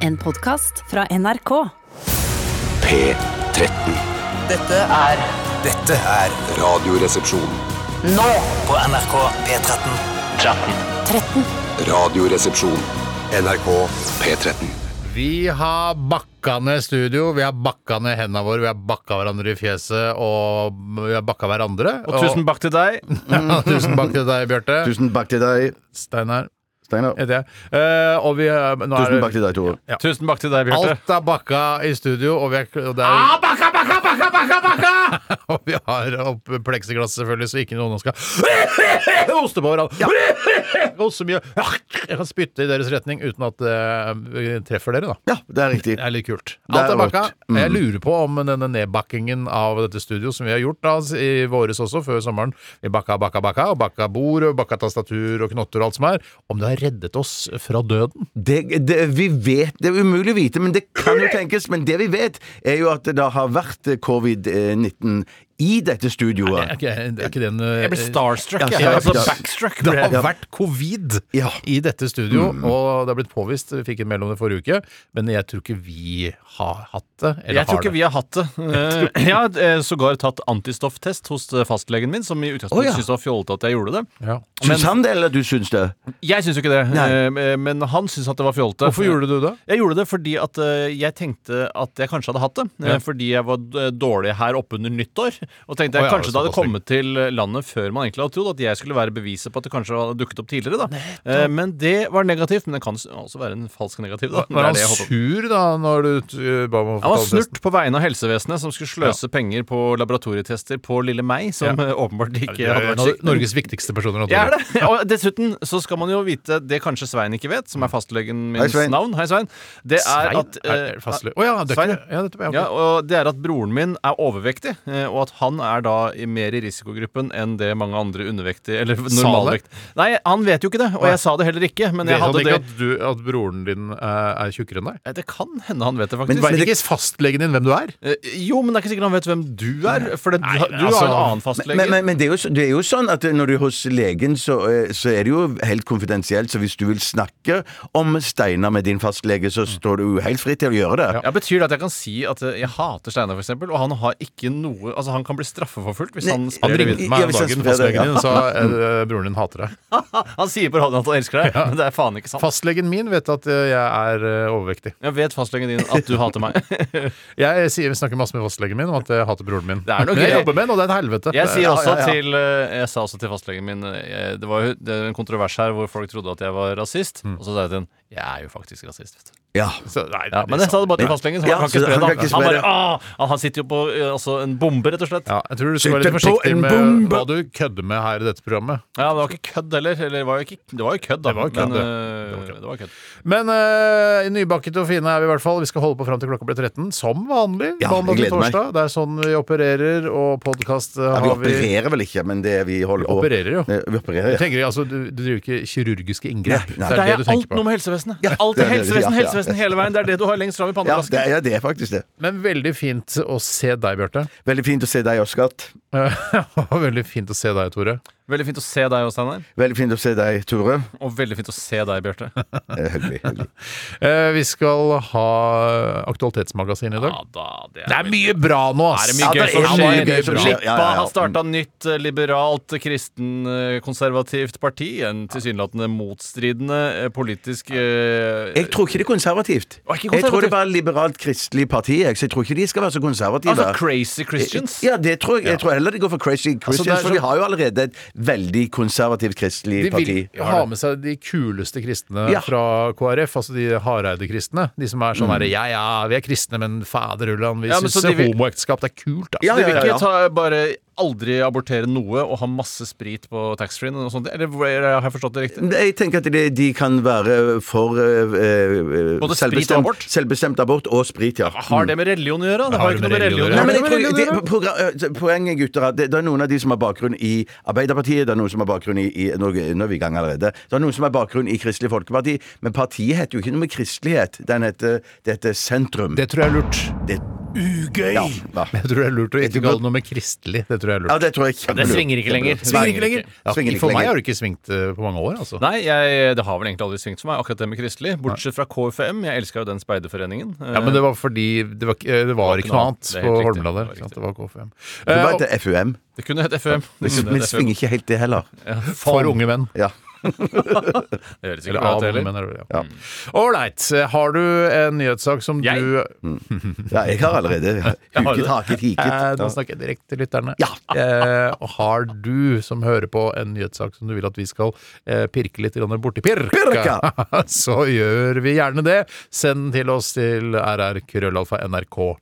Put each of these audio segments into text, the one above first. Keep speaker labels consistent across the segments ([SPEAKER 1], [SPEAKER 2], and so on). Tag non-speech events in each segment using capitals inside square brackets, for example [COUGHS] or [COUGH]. [SPEAKER 1] En podkast fra NRK.
[SPEAKER 2] P13.
[SPEAKER 3] Dette er
[SPEAKER 2] Dette er Radioresepsjon.
[SPEAKER 3] nå på NRK P13.
[SPEAKER 1] 13.
[SPEAKER 2] Radioresepsjon. NRK P13.
[SPEAKER 4] Vi har bakka ned studio, vi har bakka ned hendene våre, vi har bakka hverandre i fjeset, og vi har bakka hverandre.
[SPEAKER 5] Og tusen bakk til deg.
[SPEAKER 4] [LAUGHS] Ja, tusen bakk til deg, Bjarte.
[SPEAKER 6] Tusen takk til deg,
[SPEAKER 4] Steinar
[SPEAKER 6] Steinar.
[SPEAKER 4] heter jeg. Eh, og vi eh, nå er
[SPEAKER 6] Tusen
[SPEAKER 4] det-
[SPEAKER 6] takk til deg, Tore.
[SPEAKER 5] Tusen bakk til deg, Bjarte.
[SPEAKER 4] Alt er bakka i studio, og vi er, og det er Ah, bakka, bakka, bakka, bakka, bakka! [LAUGHS] og vi har opp pleksiglass, selvfølgelig, så ikke noen skal [LAUGHS] hoste på hverandre. Hoste mye. Jeg kan spytte i deres retning uten at det treffer dere, da.
[SPEAKER 6] Ja, det er riktig.
[SPEAKER 4] Det er litt kult.
[SPEAKER 6] Det
[SPEAKER 4] Alt
[SPEAKER 6] er
[SPEAKER 4] er bakka.
[SPEAKER 6] rått. Mm.
[SPEAKER 4] Jeg lurer på om denne nedbakkingen av dette studio, som vi har gjort da, i våres også, før sommeren Vi bakka, bakka, bakka, og bakka bord, og bakka tastatur og knotter og alt som er, om det har reddet oss fra døden.
[SPEAKER 6] Det, det, vi vet, det er umulig å vite, men det kan jo tenkes. Men det vi vet, er jo at det da har vært covid-19 i dette
[SPEAKER 4] Er
[SPEAKER 6] studioet.
[SPEAKER 4] ikke, er ikke den
[SPEAKER 5] Jeg ble starstruck.
[SPEAKER 6] Ja,
[SPEAKER 5] jeg.
[SPEAKER 6] ja,
[SPEAKER 5] altså
[SPEAKER 6] ja.
[SPEAKER 5] backstruck.
[SPEAKER 4] Det
[SPEAKER 5] Ble.
[SPEAKER 4] har
[SPEAKER 5] jeg.
[SPEAKER 4] vært covid
[SPEAKER 6] Ja. Mm.
[SPEAKER 4] i dette studio, og det har blitt påvist. Vi fikk en melding om det forrige uke, men jeg tror ikke vi har hatt det. Eller
[SPEAKER 5] Jeg tror
[SPEAKER 4] har det.
[SPEAKER 5] ikke vi har hatt det. Eh, Jeg har eh, sågar tatt antistofftest hos eh, fastlegen min, som i utgangspunktet syntes det var fjollete at jeg gjorde det.
[SPEAKER 4] Ja.
[SPEAKER 6] Syns han det, eller du syns det?
[SPEAKER 5] Jeg syns jo ikke det,
[SPEAKER 6] Nei.
[SPEAKER 5] eh, men han syns at det var fjollete.
[SPEAKER 4] Hvorfor gjorde du det?
[SPEAKER 5] Jeg gjorde det fordi at eh, jeg tenkte at jeg kanskje hadde hatt det. eh,
[SPEAKER 4] Ja.
[SPEAKER 5] Fordi jeg var eh, dårlig her oppe under nyttår. Og tenkte
[SPEAKER 4] Å
[SPEAKER 5] jeg
[SPEAKER 4] ja,
[SPEAKER 5] kanskje det hadde
[SPEAKER 4] såpass lenge.
[SPEAKER 5] kommet til landet før man egentlig hadde trodd at jeg skulle være beviset på at det kanskje hadde dukket opp tidligere. da Eh, Men det var negativt. Men det kan s- også være en falsk negativ. da Det
[SPEAKER 4] Var
[SPEAKER 5] er
[SPEAKER 4] han
[SPEAKER 5] det jeg håper på.
[SPEAKER 4] sur da når du eh, ba om å
[SPEAKER 5] Han
[SPEAKER 4] ta
[SPEAKER 5] var
[SPEAKER 4] testen?
[SPEAKER 5] snurt på vegne av helsevesenet, som skulle sløse penger på laboratorietester på lille meg, som eh, [LAUGHS] åpenbart ikke
[SPEAKER 4] Det er
[SPEAKER 5] hadde
[SPEAKER 4] en
[SPEAKER 5] vært
[SPEAKER 4] av
[SPEAKER 5] skikkelig.
[SPEAKER 4] Norges viktigste personer.
[SPEAKER 5] Jeg er
[SPEAKER 4] antageligvis.
[SPEAKER 5] det. Og dessuten så skal man jo vite det kanskje Svein ikke vet, som er fastlegen mins
[SPEAKER 6] Svein.
[SPEAKER 5] navn. Hei, Svein. Det er
[SPEAKER 4] Svein?
[SPEAKER 5] at eh, ah,
[SPEAKER 4] Er det fastlø- Å ja, det er ikke
[SPEAKER 5] Svein,
[SPEAKER 4] det. Ja, dette er
[SPEAKER 5] ja,
[SPEAKER 4] jeg.
[SPEAKER 5] og det er at broren min er overvektig, eh, og at han er da i- mer i risikogruppen enn det mange andre undervektige Eller normalvekt Nei, han vet jo ikke det, og jeg sa det heller ikke, men jeg
[SPEAKER 4] Vet han
[SPEAKER 5] hadde
[SPEAKER 4] ikke
[SPEAKER 5] det
[SPEAKER 4] at, du, at broren din eh, er tjukkere enn deg?
[SPEAKER 5] Eh, Det kan hende han vet det,
[SPEAKER 6] Men-
[SPEAKER 5] faktisk.
[SPEAKER 6] men
[SPEAKER 4] Vet
[SPEAKER 6] det-
[SPEAKER 4] ikke fastlegen din hvem du er?
[SPEAKER 5] Eh, Jo, men det er ikke sikkert han vet hvem du er, for det, du, du
[SPEAKER 4] altså-
[SPEAKER 5] har en annen
[SPEAKER 6] Men,
[SPEAKER 5] fastlege.
[SPEAKER 6] men, men det, er jo, så- det er jo sånn at når du er hos legen, så, eh, så er det jo helt konfidensielt. Så hvis du vil snakke om Steinar med din fastlege, så står du jo helt fritt til å gjøre det.
[SPEAKER 5] Ja, Betyr det at jeg kan si at eh, jeg hater Steinar, for eksempel, og han har ikke noe Altså, han kan bli straffeforfulgt hvis
[SPEAKER 6] Nei,
[SPEAKER 5] han
[SPEAKER 4] Han
[SPEAKER 5] sprer det
[SPEAKER 4] ringte
[SPEAKER 5] videre?
[SPEAKER 4] meg
[SPEAKER 6] Ja,
[SPEAKER 4] om
[SPEAKER 6] hvis jeg
[SPEAKER 4] dagen,
[SPEAKER 6] spør det,
[SPEAKER 4] fastlegen
[SPEAKER 6] ja.
[SPEAKER 4] din, og sa eh, broren din hater deg.
[SPEAKER 5] Han sier på radioen at han elsker deg, men det er faen ikke sant.
[SPEAKER 4] Fastlegen min vet at eh, jeg er eh, overvektig.
[SPEAKER 5] Jeg vet fastlegen din at du
[SPEAKER 6] [LAUGHS]
[SPEAKER 5] hater meg.
[SPEAKER 4] Jeg sier, snakker masse med fastlegen min om at jeg hater broren min.
[SPEAKER 5] Det er noe
[SPEAKER 4] Men jeg
[SPEAKER 5] gøy.
[SPEAKER 4] jobber med den, og det er et helvete.
[SPEAKER 5] Jeg, sier
[SPEAKER 4] Ja,
[SPEAKER 5] også
[SPEAKER 4] ja, ja.
[SPEAKER 5] Til, eh, jeg sa også til fastlegen min eh, Det var jo det var en kontrovers her hvor folk trodde at jeg var rasist. Og så sa jeg til henne jeg er jo faktisk rasist. Vet du.
[SPEAKER 6] Mm. Ja.
[SPEAKER 4] Så, nei, det er liksom-
[SPEAKER 5] Ja, men jeg sa det bare til
[SPEAKER 6] Ja.
[SPEAKER 5] fastlegen. Så
[SPEAKER 6] Ja,
[SPEAKER 5] han kan
[SPEAKER 6] så han
[SPEAKER 5] ikke spre
[SPEAKER 6] kan
[SPEAKER 5] det.
[SPEAKER 6] ikke
[SPEAKER 5] Han
[SPEAKER 6] spre
[SPEAKER 5] bare,
[SPEAKER 6] det.
[SPEAKER 5] ah, ah, han sitter jo på eh, altså, en bombe, rett og slett.
[SPEAKER 4] Ja, jeg tror du skal være litt
[SPEAKER 6] Sitter på
[SPEAKER 4] forsiktig
[SPEAKER 6] en
[SPEAKER 4] med
[SPEAKER 6] bombe.
[SPEAKER 4] hva du kødder med her i dette programmet.
[SPEAKER 5] Ja, det var ikke kødd heller. Eller det var jo ikke, det var jo kødd, da.
[SPEAKER 4] Det var jo kødd,
[SPEAKER 5] men,
[SPEAKER 4] det.
[SPEAKER 5] eh,
[SPEAKER 4] Det var kødd.
[SPEAKER 5] det var kødd.
[SPEAKER 4] Men eh, nybakket og fine er vi i hvert fall. Vi skal holde på fram til klokka blir 13, som vanlig.
[SPEAKER 6] Ja,
[SPEAKER 4] mandag
[SPEAKER 6] jeg
[SPEAKER 4] til
[SPEAKER 6] gleder meg.
[SPEAKER 4] torsdag. Det er sånn vi opererer, og podkast
[SPEAKER 6] Ja, vi
[SPEAKER 4] har vi
[SPEAKER 6] opererer vel ikke, men det vi holder på
[SPEAKER 4] Opererer, jo.
[SPEAKER 6] Eh, Vi
[SPEAKER 4] Du,
[SPEAKER 6] opererer, ja.
[SPEAKER 4] tenker, altså, du, du driver ikke kirurgiske inngrep.
[SPEAKER 6] Nei,
[SPEAKER 4] Det
[SPEAKER 6] nei.
[SPEAKER 5] Det
[SPEAKER 4] er det
[SPEAKER 5] er
[SPEAKER 4] du tenker
[SPEAKER 5] alt
[SPEAKER 4] på.
[SPEAKER 5] noe med helsevesenet. alt
[SPEAKER 6] det er det du- ja,
[SPEAKER 5] helsevesen,
[SPEAKER 6] ja.
[SPEAKER 5] helsevesen hele veien. Det er det du har lengst fram i
[SPEAKER 6] Ja, det
[SPEAKER 5] pannebrasken.
[SPEAKER 6] er, ja, det er faktisk det.
[SPEAKER 4] Men veldig fint å se deg, Bjarte. [LAUGHS]
[SPEAKER 6] Veldig fint å se deg, Oskar.
[SPEAKER 4] Og veldig fint å se deg, Tore.
[SPEAKER 5] Veldig fint å se deg òg, Steinar.
[SPEAKER 6] Veldig fint å se deg, Tore.
[SPEAKER 5] Og veldig fint å se deg,
[SPEAKER 6] [LAUGHS]
[SPEAKER 5] Bjarte.
[SPEAKER 6] Eh, Hyggelig. hyggelig.
[SPEAKER 4] Eh, vi skal ha Aktualitetsmagasinet i dag.
[SPEAKER 5] Ja da, det
[SPEAKER 4] Det er mye bra nå, ass!
[SPEAKER 5] Er det mye
[SPEAKER 6] Ja,
[SPEAKER 5] gøy
[SPEAKER 6] det
[SPEAKER 5] som
[SPEAKER 6] er mye
[SPEAKER 5] skjer?
[SPEAKER 6] gøy som skjer.
[SPEAKER 5] Lippa
[SPEAKER 6] Ja, ja, Mm. ja.
[SPEAKER 5] har starta nytt eh, liberalt, kristen-konservativt parti. En tilsynelatende motstridende eh, politisk eh,
[SPEAKER 6] Jeg tror ikke det er konservativt.
[SPEAKER 5] Å, ikke
[SPEAKER 6] Jeg tror det
[SPEAKER 5] konservativt.
[SPEAKER 6] er bare liberalt kristelig parti, jeg, så jeg tror ikke de skal være så konservative. Eh,
[SPEAKER 5] Altså crazy Christians. Altså,
[SPEAKER 6] Ja, det tror jeg. Jeg tror heller de går for crazy Christians,
[SPEAKER 4] det er
[SPEAKER 6] for
[SPEAKER 4] så-
[SPEAKER 6] vi har jo allerede et veldig konservativt kristelig
[SPEAKER 4] De vil
[SPEAKER 6] parti.
[SPEAKER 4] ha med seg de kuleste kristne
[SPEAKER 6] Ja.
[SPEAKER 4] fra KrF, altså de hareide kristne. De som er sånn herre ja ja, vi er kristne, men fader Ulland, vi
[SPEAKER 5] Ja, men
[SPEAKER 4] syns
[SPEAKER 5] så de vil-
[SPEAKER 4] homoekteskap det er kult, altså. ass.
[SPEAKER 6] Ja,
[SPEAKER 5] De vil
[SPEAKER 6] ja,
[SPEAKER 5] ikke
[SPEAKER 6] ja.
[SPEAKER 5] ta, bare aldri abortere noe og ha masse sprit på taxfree-en? og noe sånt? Eller hvor- eller har jeg forstått det riktig?
[SPEAKER 6] Jeg tenker at de, de kan være for eh, eh,
[SPEAKER 5] Både sprit og
[SPEAKER 6] selvbestemt,
[SPEAKER 5] abort?
[SPEAKER 6] selvbestemt abort og sprit, ja.
[SPEAKER 5] Har det med religion å gjøre? Det har
[SPEAKER 4] Har det
[SPEAKER 5] jo ikke noe
[SPEAKER 4] med
[SPEAKER 5] med religion å
[SPEAKER 4] religion å gjøre?
[SPEAKER 6] Nei,
[SPEAKER 5] gjøre.
[SPEAKER 6] men jeg tror, det,
[SPEAKER 4] det-
[SPEAKER 6] progra- eh, poenget, gutter, er at det, det er noen av de som har bakgrunn i Arbeiderpartiet, det er noen som har bakgrunn i, i nå, nå er vi i gang allerede. Det er noen som har bakgrunn i Kristelig Folkeparti, men partiet heter jo ikke noe med kristelighet. Den heter, det heter Sentrum.
[SPEAKER 4] Det tror jeg er lurt.
[SPEAKER 6] Det-
[SPEAKER 3] ugøy.
[SPEAKER 6] Ja, da.
[SPEAKER 4] Men [LAUGHS] jeg tror det er lurt å ikke
[SPEAKER 6] tror godt-
[SPEAKER 4] kalle noe med kristelig. Det tror jeg er
[SPEAKER 6] ja,
[SPEAKER 4] lurt.
[SPEAKER 6] det tror jeg er
[SPEAKER 5] det
[SPEAKER 6] kjempelurt.
[SPEAKER 5] svinger ikke lenger.
[SPEAKER 6] Svinger ikke
[SPEAKER 5] Nei.
[SPEAKER 6] lenger.
[SPEAKER 4] Ja,
[SPEAKER 6] Svinger ikke
[SPEAKER 4] for meg
[SPEAKER 6] lenger.
[SPEAKER 4] har det ikke svingt eh, på mange år, altså.
[SPEAKER 5] Nei, jeg, det har vel egentlig aldri svingt for meg, akkurat det med kristelig. Bortsett fra KFM. Jeg elska jo den speiderforeningen.
[SPEAKER 4] Ja, men det var fordi det var, ikke- eh, det var ikke noe annet
[SPEAKER 5] Det er
[SPEAKER 4] på
[SPEAKER 5] helt riktig.
[SPEAKER 4] Holmland der.
[SPEAKER 5] Det var
[SPEAKER 4] ikke sant?
[SPEAKER 5] riktig.
[SPEAKER 4] Det var KFM.
[SPEAKER 6] Det
[SPEAKER 4] Eh,
[SPEAKER 6] var
[SPEAKER 4] og-
[SPEAKER 6] etter FUM,
[SPEAKER 5] det kunne hett FM. Det kunne
[SPEAKER 6] men
[SPEAKER 5] hett FM.
[SPEAKER 6] svinger ikke helt det heller.
[SPEAKER 4] for unge menn.
[SPEAKER 6] Ja.
[SPEAKER 5] Det høres
[SPEAKER 4] Eller
[SPEAKER 5] ikke bra
[SPEAKER 4] av unge
[SPEAKER 5] ut heller.
[SPEAKER 4] menn. er det vel, Ja. Ålreit. Har du en nyhetssak som
[SPEAKER 5] Jeg?
[SPEAKER 4] du
[SPEAKER 6] ja, jeg har allerede huket, haket,
[SPEAKER 4] Eh,
[SPEAKER 6] hiket.
[SPEAKER 4] Nå snakker jeg direkte til lytterne.
[SPEAKER 6] Ja.
[SPEAKER 4] Eh, har du som hører på en nyhetssak som du vil at vi skal eh, pirke litt grann borti pirka,
[SPEAKER 6] Pirka!
[SPEAKER 4] [LAUGHS] så gjør vi gjerne det. Send den til oss til rrkrøllalfa.nrk.no.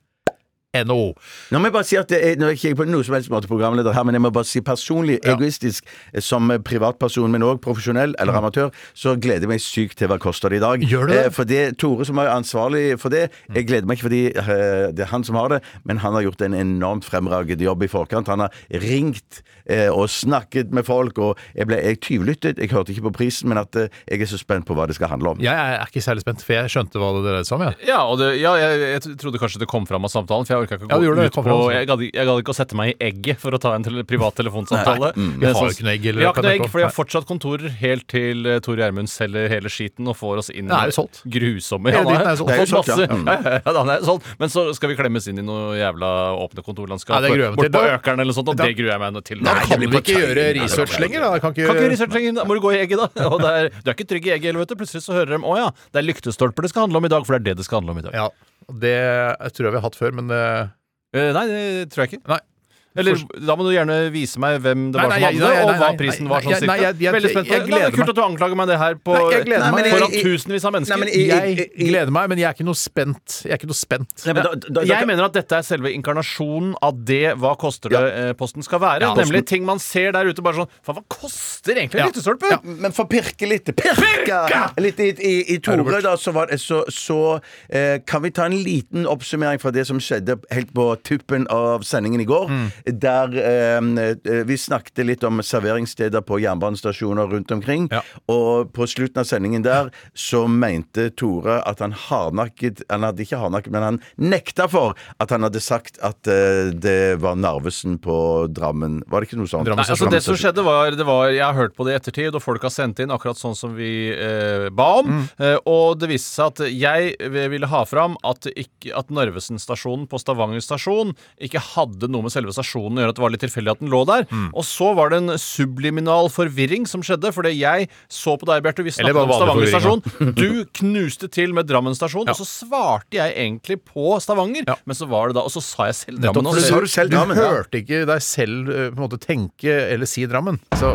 [SPEAKER 6] Nå må jeg bare si at det er, nå er ikke jeg på noe som helst måte programleder her, men jeg må bare si personlig,
[SPEAKER 4] Ja.
[SPEAKER 6] egoistisk, eh, som eh, privatperson, men òg profesjonell eller amatør, så gleder jeg meg sykt til hva koster det i dag.
[SPEAKER 4] Mm. Gjør du det? Mm.
[SPEAKER 6] Eh, For det Tore som er ansvarlig for det, jeg gleder meg ikke fordi eh, det er han som har det, men han har gjort en enormt fremragende jobb i forkant. Han har ringt eh, og snakket med folk, og jeg ble jeg tyvlyttet. Jeg hørte ikke på prisen, men at eh, jeg er så spent på hva det skal handle om.
[SPEAKER 4] Jeg er ikke særlig spent, for jeg skjønte hva det dreide seg om. Jeg.
[SPEAKER 5] Ja, og det, ja jeg, jeg trodde kanskje det kom fram av samtalen, for jeg orka ikke
[SPEAKER 4] Ja,
[SPEAKER 5] å
[SPEAKER 4] det
[SPEAKER 5] gå
[SPEAKER 4] gjorde det, det
[SPEAKER 5] ut
[SPEAKER 4] kom
[SPEAKER 5] på
[SPEAKER 4] fram.
[SPEAKER 5] Jeg gadd ikke- jeg gadd ikke å sette meg i egget for å ta en tele, privat telefonsamtale.
[SPEAKER 4] vi
[SPEAKER 5] Men
[SPEAKER 4] har jo
[SPEAKER 5] sånn-
[SPEAKER 4] ikke noe egg, eller
[SPEAKER 5] Vi har ikke noe
[SPEAKER 4] NRK.
[SPEAKER 5] egg, for de har
[SPEAKER 4] Nei.
[SPEAKER 5] fortsatt kontorer helt til eh, Tore Gjermund selger hele skiten og får oss inn i
[SPEAKER 4] Det er jo solgt.
[SPEAKER 5] grusomme
[SPEAKER 4] Hele
[SPEAKER 5] Han har
[SPEAKER 4] dritten er jo solgt.
[SPEAKER 6] Det
[SPEAKER 5] fått
[SPEAKER 6] er jo solgt,
[SPEAKER 5] masse-
[SPEAKER 6] ja. Mm.
[SPEAKER 5] Ja, [LAUGHS] ja, ja, han er jo solgt. Men så skal vi klemmes inn i noe jævla åpne kontorlandskap
[SPEAKER 4] Nei, det gruer jeg meg
[SPEAKER 5] bort
[SPEAKER 4] til.
[SPEAKER 5] på
[SPEAKER 4] Da-
[SPEAKER 5] Økeren eller noe sånt, og
[SPEAKER 4] Da-
[SPEAKER 5] det gruer jeg meg til.
[SPEAKER 4] Da
[SPEAKER 5] Nei,
[SPEAKER 4] kan
[SPEAKER 5] det
[SPEAKER 4] vi
[SPEAKER 5] blir
[SPEAKER 4] ikke
[SPEAKER 5] på
[SPEAKER 4] gjøre
[SPEAKER 5] tegning.
[SPEAKER 4] research lenger, da. Kan ikke,
[SPEAKER 5] Kan ikke gjøre research lenger, da må du gå i egget, da. [LAUGHS] Og det er, du er ikke trygg i egget, eller vet du. Plutselig så hører de å ja, det er lyktestolper det skal handle om i dag, for det er det det skal handle om i dag.
[SPEAKER 4] Ja, det tror jeg vi har hatt før, men eh,
[SPEAKER 5] Eh, nei, det tror jeg ikke.
[SPEAKER 4] Nei.
[SPEAKER 5] Eller da må du gjerne vise meg hvem det var
[SPEAKER 4] Nei,
[SPEAKER 5] som
[SPEAKER 4] nei, nei,
[SPEAKER 5] hadde det,
[SPEAKER 4] nei,
[SPEAKER 5] og hva
[SPEAKER 4] nei,
[SPEAKER 5] prisen
[SPEAKER 4] nei,
[SPEAKER 5] var sånn
[SPEAKER 4] nei, nei,
[SPEAKER 5] cirka.
[SPEAKER 4] jeg- jeg-
[SPEAKER 5] Veldig spent. på
[SPEAKER 4] jeg
[SPEAKER 5] det. Nei, det
[SPEAKER 4] gleder
[SPEAKER 5] er kult at du anklager meg det her på,
[SPEAKER 4] Nei, jeg gleder
[SPEAKER 5] Nei, men
[SPEAKER 4] meg.
[SPEAKER 5] foran
[SPEAKER 6] Jeg-
[SPEAKER 5] tusenvis av mennesker.
[SPEAKER 6] Nei, men
[SPEAKER 5] jeg,
[SPEAKER 6] jeg-
[SPEAKER 4] Jeg gleder meg, men jeg er ikke noe spent. Jeg er ikke noe spent.
[SPEAKER 6] Nei, men da- da- da-
[SPEAKER 5] jeg mener at dette er selve inkarnasjonen av det hva koster det-posten skal være. nemlig ting man ser der ute bare sånn Faen, hva koster egentlig en lyktestolpe?
[SPEAKER 6] Men for å pirke litt Pirke! Litt i, i, i Tore, da, så, var, det- så, så eh, kan vi ta en liten oppsummering fra det som skjedde helt på tuppen av sendingen i går.
[SPEAKER 4] Mm.
[SPEAKER 6] Der eh, vi snakket litt om serveringssteder på jernbanestasjoner rundt omkring.
[SPEAKER 4] Ja.
[SPEAKER 6] Og på slutten av sendingen der så mente Tore at han hardnakket Han hadde ikke hardnakket, men han nekta for at han hadde sagt at eh, det var Narvesen på Drammen. Var det ikke noe sånt?
[SPEAKER 4] Drammen
[SPEAKER 5] Nei, altså det som skjedde var, det var Jeg har hørt på det i ettertid, og folk har sendt inn akkurat sånn som vi eh, ba om.
[SPEAKER 4] Mm.
[SPEAKER 5] Eh, og det viste seg at jeg ville ha fram at, det ikke, at Narvesen-stasjonen på Stavanger stasjon ikke hadde noe med selve stasjonen å gjøre, at det var litt tilfeldig at den lå der.
[SPEAKER 4] Mm.
[SPEAKER 5] Og så var det en subliminal forvirring som skjedde, fordi jeg så på deg, Bjarte, vi
[SPEAKER 4] Eller
[SPEAKER 5] snakket
[SPEAKER 4] bare
[SPEAKER 5] om Stavanger
[SPEAKER 4] vanlig
[SPEAKER 5] stasjon. Du knuste til med Drammen stasjon, og så svarte jeg egentlig på Stavanger,
[SPEAKER 4] Ja.
[SPEAKER 5] men så var det da Og så sa jeg selv Drammen.
[SPEAKER 4] for
[SPEAKER 5] også.
[SPEAKER 6] så har du selv Drammen,
[SPEAKER 4] Du
[SPEAKER 6] ja.
[SPEAKER 4] hørte ikke deg selv eh, på en måte tenke eller si Drammen. Så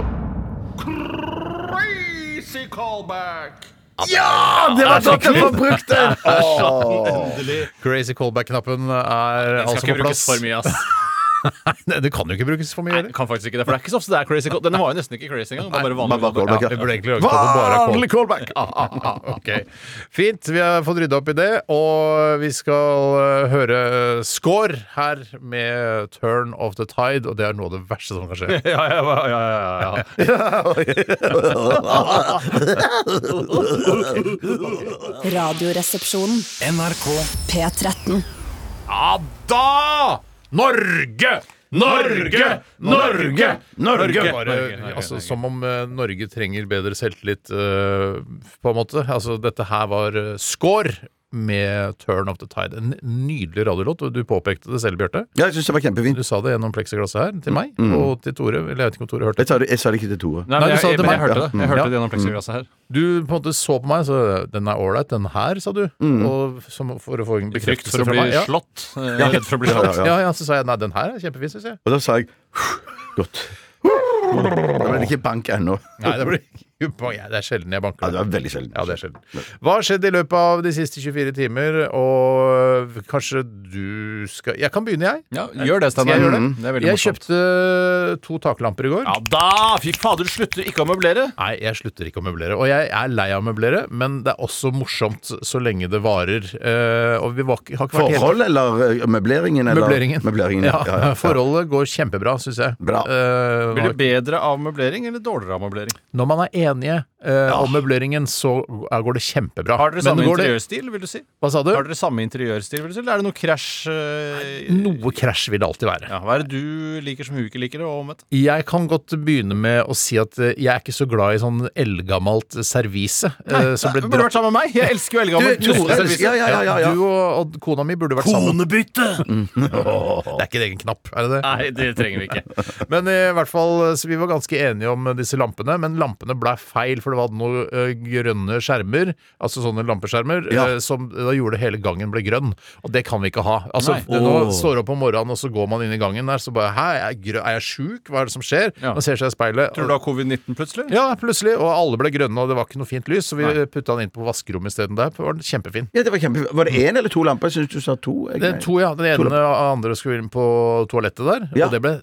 [SPEAKER 6] Ja, det var godt å få brukt den!
[SPEAKER 4] crazy callback-knappen er
[SPEAKER 5] Den
[SPEAKER 4] altså på
[SPEAKER 5] skal ikke brukes
[SPEAKER 4] plass.
[SPEAKER 5] for mye, ass.
[SPEAKER 4] Nei, det kan jo ikke brukes for mye.
[SPEAKER 5] Nei,
[SPEAKER 4] heller.
[SPEAKER 5] det kan faktisk ikke det, for det er ikke så ofte det er crazy call. Denne var jo nesten ikke crazy engang. det var Bare vanlig
[SPEAKER 6] bare
[SPEAKER 5] callback.
[SPEAKER 6] callback,
[SPEAKER 4] Ja,
[SPEAKER 6] ja.
[SPEAKER 4] vi burde egentlig lage det på bare call.
[SPEAKER 6] callback!
[SPEAKER 4] ah, Ok. Fint. Vi har fått rydda opp i det, og vi skal eh, høre score her med 'Turn of the Tide', og det er noe av det verste som kan skje.
[SPEAKER 5] [LAUGHS] Ja, ja, ja, ja, ja, ja.
[SPEAKER 1] Radioresepsjonen. NRK P13.
[SPEAKER 4] Ja da! Norge! Norge! Norge! Norge! Bare,
[SPEAKER 5] Norge, Norge,
[SPEAKER 4] altså,
[SPEAKER 5] Norge.
[SPEAKER 4] Som om eh, Norge trenger bedre selvtillit, eh, på en måte. Altså, dette her var eh, score med 'Turn of the Tide'. En nydelig radiolåt, og du påpekte det selv, Bjarte.
[SPEAKER 6] Ja, jeg syns det var kjempefint.
[SPEAKER 4] Du sa det gjennom pleksiglasset her, til meg og til Tore. Eller jeg vet ikke om Tore hørte det.
[SPEAKER 6] Jeg, sa det, jeg sa det ikke til Tore.
[SPEAKER 5] Nei,
[SPEAKER 4] Nei,
[SPEAKER 5] men
[SPEAKER 4] du
[SPEAKER 5] jeg,
[SPEAKER 4] sa det
[SPEAKER 5] jeg,
[SPEAKER 4] til
[SPEAKER 5] men jeg
[SPEAKER 4] meg.
[SPEAKER 5] hørte det. Jeg
[SPEAKER 4] Ja. Mm.
[SPEAKER 5] hørte det gjennom pleksiglasset her.
[SPEAKER 4] Du på en måte så på meg, så den er ålreit, den her, sa du. Og som, for å få en
[SPEAKER 5] Frykt
[SPEAKER 4] bekreftelse
[SPEAKER 5] for å
[SPEAKER 4] fra
[SPEAKER 5] bli
[SPEAKER 4] meg. Ja.
[SPEAKER 5] slått. Eh, Jeg er redd for å bli
[SPEAKER 6] Ja, ja,
[SPEAKER 5] slått.
[SPEAKER 6] ja.
[SPEAKER 4] Ja, ja, så sa jeg nei, den her er kjempefin, syns jeg.
[SPEAKER 6] Og da sa jeg godt. Da ble det ikke bank ennå.
[SPEAKER 4] Nei, det, blir, Ja, det er sjelden jeg
[SPEAKER 6] Ja,
[SPEAKER 4] banker.
[SPEAKER 6] det var veldig sjelden.
[SPEAKER 4] Ja, det er sjelden. Hva har skjedd i løpet av de siste 24 timer, og kanskje du skal Jeg kan begynne, jeg.
[SPEAKER 5] Ja, gjør det,
[SPEAKER 4] Skal
[SPEAKER 5] Steinar.
[SPEAKER 4] jeg gjøre det?
[SPEAKER 5] Mm, Det er veldig
[SPEAKER 4] Jeg
[SPEAKER 5] morsomt.
[SPEAKER 4] kjøpte to taklamper i går.
[SPEAKER 5] Ja da! Fy fader, du slutter ikke å møblere!
[SPEAKER 4] Nei, jeg slutter ikke å møblere. Og jeg er lei av å møblere, men det er også morsomt så lenge det varer. Eh, og vi var, ikke- har ikke vært helt-
[SPEAKER 6] Forhold eller eh, møbleringen? Eller?
[SPEAKER 4] Møbleringen. Ja,
[SPEAKER 6] ja. Ja, ja, ja.
[SPEAKER 4] Forholdet går kjempebra, syns jeg.
[SPEAKER 6] Bra.
[SPEAKER 4] Eh,
[SPEAKER 5] Blir det bedre av møblering eller dårligere av møblering?
[SPEAKER 4] når man er enige, eh, og møbleringen, så eh, går det kjempebra.
[SPEAKER 5] Har
[SPEAKER 4] Men
[SPEAKER 5] dere samme
[SPEAKER 4] går det-
[SPEAKER 5] interiørstil, vil du si?
[SPEAKER 4] Hva sa du?
[SPEAKER 5] Har dere samme interiørstil, vil du si? Eller er det noe krasj eh,
[SPEAKER 4] Noe krasj vil det alltid være.
[SPEAKER 5] ja, Hva er det du liker som hun ikke liker, og omvendt?
[SPEAKER 4] Jeg kan godt begynne med å si at eh, jeg er ikke så glad i sånn eldgammelt servise. eh, som ble
[SPEAKER 5] Hun burde vært sammen med meg! Jeg elsker
[SPEAKER 6] Du,
[SPEAKER 5] jo eldgammel.
[SPEAKER 6] Tore,
[SPEAKER 5] norsk servise.
[SPEAKER 6] ja, ja, ja, ja, ja.
[SPEAKER 4] Du og, og kona mi burde vært sammen. Mm.
[SPEAKER 6] Konebytte!
[SPEAKER 4] [LAUGHS] Det er ikke en egen knapp, er det det?
[SPEAKER 5] Nei, det trenger vi ikke.
[SPEAKER 4] [LAUGHS] Men eh, i hvert fall, så vi var ganske enige om disse lampene, men lampene ble feil, for det var noen ø, grønne skjermer, altså sånne lampeskjermer,
[SPEAKER 6] Ja.
[SPEAKER 4] ø, som eh, da gjorde hele gangen ble grønn, og det kan vi ikke ha. Altså,
[SPEAKER 5] Nei.
[SPEAKER 4] nå
[SPEAKER 6] Åh.
[SPEAKER 4] står du opp om morgenen, og så går man inn i gangen der, så bare, hæ, er jeg, grø- er jeg sjuk? Hva er det som skjer?
[SPEAKER 5] Ja.
[SPEAKER 4] Man ser seg i speilet.
[SPEAKER 5] Tror du du har covid-19 plutselig?
[SPEAKER 4] Ja, plutselig, og alle ble grønne, og det var ikke noe fint lys, så vi putta den inn på vaskerommet i stedet der, det var den kjempefin.
[SPEAKER 6] Ja, det var kjempe... Var det én eller to lamper? Jeg syns du sa to. jeg.
[SPEAKER 4] Det er to, ja. Den ene og andre skulle inn på toalettet der,
[SPEAKER 6] Ja.
[SPEAKER 4] og det ble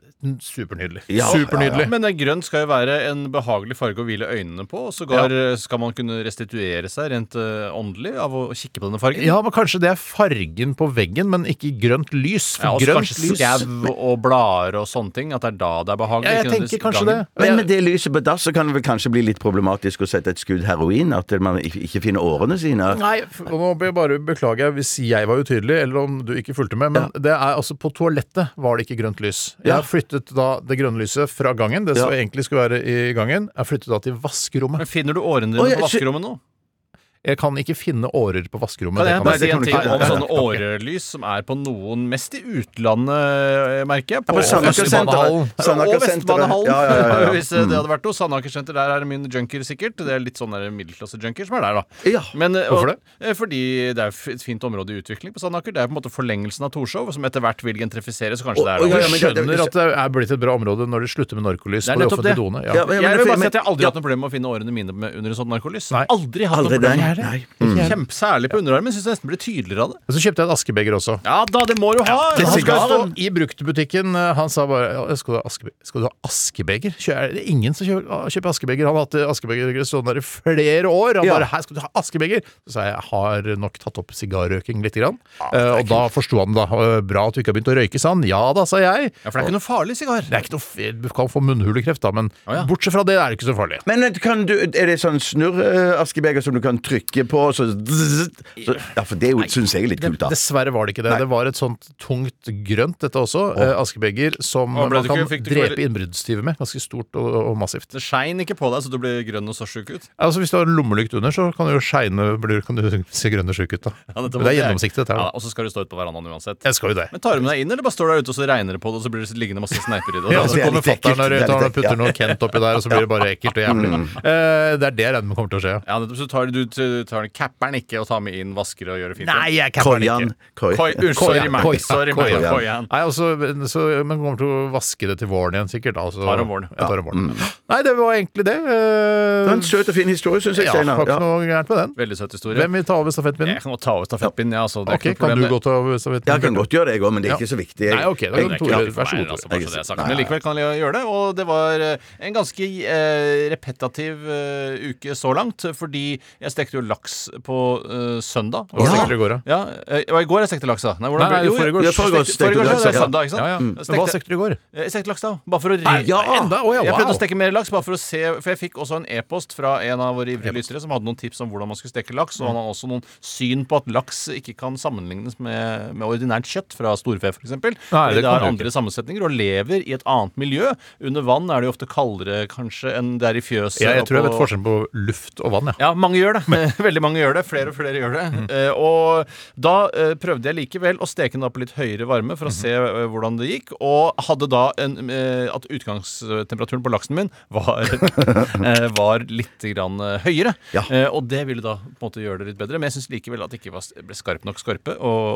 [SPEAKER 4] supernydelig.
[SPEAKER 6] Ja, ja, ja.
[SPEAKER 4] supernydelig.
[SPEAKER 5] Men eh, grønn skal jo være en behagelig farge å hvile øynene på, og sågar eh, skal man kunne restituere seg rent eh, åndelig av å kikke på denne fargen.
[SPEAKER 4] Ja, men kanskje det er fargen på veggen, men ikke grønt lys.
[SPEAKER 5] Ja,
[SPEAKER 4] For
[SPEAKER 6] altså,
[SPEAKER 5] også
[SPEAKER 4] grønt
[SPEAKER 5] kanskje
[SPEAKER 4] lys
[SPEAKER 5] skau og blader og sånne ting. At det er da det er behagelig.
[SPEAKER 4] ja, Jeg
[SPEAKER 5] ikke
[SPEAKER 4] tenker
[SPEAKER 5] nødvendigvis
[SPEAKER 4] kanskje det.
[SPEAKER 5] gangen.
[SPEAKER 6] Men med det lyset på dass så kan det vel kanskje bli litt problematisk å sette et skudd heroin? At man ikke ikke finner årene sine?
[SPEAKER 4] Nei, f- og nå be- bare beklager jeg hvis jeg var utydelig, eller om du ikke fulgte med, men det er altså på toalettet var det ikke grønt lys. Jeg
[SPEAKER 6] Ja.
[SPEAKER 4] har flyttet da det grønne lyset fra gangen, det som
[SPEAKER 6] Ja.
[SPEAKER 4] egentlig skulle være i gangen, jeg har flyttet da til vaskerommet.
[SPEAKER 5] Men finner du årene dine
[SPEAKER 6] Oi, jeg
[SPEAKER 5] på
[SPEAKER 6] sy-
[SPEAKER 5] vaskerommet nå?
[SPEAKER 4] Jeg kan ikke finne årer på vaskerommet.
[SPEAKER 5] Kan jeg bare
[SPEAKER 6] det
[SPEAKER 5] si
[SPEAKER 6] kan
[SPEAKER 5] en
[SPEAKER 6] du
[SPEAKER 5] ting
[SPEAKER 6] ikke. Nei,
[SPEAKER 5] om
[SPEAKER 6] nei,
[SPEAKER 5] sånne årelys som er på noen Mest i utlandet, eh, merker jeg.
[SPEAKER 6] på Sandaker
[SPEAKER 5] Vestbanehallen.
[SPEAKER 6] Senter. Sandaker
[SPEAKER 5] Og
[SPEAKER 6] Senter.
[SPEAKER 5] Vestbanehallen.
[SPEAKER 6] Ja, ja, ja, Mm. ja.
[SPEAKER 5] [LAUGHS] Hvis eh, det hadde vært noe. Sandaker Senter, der er det mye junkier, sikkert. Det er litt sånn der middelklasse-junkier som er der, da.
[SPEAKER 6] Ja.
[SPEAKER 5] Men, eh,
[SPEAKER 4] Hvorfor
[SPEAKER 5] og- eh, Fordi det er f- et fint område i utvikling på Sandaker. Det er på en måte forlengelsen av Torshov, som etter hvert vil gentrifiseres, og kanskje det
[SPEAKER 6] Å,
[SPEAKER 5] er
[SPEAKER 6] å,
[SPEAKER 4] Du
[SPEAKER 6] ja,
[SPEAKER 5] der.
[SPEAKER 6] ja, men det- det-
[SPEAKER 4] skjønner at det er blitt et bra område når de slutter med narkolys på
[SPEAKER 5] Det er
[SPEAKER 4] de
[SPEAKER 5] nettopp det.
[SPEAKER 4] offentlige doene.
[SPEAKER 6] Ja, men-
[SPEAKER 5] Jeg vil bare
[SPEAKER 6] men-
[SPEAKER 5] si at jeg aldri har
[SPEAKER 6] ja,
[SPEAKER 5] hatt noe problem med å finne årene mine med- under en sånn narkolys.
[SPEAKER 4] Nei.
[SPEAKER 5] Aldri hatt
[SPEAKER 6] Aldri
[SPEAKER 5] noe problem
[SPEAKER 6] det.
[SPEAKER 5] med
[SPEAKER 6] Nei. Mm.
[SPEAKER 5] det. Kjempe, særlig på underarmen. Syns det nesten blir tydeligere av det.
[SPEAKER 4] Og så kjøpte jeg et askebeger også.
[SPEAKER 5] Ja da, det må du ha!
[SPEAKER 4] Men
[SPEAKER 5] Ja,
[SPEAKER 4] han skal stå
[SPEAKER 5] skal
[SPEAKER 4] i bruktbutikken. eh, Han sa bare «Ja, Skal du ha, askebe skal du ha askebeger? Kjø- Er det ingen som kjøper, ah, kjøper askebeger? Han har hatt eh, askebeger stående der i flere år. Han
[SPEAKER 6] Ja.
[SPEAKER 4] bare 'Her skal du ha askebeger!' Så sa jeg jeg har nok tatt opp sigarrøyking lite grann. Eh, og da forsto han da. Eh, 'Bra at du ikke har begynt å røyke', sa han. Ja da, sa jeg.
[SPEAKER 5] Ja, for det er ikke noe farlig sigar.
[SPEAKER 4] Det er ikke noe f- Du kan få munnhulekreft, da, men
[SPEAKER 5] Å, ja.
[SPEAKER 4] bortsett fra det er det ikke så farlig.
[SPEAKER 6] Men vet du, kan du, er det sånn snurr-askebeger som du kan trykke på, og så, så Ja, for det syns jeg er litt kult, da.
[SPEAKER 4] Dessverre var det ikke det. Det var et sånt tungt grønt, dette også. eh, Askebeger som
[SPEAKER 5] Å, ble
[SPEAKER 4] man
[SPEAKER 5] det
[SPEAKER 4] kan
[SPEAKER 5] ikke- fikk du ikke
[SPEAKER 4] drepe innbruddstyver med. Ganske stort og, og massivt.
[SPEAKER 5] Det skein ikke på deg, så du ble grønn og så sjuk ut.
[SPEAKER 4] Altså Hvis du har en lommelykt under, så kan du jo shine blir- Kan du [LAUGHS] se grønn og sjuk ut. da Men Det er gjennomsiktig, dette her.
[SPEAKER 5] Ja,
[SPEAKER 4] da.
[SPEAKER 5] og så skal du stå ute på verandaen uansett.
[SPEAKER 4] Jeg skal jo det.
[SPEAKER 5] Men tar du med deg inn, eller bare står du der ute og så regner det på det, og så blir det liggende masse sneiper i det?
[SPEAKER 4] [LAUGHS] Ja,
[SPEAKER 5] og
[SPEAKER 4] og Så
[SPEAKER 6] det
[SPEAKER 5] så-
[SPEAKER 6] er
[SPEAKER 4] kommer
[SPEAKER 6] litt ekkelt.
[SPEAKER 4] fatter'n og
[SPEAKER 6] Det er litt
[SPEAKER 4] tar og
[SPEAKER 6] ekkelt, Mm.
[SPEAKER 4] putter noe Kent oppi der, og så blir det bare ekkelt og jævlig. Eh, Det er det jeg regner med kommer til å skje. ja.
[SPEAKER 5] Ja, nettopp, så tar du du tar den capper'n ikke og tar med inn vaskere og gjør det fint.
[SPEAKER 4] Nei, jeg capper den
[SPEAKER 6] Koian.
[SPEAKER 4] ikke.
[SPEAKER 6] Koi.
[SPEAKER 5] Koi, unnskyld, sorry, meg.
[SPEAKER 4] Koian,
[SPEAKER 5] Sorry, meg.
[SPEAKER 4] Koian.
[SPEAKER 5] Koian.
[SPEAKER 4] Nei, altså, så, men kommer til å vaske det til våren igjen, sikkert. Altså,
[SPEAKER 5] Tar om våren.
[SPEAKER 4] Ja, tar om våren.
[SPEAKER 6] Mm.
[SPEAKER 4] Nei, det var egentlig det. eh,
[SPEAKER 6] Det var en søt og fin historie, syns jeg,
[SPEAKER 4] ja, det
[SPEAKER 6] Steinar.
[SPEAKER 4] var ikke
[SPEAKER 6] Ja.
[SPEAKER 4] noe gærent med den.
[SPEAKER 5] Veldig søt historie.
[SPEAKER 4] Hvem vil ta over stafettpinnen?
[SPEAKER 5] Jeg kan godt ta over stafettpinnen, jeg. altså, det er
[SPEAKER 4] Ok,
[SPEAKER 5] ikke noe
[SPEAKER 4] Kan du
[SPEAKER 5] problem.
[SPEAKER 4] godt ta over stafettpinnen?
[SPEAKER 6] Jeg kan godt gjøre det, jeg òg, men det er ikke så viktig. Jeg,
[SPEAKER 4] Nei, ok, da kan
[SPEAKER 6] jeg-
[SPEAKER 4] Tore-
[SPEAKER 6] ja.
[SPEAKER 5] Ikke for
[SPEAKER 4] vær så
[SPEAKER 5] meg,
[SPEAKER 4] god,
[SPEAKER 5] altså,
[SPEAKER 4] Tore.
[SPEAKER 5] bare så det er sagt. Men likevel kan jeg gjøre det. Og det var eh, en ganske eh, repetativ eh, uke så langt, fordi jeg stekte jo laks på eh, søndag.
[SPEAKER 4] Hva stekte du i går, da?
[SPEAKER 5] Ja, eh, det var i går jeg stekte laks, da. Nei,
[SPEAKER 4] Nei,
[SPEAKER 5] hvordan
[SPEAKER 4] nei,
[SPEAKER 5] ble- jo,
[SPEAKER 4] forrige går.
[SPEAKER 5] jeg-
[SPEAKER 6] Ja, forrige går
[SPEAKER 5] stekte-
[SPEAKER 6] stekte du
[SPEAKER 5] forrige går,
[SPEAKER 6] laks,
[SPEAKER 5] så det er
[SPEAKER 6] ja.
[SPEAKER 5] søndag, ikke sant?
[SPEAKER 4] Ja,
[SPEAKER 5] Mm.
[SPEAKER 4] ja. Men
[SPEAKER 5] Stekte-
[SPEAKER 4] Hva Eh, stekte du i går?
[SPEAKER 5] Jeg stekte laks, da. Bare for å ri...
[SPEAKER 4] ja, enda? Å, ja,
[SPEAKER 5] Jeg prøvde
[SPEAKER 4] wow.
[SPEAKER 5] å steke mer laks, bare for å se For jeg fikk også en e-post fra en av våre ivrige lyttere som hadde noen tips om hvordan man skulle steke laks,
[SPEAKER 4] Mm.
[SPEAKER 5] og han hadde også noen syn på at laks ikke kan sammenlignes med, med ordinært kjøtt fra storfe, f.eks.
[SPEAKER 4] Nei, det
[SPEAKER 5] Det
[SPEAKER 4] kan
[SPEAKER 5] har
[SPEAKER 4] du
[SPEAKER 5] andre sammensetninger og lever i et annet miljø. Under vann er det jo ofte kaldere, kanskje, enn det er i fjøset.
[SPEAKER 4] Ja, jeg
[SPEAKER 5] og
[SPEAKER 4] tror jeg
[SPEAKER 5] på-
[SPEAKER 4] vet forskjellen på luft og vann. Ja.
[SPEAKER 5] ja, mange gjør det. [LAUGHS] Veldig mange gjør det. Flere og flere gjør det.
[SPEAKER 4] Mm.
[SPEAKER 5] Eh, og da eh, prøvde jeg likevel å steke den da på litt høyere varme for å
[SPEAKER 4] Mm-hmm.
[SPEAKER 5] se eh, hvordan det gikk, og hadde da en eh, At utgangstemperaturen på laksen min var, [LAUGHS] eh, var litt grann, eh, høyere.
[SPEAKER 6] Ja.
[SPEAKER 5] Eh, og det ville da på en måte gjøre det litt bedre, men jeg syns likevel at det ikke var, ble skarp nok skorpe, og,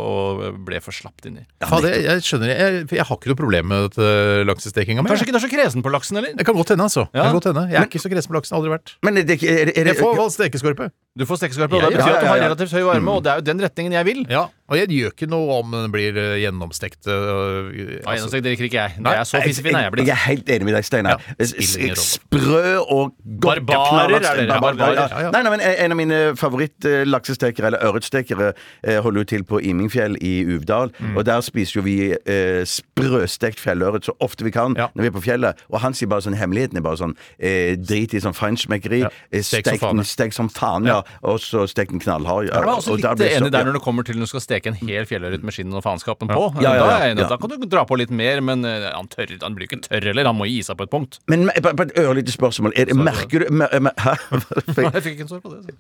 [SPEAKER 5] og ble for slapt inni.
[SPEAKER 4] Faen, jeg, jeg skjønner jeg, jeg har ikke noe problem med dette laksestekinga mi.
[SPEAKER 5] Kanskje
[SPEAKER 4] jeg.
[SPEAKER 5] ikke du er så kresen på laksen, eller?
[SPEAKER 4] Det kan godt hende, altså. Det
[SPEAKER 5] Ja.
[SPEAKER 4] kan godt hende. Jeg er ikke så kresen på laksen. Aldri vært.
[SPEAKER 6] Men er det ikke er det- er
[SPEAKER 4] Jeg
[SPEAKER 6] det-
[SPEAKER 4] får valgt stekeskorpe.
[SPEAKER 5] Du får stekeskorpe, og
[SPEAKER 4] Ja, ja,
[SPEAKER 5] det
[SPEAKER 4] Mm.
[SPEAKER 5] betyr at du
[SPEAKER 6] ja,
[SPEAKER 5] har
[SPEAKER 6] ja, ja.
[SPEAKER 5] relativt høy varme, og det er jo den retningen jeg vil.
[SPEAKER 4] Ja. Og jeg gjør ikke noe om den blir eh, gjennomstekt. eh,
[SPEAKER 5] Nei,
[SPEAKER 4] altså-
[SPEAKER 5] gjennomsnitt drikker ikke jeg.
[SPEAKER 4] Nei,
[SPEAKER 5] Det er så fisefin er jeg
[SPEAKER 6] Jeg
[SPEAKER 5] blitt.
[SPEAKER 6] er helt enig med deg, Steinar.
[SPEAKER 4] Ja, spiller ingen rolle.
[SPEAKER 6] Sprø og godt
[SPEAKER 5] Barbarer er
[SPEAKER 6] knallhardt-
[SPEAKER 5] dere, ja, barbarer,
[SPEAKER 4] ja, ja.
[SPEAKER 6] Nei, nei, men eh, En av mine favorittlaksestekere, eller ørretstekere, eh, holder jo til på Imingfjell i Uvdal.
[SPEAKER 4] Mm.
[SPEAKER 6] Og Der spiser jo vi eh, sprøstekt fjellørret så ofte vi kan
[SPEAKER 4] Ja.
[SPEAKER 6] når vi er på fjellet. Og han sier bare sånn hemmeligheten er bare sånn eh, drit i sånn feinschmeckeri.
[SPEAKER 4] Ja.
[SPEAKER 6] eh,
[SPEAKER 4] Stek som
[SPEAKER 6] Stek
[SPEAKER 4] faen, ja. altså,
[SPEAKER 6] den stek som faen, ja. Og så stek den knallhard. Ja.
[SPEAKER 5] Jeg er også
[SPEAKER 6] Og da blir
[SPEAKER 5] litt
[SPEAKER 6] det så-
[SPEAKER 5] enig der
[SPEAKER 6] ja.
[SPEAKER 5] når det kommer til når du skal steke en hel fjellørret med skinn og faenskapen på.
[SPEAKER 6] Ja, ja, ja,
[SPEAKER 5] Da, er jeg enig.
[SPEAKER 6] ja.
[SPEAKER 5] da kan du dra på litt mer, men eh, han, tør, han blir ikke tørr heller. Han må gi seg på et punkt.
[SPEAKER 6] Men me- bare bare et ørlite spørsmål. Er det, merker du mer, mer, [LAUGHS] Hæ?
[SPEAKER 5] Nei, [LAUGHS] jeg fikk ikke en svar på det. så.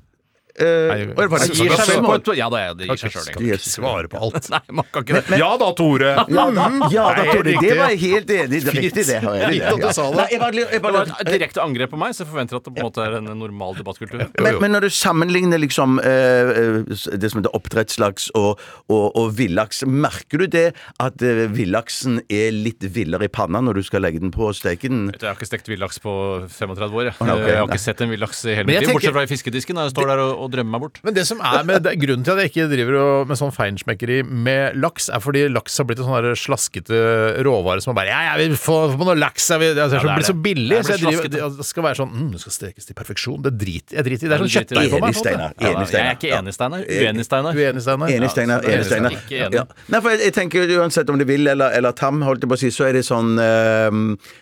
[SPEAKER 6] Eh,
[SPEAKER 4] Nei,
[SPEAKER 6] og det var
[SPEAKER 5] Det
[SPEAKER 6] det-
[SPEAKER 4] altså, Skal ikke
[SPEAKER 5] gir seg vel
[SPEAKER 4] svare-
[SPEAKER 5] på et Ja da, ja, det gir seg sjøl,
[SPEAKER 4] Skal
[SPEAKER 5] egentlig. [LAUGHS]
[SPEAKER 4] ikke svare på alt.
[SPEAKER 5] Nei, man kan ikke det.
[SPEAKER 4] Ja da, Tore!
[SPEAKER 6] Ja, da,
[SPEAKER 4] Nei,
[SPEAKER 6] Tore,
[SPEAKER 4] riktig,
[SPEAKER 6] det
[SPEAKER 4] ja.
[SPEAKER 6] var jeg helt enig i. Det er Riktig, det. har jeg enig i,
[SPEAKER 4] Fint at du
[SPEAKER 6] ja.
[SPEAKER 4] sa det.
[SPEAKER 6] Nei, jeg bare- jeg
[SPEAKER 5] Det
[SPEAKER 6] bare-
[SPEAKER 5] var et direkte angrep på meg, så jeg forventer at det på en måte er en normal debattkultur.
[SPEAKER 6] Men, men når du sammenligner liksom eh, eh, det som heter oppdrettslaks og, og, og villaks, merker du det at eh, villaksen er litt villere i panna når du skal legge den på og steke den?
[SPEAKER 5] Vet du, Jeg har ikke stekt villaks på 35 år. Jeg,
[SPEAKER 6] Nei, ok,
[SPEAKER 5] jeg har
[SPEAKER 6] nei.
[SPEAKER 5] ikke sett en villaks i hele
[SPEAKER 4] Men
[SPEAKER 5] mitt
[SPEAKER 4] jeg
[SPEAKER 5] liv, bortsett
[SPEAKER 4] tenker-
[SPEAKER 5] fra i fiskedisken. da Jeg står der og, og drømmer meg bort.
[SPEAKER 4] Men det som er med, det er grunnen til at jeg ikke driver og, med sånn feinschmeckeri med laks, er fordi laks har blitt en sånn her slaskete råvare som man bare Ja, jeg vil få få noe laks! Jeg vil, altså,
[SPEAKER 5] Ja, det er
[SPEAKER 4] det blir så
[SPEAKER 5] det.
[SPEAKER 4] billig.
[SPEAKER 5] Det er
[SPEAKER 4] Så jeg
[SPEAKER 5] blitt
[SPEAKER 4] driver, det det skal være sånn mm, Det skal stekes til perfeksjon. Det driter jeg driter i. Det er
[SPEAKER 5] Ja,
[SPEAKER 4] sånn
[SPEAKER 5] du driter i
[SPEAKER 4] kjøttdeig
[SPEAKER 5] det.
[SPEAKER 4] for meg.
[SPEAKER 6] Enig,
[SPEAKER 4] på en måte.
[SPEAKER 6] Steinar. Enig,
[SPEAKER 5] Ja, da, jeg er
[SPEAKER 6] Steinar.
[SPEAKER 5] ikke enig, Steinar. Uenig, Steinar.
[SPEAKER 4] Uenig, Steinar?
[SPEAKER 6] Enig, Steinar.
[SPEAKER 5] Ja,
[SPEAKER 6] Enig,
[SPEAKER 5] så-
[SPEAKER 6] Steinar.
[SPEAKER 5] Ikke enig.
[SPEAKER 6] Ja. Nei, for jeg tenker jo Uansett om du vil eller, eller tam, holdt jeg på å si, så er det sånn eh,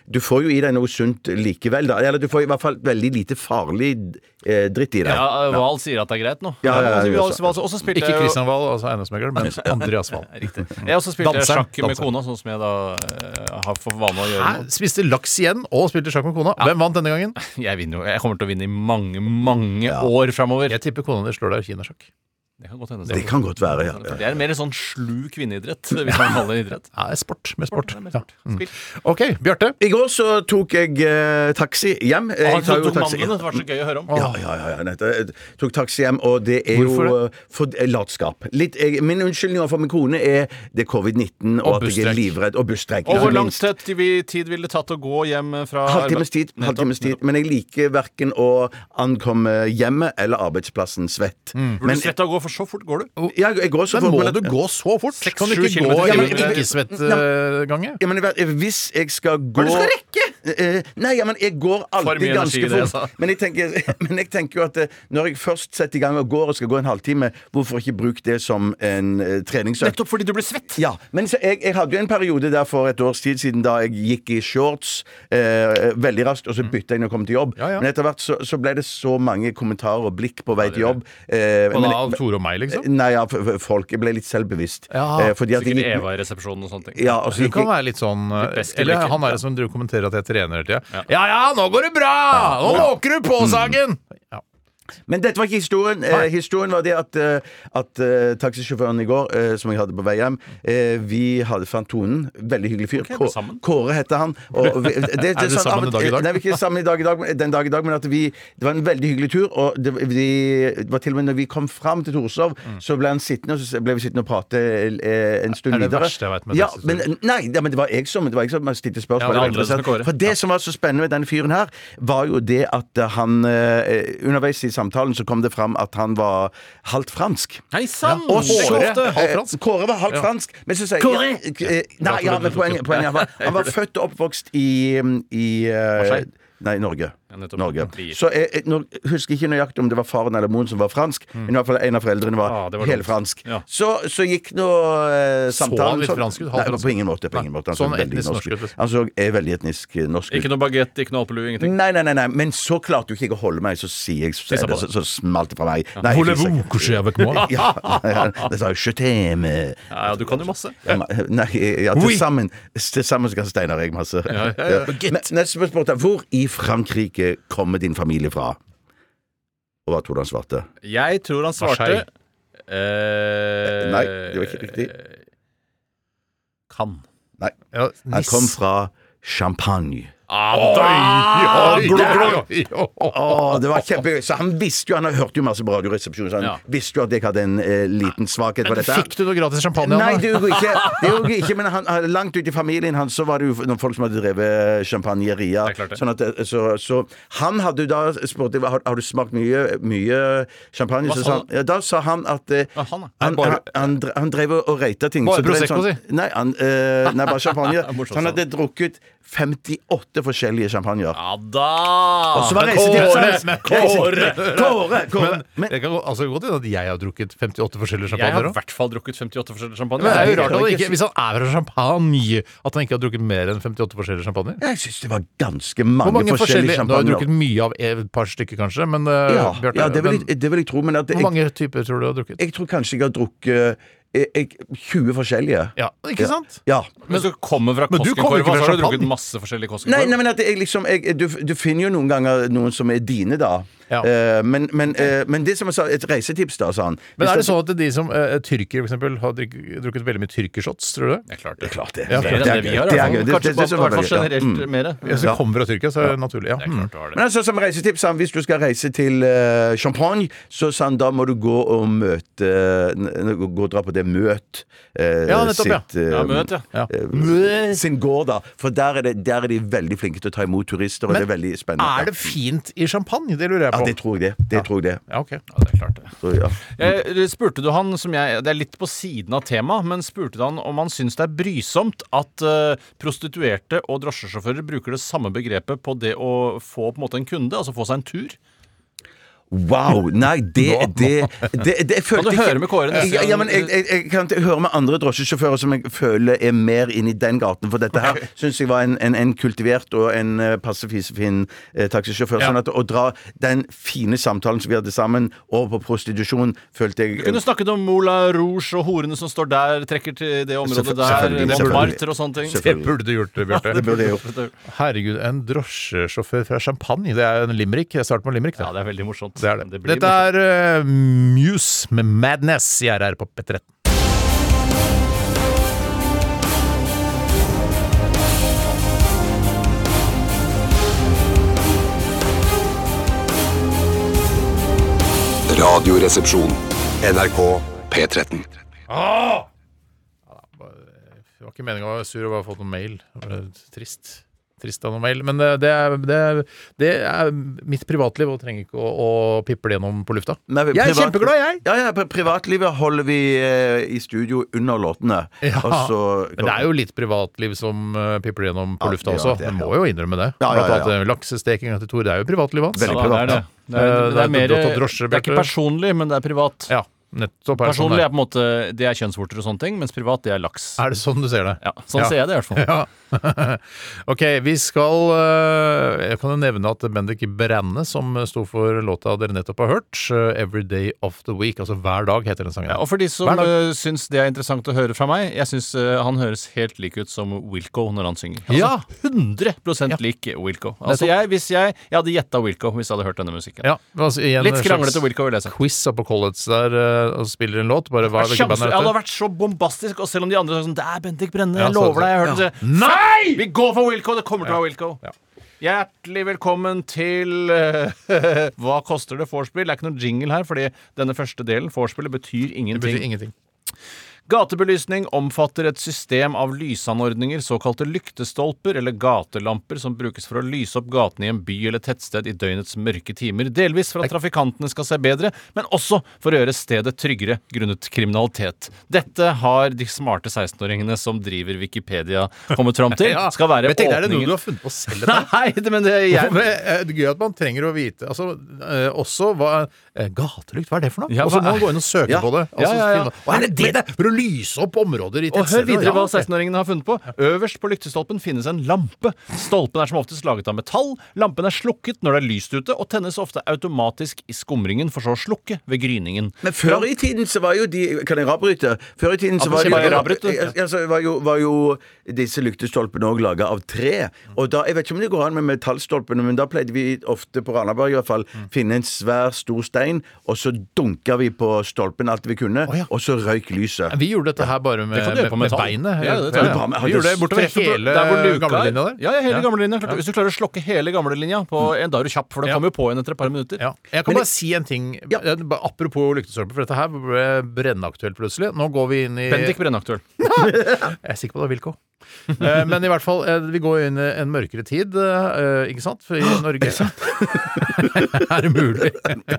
[SPEAKER 6] Du får jo i deg noe sunt likevel, da. Eller du får i hvert fall veldig lite farlig eh, dritt i deg.
[SPEAKER 5] Ja, Val sier at det er greit nå.
[SPEAKER 6] Ja, ja, ja,
[SPEAKER 5] Altså,
[SPEAKER 6] ja,
[SPEAKER 5] Wahl- Wahl- også spilte
[SPEAKER 4] Ikke
[SPEAKER 5] jeg jo-
[SPEAKER 4] Christian Wahl, altså eiendomsmegler, men Andreas
[SPEAKER 5] [LAUGHS]
[SPEAKER 4] Wahl.
[SPEAKER 5] Riktig. Jeg også spilte
[SPEAKER 4] Danseren,
[SPEAKER 5] sjakk med
[SPEAKER 4] danseren.
[SPEAKER 5] kona, sånn som jeg da eh, har for vane å gjøre.
[SPEAKER 4] Hæ?
[SPEAKER 5] nå.
[SPEAKER 4] Spiste laks igjen og spilte sjakk med kona. Hvem vant denne gangen?
[SPEAKER 5] Jeg vinner jo. Jeg kommer til å vinne i mange, mange år framover.
[SPEAKER 4] Jeg tipper kona di slår deg i kinasjakk.
[SPEAKER 5] Det kan godt hende.
[SPEAKER 6] Det kan godt være, ja.
[SPEAKER 5] Det er mer en sånn slu kvinneidrett, hvis man kaller det idrett.
[SPEAKER 4] Ja, det er sport med sport.
[SPEAKER 5] Sport, det er med
[SPEAKER 4] Ja.
[SPEAKER 5] sport.
[SPEAKER 4] Mm.
[SPEAKER 5] Spill.
[SPEAKER 4] OK, Bjarte.
[SPEAKER 6] I går så tok jeg eh, taxi hjem. Jeg
[SPEAKER 5] Han
[SPEAKER 6] tar jo
[SPEAKER 5] Ah, tok
[SPEAKER 6] taxi-
[SPEAKER 5] mandlene, det var så gøy å høre om.
[SPEAKER 6] Ja, ja, ja, ja. nettopp. Jeg tok taxi hjem, og det er
[SPEAKER 4] Hvorfor
[SPEAKER 6] jo eh, for, eh, latskap. Litt, jeg, min unnskyldning overfor min kone er det er covid-19 og,
[SPEAKER 4] Og
[SPEAKER 6] at jeg
[SPEAKER 4] busstreik.
[SPEAKER 6] er livredd. Og busstreik.
[SPEAKER 5] Og
[SPEAKER 6] ikke
[SPEAKER 5] hvor lang
[SPEAKER 6] minst.
[SPEAKER 5] tid vi- tid ville det tatt å gå hjem fra
[SPEAKER 6] Halvtimes tid.
[SPEAKER 5] arbeid?
[SPEAKER 6] halvtimes
[SPEAKER 5] Nettopp,
[SPEAKER 6] tid. Men jeg liker verken å ankomme hjemmet eller arbeidsplassen svett.
[SPEAKER 5] nettopp. Burde du svette av å gå, for så fort går du.
[SPEAKER 6] ja, jeg går så
[SPEAKER 4] Men
[SPEAKER 6] fort,
[SPEAKER 4] må
[SPEAKER 6] men at-
[SPEAKER 4] du gå så fort? Kan du
[SPEAKER 5] sju
[SPEAKER 4] ikke gå
[SPEAKER 6] i
[SPEAKER 5] kilometer
[SPEAKER 4] i
[SPEAKER 6] timen?
[SPEAKER 4] ikke-svettgange?
[SPEAKER 6] Ja, men i hvert- hvis jeg skal gå
[SPEAKER 4] du skal rekke!
[SPEAKER 6] Eh, nei, ja, men jeg går
[SPEAKER 5] For mye
[SPEAKER 6] alltid
[SPEAKER 5] energi i
[SPEAKER 6] ganske
[SPEAKER 5] det, jeg sa.
[SPEAKER 6] fort. Men jeg, tenker, [LAUGHS] men jeg tenker jo at eh, når jeg først setter i gang og går og skal gå en halvtime, hvorfor ikke bruke det som en eh, treningsøkt?
[SPEAKER 5] Nettopp fordi du ble svett!
[SPEAKER 6] Ja, men så jeg, jeg hadde jo en periode der for et års tid siden da jeg gikk i shorts eh, veldig raskt, og så
[SPEAKER 5] Mm.
[SPEAKER 6] bytta jeg når jeg kom til jobb.
[SPEAKER 4] Ja, ja.
[SPEAKER 6] Men etter hvert så, så ble det så mange kommentarer og blikk på vei til jobb. Eh,
[SPEAKER 4] Og da
[SPEAKER 6] men- eh,
[SPEAKER 4] av Tore og meg, liksom?
[SPEAKER 6] Nei, ja, f- f- folk Jeg ble litt selvbevisst.
[SPEAKER 4] Ja,
[SPEAKER 6] Eh, fordi at jeg
[SPEAKER 5] Sikkert
[SPEAKER 6] gikk-
[SPEAKER 5] Eva i resepsjonen og sånne ting.
[SPEAKER 6] Ja, altså, og så
[SPEAKER 4] Du
[SPEAKER 6] gikk
[SPEAKER 4] kan
[SPEAKER 6] jeg
[SPEAKER 4] være litt sånn
[SPEAKER 5] best i
[SPEAKER 4] Eller
[SPEAKER 5] blikket.
[SPEAKER 4] han er som driver og kommenterer at jeg trener hele tida. Ja Mm. ja, nå går det bra! Nå måker du påsagen! Ja.
[SPEAKER 6] Men dette var ikke historien. Eh, historien var det at, eh, at eh, taxisjåføren i går, eh, som jeg hadde på vei hjem eh, Vi hadde fant tonen. Veldig hyggelig fyr.
[SPEAKER 5] Ok,
[SPEAKER 6] Kå-
[SPEAKER 5] ble sammen?
[SPEAKER 6] Kåre heter han.
[SPEAKER 4] [LAUGHS]
[SPEAKER 6] Og vi, det, det,
[SPEAKER 4] Er dere sammen
[SPEAKER 6] av og
[SPEAKER 4] en dag i
[SPEAKER 6] til-
[SPEAKER 4] dag?
[SPEAKER 6] Nei, vi er ikke sammen i dag i dag, men- den dag i dag, men at vi Det var en veldig hyggelig tur. Og det, vi, det var til og med når vi kom fram til Torshov, så ble han sittende, og så ble vi sittende og prate eh, en stund
[SPEAKER 4] Mm. Er det
[SPEAKER 6] videre.
[SPEAKER 4] verste jeg vet med
[SPEAKER 6] ja,
[SPEAKER 4] taxisturer?
[SPEAKER 6] men, Nei, ja, men det var jeg som Det var jeg som stilte spørsmål.
[SPEAKER 5] Ja, det er andre som er Kåre.
[SPEAKER 6] For det som var så spennende med denne fyren her, var jo det at eh, han eh, Underveis i samtalen så kom det fram at han var halvt fransk.
[SPEAKER 5] Hei sann!
[SPEAKER 6] Og så,
[SPEAKER 5] Kåre.
[SPEAKER 4] Kåre, halvt
[SPEAKER 6] eh,
[SPEAKER 4] fransk?
[SPEAKER 6] Kåre var halvt
[SPEAKER 4] Ja.
[SPEAKER 6] fransk. Men så sier
[SPEAKER 5] Kåre!
[SPEAKER 6] jeg ja, eh, Nei, ja, men poenget, poenget var Han var født og oppvokst i, i eh,
[SPEAKER 5] Marseille?
[SPEAKER 6] Nei, Norge.
[SPEAKER 5] Ja, nettopp.
[SPEAKER 6] Norge.
[SPEAKER 5] Bier.
[SPEAKER 6] Så jeg, jeg nå husker ikke nøyaktig om det var faren eller moren som var fransk, men i hvert fall en av foreldrene var,
[SPEAKER 5] Ah, det var dumt.
[SPEAKER 6] helfransk.
[SPEAKER 5] Ja.
[SPEAKER 6] Så, så gikk nå eh,
[SPEAKER 4] han
[SPEAKER 6] samtalen
[SPEAKER 4] litt
[SPEAKER 6] sånn-
[SPEAKER 4] fransk ut? Halvt
[SPEAKER 6] Nei,
[SPEAKER 4] fransk?
[SPEAKER 6] på ingen måte. På ingen måte. Han så
[SPEAKER 4] Sånn
[SPEAKER 6] veldig
[SPEAKER 4] etnisk norsk
[SPEAKER 6] norsk
[SPEAKER 4] ut,
[SPEAKER 6] ut.
[SPEAKER 4] liksom.
[SPEAKER 6] Han så eh, veldig etnisk eh, norsk ut.
[SPEAKER 5] Ikke noe bagett, ikke noe alpelue, ingenting.
[SPEAKER 6] Nei, nei, nei, nei, men så klarte jo ikke jeg å holde meg, så sier jeg Så,
[SPEAKER 5] Tissa på
[SPEAKER 6] så,
[SPEAKER 5] det.
[SPEAKER 6] så smalt det fra meg. Nei, jeg fikk ikke- ja, [LAUGHS] det sa jeg. Je t'aime.
[SPEAKER 5] Ja, ja, du kan jo masse.
[SPEAKER 6] Ja, ma- Nei, eh, ja, til sammen Til sammen skal Steinar og jeg masse. Men Neste spørsmål er hvor i Frankrike kommer din familie fra? Og hva tror du han svarte?
[SPEAKER 5] Jeg tror han svarte
[SPEAKER 4] Marseille.
[SPEAKER 5] eh,
[SPEAKER 6] Nei, det var ikke riktig.
[SPEAKER 5] Kan.
[SPEAKER 6] Nei,
[SPEAKER 4] Ja,
[SPEAKER 6] han kom
[SPEAKER 4] niss.
[SPEAKER 6] fra Champagne.
[SPEAKER 4] Oi, oi, oi, oi, oi.
[SPEAKER 6] Åh, det var kjempegøy. Så han visste jo, han hørte jo masse på Radioresepsjonen, så han
[SPEAKER 5] Ja.
[SPEAKER 6] visste jo at jeg hadde en eh, liten svakhet på dette.
[SPEAKER 4] Fikk du noe gratis champagne?
[SPEAKER 6] Nei,
[SPEAKER 4] Anna?
[SPEAKER 6] det gjorde jeg ikke. Det gjorde jeg ikke men han, han- langt ut i familien hans så var det jo noen folk som hadde drevet champagneria.
[SPEAKER 5] Det er klart det.
[SPEAKER 6] Sånn at, det- så, så han hadde jo da spurt har, har du smakt mye, mye champagne.
[SPEAKER 5] Hva
[SPEAKER 6] Så
[SPEAKER 5] sa
[SPEAKER 6] sa han, ja, da sa han at eh,
[SPEAKER 5] Ja, han, ja.
[SPEAKER 6] han,
[SPEAKER 5] Bare-
[SPEAKER 6] han, han, dre- han drev og røyta ting.
[SPEAKER 4] Bare
[SPEAKER 6] Så drev
[SPEAKER 4] Prosecco,
[SPEAKER 6] sånn-
[SPEAKER 4] si.
[SPEAKER 6] Nei, han, eh, nei, bare champagne.
[SPEAKER 5] Morsomt,
[SPEAKER 6] Så han hadde drukket 58 forskjellige champagner.
[SPEAKER 5] Ja da!
[SPEAKER 6] Og så var
[SPEAKER 5] Men
[SPEAKER 6] reisetiden
[SPEAKER 5] Ah. Kåre, men Kåre!
[SPEAKER 6] Kåre! Kåre! Men,
[SPEAKER 4] Det kan gå- altså, godt hende at jeg har drukket 58 forskjellige
[SPEAKER 5] Jeg har
[SPEAKER 4] champagner
[SPEAKER 5] i
[SPEAKER 4] òg.
[SPEAKER 5] hvert fall drukket 58 forskjellige champagne.
[SPEAKER 4] Men det er jo
[SPEAKER 5] Jeg
[SPEAKER 4] rart at
[SPEAKER 5] kan
[SPEAKER 4] han
[SPEAKER 5] ikke
[SPEAKER 4] ikke, Hvis han er fra champagne, at han ikke har drukket mer enn 58 forskjellige champagner.
[SPEAKER 6] jeg syns det var ganske mange,
[SPEAKER 4] Hvor mange
[SPEAKER 6] forskjellige
[SPEAKER 4] forskjellige Du har jo
[SPEAKER 6] champagner.
[SPEAKER 4] drukket mye av et par stykker, kanskje, men eh,
[SPEAKER 6] Ja,
[SPEAKER 4] Bjarte,
[SPEAKER 6] ja det, vil
[SPEAKER 4] men
[SPEAKER 6] jeg, det vil jeg tro. Men at
[SPEAKER 4] hvor
[SPEAKER 6] jeg,
[SPEAKER 4] mange typer tror du du har drukket?
[SPEAKER 6] jeg tror kanskje jeg har drukket eh, jeg, 20 forskjellige.
[SPEAKER 4] Ja, ikke sant?
[SPEAKER 6] Ja.
[SPEAKER 5] Men hvis du kommer fra
[SPEAKER 4] Men du kommer
[SPEAKER 5] Koskenkorva,
[SPEAKER 4] ikke fra
[SPEAKER 5] så har du
[SPEAKER 4] champagne.
[SPEAKER 5] drukket masse forskjellige
[SPEAKER 6] Nei, nei,
[SPEAKER 5] Koskenkorv.
[SPEAKER 6] men at jeg liksom jeg, du, du finner jo noen ganger noen som er dine, da.
[SPEAKER 4] Ja.
[SPEAKER 6] Eh, men, men, eh, men det som jeg sa, et reisetips, da, sa han.
[SPEAKER 4] Men
[SPEAKER 6] Hvis
[SPEAKER 4] er det
[SPEAKER 6] at-
[SPEAKER 4] sånn at de som uh, tyrkere, for eksempel, har drikk, drukket veldig mye tyrkershots, tror du det? altså.
[SPEAKER 5] Det er klart det.
[SPEAKER 6] Klart det.
[SPEAKER 4] Ja,
[SPEAKER 5] Mer
[SPEAKER 6] det
[SPEAKER 5] enn det
[SPEAKER 6] er
[SPEAKER 5] vi har.
[SPEAKER 6] Det
[SPEAKER 5] i
[SPEAKER 6] er gøy.
[SPEAKER 5] hvert
[SPEAKER 6] Det, det,
[SPEAKER 5] fall.
[SPEAKER 6] det,
[SPEAKER 5] Kanskje i hvert fall
[SPEAKER 6] det, det,
[SPEAKER 4] Mm.
[SPEAKER 5] generelt mer.
[SPEAKER 4] Hvis du kommer fra Tyrkia, så er det naturlig. Ja. Mm.
[SPEAKER 5] Det er klart du har det.
[SPEAKER 6] Mm. Men altså, som reisetips sa han, hvis du skal reise til eh, Champagne, så sa han da må du gå og møte n- Gå gå og dra på det møt eh,
[SPEAKER 4] Ja, nettopp, ja.
[SPEAKER 6] sitt, eh,
[SPEAKER 5] Ja, møt, ja.
[SPEAKER 4] Ja.
[SPEAKER 6] eh, sin gård, da. For der er, det, der er de veldig flinke til å ta imot turister, og
[SPEAKER 4] Men
[SPEAKER 6] det er veldig spennende.
[SPEAKER 4] Er det fint i champagne? Det lurer jeg
[SPEAKER 6] Ja,
[SPEAKER 4] på.
[SPEAKER 6] det tror jeg det. Det tror jeg det.
[SPEAKER 4] Ja, ok.
[SPEAKER 5] Ja, det er klart det.
[SPEAKER 6] Tror jeg, ja.
[SPEAKER 5] Eh, spurte du han, som jeg, det er litt på siden av temaet, men spurte du han om han syns det er brysomt at eh, prostituerte og drosjesjåfører bruker det samme begrepet på det å få på en måte en kunde, altså få seg en tur?
[SPEAKER 6] Wow! Nei, det det, det, det jeg følte
[SPEAKER 5] Kan du høre med Kåre neste
[SPEAKER 6] Ja,
[SPEAKER 5] gang?
[SPEAKER 6] ja, men jeg, jeg, jeg kan ikke høre med andre drosjesjåfører som jeg føler er mer inn i den gaten, for dette her syns jeg var en, en, en kultivert og en eh, passe fisefin eh, taxisjåfør. Sånn at å dra den fine samtalen som vi hadde sammen, over på prostitusjon, følte jeg eh,
[SPEAKER 5] Du kunne snakket om Moulin Rouge og horene som står der, trekker til det området
[SPEAKER 6] Selvfø-
[SPEAKER 5] der,
[SPEAKER 6] selvfølgelig,
[SPEAKER 5] Montmartre og sånne ting.
[SPEAKER 4] Det
[SPEAKER 6] Selvfølgelig.
[SPEAKER 4] burde du gjort, Bjarte.
[SPEAKER 6] Det burde jeg gjort.
[SPEAKER 5] Ja,
[SPEAKER 4] Herregud, en drosjesjåfør fra Champagne. Det er jo en limerick. Jeg starter med limerick, da.
[SPEAKER 5] det er veldig morsomt.
[SPEAKER 4] Det er det.
[SPEAKER 5] blir
[SPEAKER 4] Dette
[SPEAKER 5] morsomt.
[SPEAKER 4] er eh, Muse med Madness i RR på P13.
[SPEAKER 2] Radioresepsjon. NRK P13.
[SPEAKER 4] Det var ikke meninga å være sur og bare fått noen mail. Det var Trist. Trist av noen mail. Men eh, det er, det er, det er mitt privatliv og trenger ikke å, å piple gjennom på lufta.
[SPEAKER 6] Men
[SPEAKER 4] Jeg er
[SPEAKER 6] privat-
[SPEAKER 4] kjempeglad, jeg.
[SPEAKER 6] Ja, ja, pri- Privatlivet holder vi eh, i studio under låtene.
[SPEAKER 4] Ja,
[SPEAKER 6] og så-
[SPEAKER 4] Men det er jo litt privatliv som eh, pipler gjennom på
[SPEAKER 6] Ja,
[SPEAKER 4] lufta
[SPEAKER 6] det er
[SPEAKER 4] også. Du
[SPEAKER 6] det, ja.
[SPEAKER 4] må jo innrømme det.
[SPEAKER 6] Ja, ja, ja, ja.
[SPEAKER 4] Blant annet eh, laksestekinga til Tor. Det er jo privatlivet hans.
[SPEAKER 6] Veldig
[SPEAKER 5] Ja, det er det. Det er,
[SPEAKER 4] Eh,
[SPEAKER 5] det er, mer,
[SPEAKER 4] du har tatt drosje,
[SPEAKER 5] det er ikke
[SPEAKER 4] Bjarte.
[SPEAKER 5] personlig, men det er privat.
[SPEAKER 4] Ja, nettopp. Er det, sånn
[SPEAKER 5] Personlig
[SPEAKER 4] det
[SPEAKER 5] er
[SPEAKER 4] er.
[SPEAKER 5] på en måte det er kjønnsvorter og sånne ting, mens privat det er laks.
[SPEAKER 4] er det sånn du ser det?
[SPEAKER 5] Ja, sånn
[SPEAKER 4] Ja.
[SPEAKER 5] ser jeg det i hvert fall.
[SPEAKER 4] Ja. ok, vi skal eh, Jeg kan jo nevne at Bendik Brenne, som sto for låta dere nettopp har hørt, eh, 'Every Day of the Week', altså hver dag, heter den sangen.
[SPEAKER 5] Ja, og for de som
[SPEAKER 4] Hver dag.
[SPEAKER 5] uh, syns det er interessant å høre fra meg, jeg syns eh, han høres helt lik ut som Wilco når han synger. Altså,
[SPEAKER 4] Ja.
[SPEAKER 5] 100 lik Wilco. Altså, jeg, hvis jeg, jeg hadde gjetta Wilco hvis jeg hadde hørt denne musikken.
[SPEAKER 4] Ja, men altså, i en
[SPEAKER 5] Litt
[SPEAKER 4] slags
[SPEAKER 5] skranglete Wilco, vil jeg si.
[SPEAKER 4] Quiz oppe på college der eh, og spiller en låt. Bare hva hvilket band
[SPEAKER 5] Sjanser,
[SPEAKER 4] er
[SPEAKER 5] jeg hadde
[SPEAKER 4] dette?
[SPEAKER 5] vært så bombastisk, og selv om de andre sa sånn Det er Bendik Brenne,
[SPEAKER 4] Ja,
[SPEAKER 5] jeg
[SPEAKER 4] så-
[SPEAKER 5] lover deg, jeg hørte det.
[SPEAKER 4] Nei!
[SPEAKER 5] Vi går for Wilco! Det kommer til å være Wilco.
[SPEAKER 4] Ja.
[SPEAKER 5] Hjertelig velkommen til eh, [LAUGHS] Hva koster det vorspiel? Det er ikke noen jingle her, fordi denne første delen, vorspielet, betyr
[SPEAKER 4] Det
[SPEAKER 5] ingenting.
[SPEAKER 4] betyr ingenting.
[SPEAKER 5] Gatebelysning omfatter et system av lysanordninger, såkalte lyktestolper eller gatelamper, som brukes for å lyse opp gatene i en by eller tettsted i døgnets mørke timer, delvis for at trafikantene skal se bedre, men også for å gjøre stedet tryggere grunnet kriminalitet. Dette har de smarte 16-åringene som driver Wikipedia kommet fram til
[SPEAKER 4] [LAUGHS] Ja,
[SPEAKER 5] skal være
[SPEAKER 4] men tenk, Er det noe du
[SPEAKER 5] åpningen.
[SPEAKER 4] har funnet på selv? dette?
[SPEAKER 5] Nei, det- men det
[SPEAKER 4] Hvorfor
[SPEAKER 5] [LAUGHS] jeg
[SPEAKER 4] er det gøy at man trenger å vite altså, eh, også hva eh, Gatelykt, hva er det for noe?
[SPEAKER 5] Ja,
[SPEAKER 4] og så
[SPEAKER 5] hva
[SPEAKER 4] må
[SPEAKER 5] er-
[SPEAKER 4] man gå inn og søke
[SPEAKER 6] Ja.
[SPEAKER 4] på det. Altså,
[SPEAKER 5] Ja, ja, ja.
[SPEAKER 4] finne- Hva er det det det er? For å lyse opp områder i
[SPEAKER 5] Og hør
[SPEAKER 4] tettsteder?
[SPEAKER 5] videre
[SPEAKER 4] Ja,
[SPEAKER 5] hva
[SPEAKER 4] ok.
[SPEAKER 5] 16-åringene har funnet på. Øverst på lyktestolpen finnes en lampe. Stolpen er som oftest laget av metall. Lampen er slukket når det er lyst ute, og tennes ofte automatisk i skumringen, for så å slukke ved gryningen.
[SPEAKER 6] Men før i tiden så var jo de Kan jeg avbryte? Før i tiden så
[SPEAKER 5] Ja,
[SPEAKER 6] var,
[SPEAKER 5] bare
[SPEAKER 6] jo-
[SPEAKER 5] avbryt, du.
[SPEAKER 6] altså, var, jo, var jo disse lyktestolpene òg laga av tre. Og da, Jeg vet ikke om det går an med metallstolpene, men da pleide vi ofte på Ranaberg i hvert fall finne en svær, stor stein, og så dunka vi på stolpen alt vi kunne,
[SPEAKER 4] Å, ja.
[SPEAKER 6] og så røyk lyset.
[SPEAKER 4] vi gjorde dette her bare med,
[SPEAKER 5] Det kan du gjøre
[SPEAKER 4] med,
[SPEAKER 5] på
[SPEAKER 4] Eh, med
[SPEAKER 5] metall.
[SPEAKER 4] beinet.
[SPEAKER 5] Ja, det tar
[SPEAKER 6] vi på med.
[SPEAKER 4] Vi gjorde det bortover
[SPEAKER 5] Treffer på-
[SPEAKER 4] hele
[SPEAKER 5] der hvor luka er.
[SPEAKER 4] gamlelinja der.
[SPEAKER 5] Ja, ja, hele gamlelinja. Klart. Hvis du klarer å slokke hele gamlelinja, på en, da er du kjapp, for den
[SPEAKER 4] Ja.
[SPEAKER 5] kommer jo på igjen etter et par minutter.
[SPEAKER 4] Ja. Jeg kan bare si en ting eh, bare apropos lyktestolper, for dette her ble brennaktuelt plutselig. Nå går vi inn i
[SPEAKER 5] Bendik Brennaktuell.
[SPEAKER 4] Jeg er sikker på det er Wilco. [LAUGHS] Eh, Men i hvert fall, eh, vi går inn i en mørkere tid, eh, ikke sant? For i Norge [LAUGHS] er det mulig.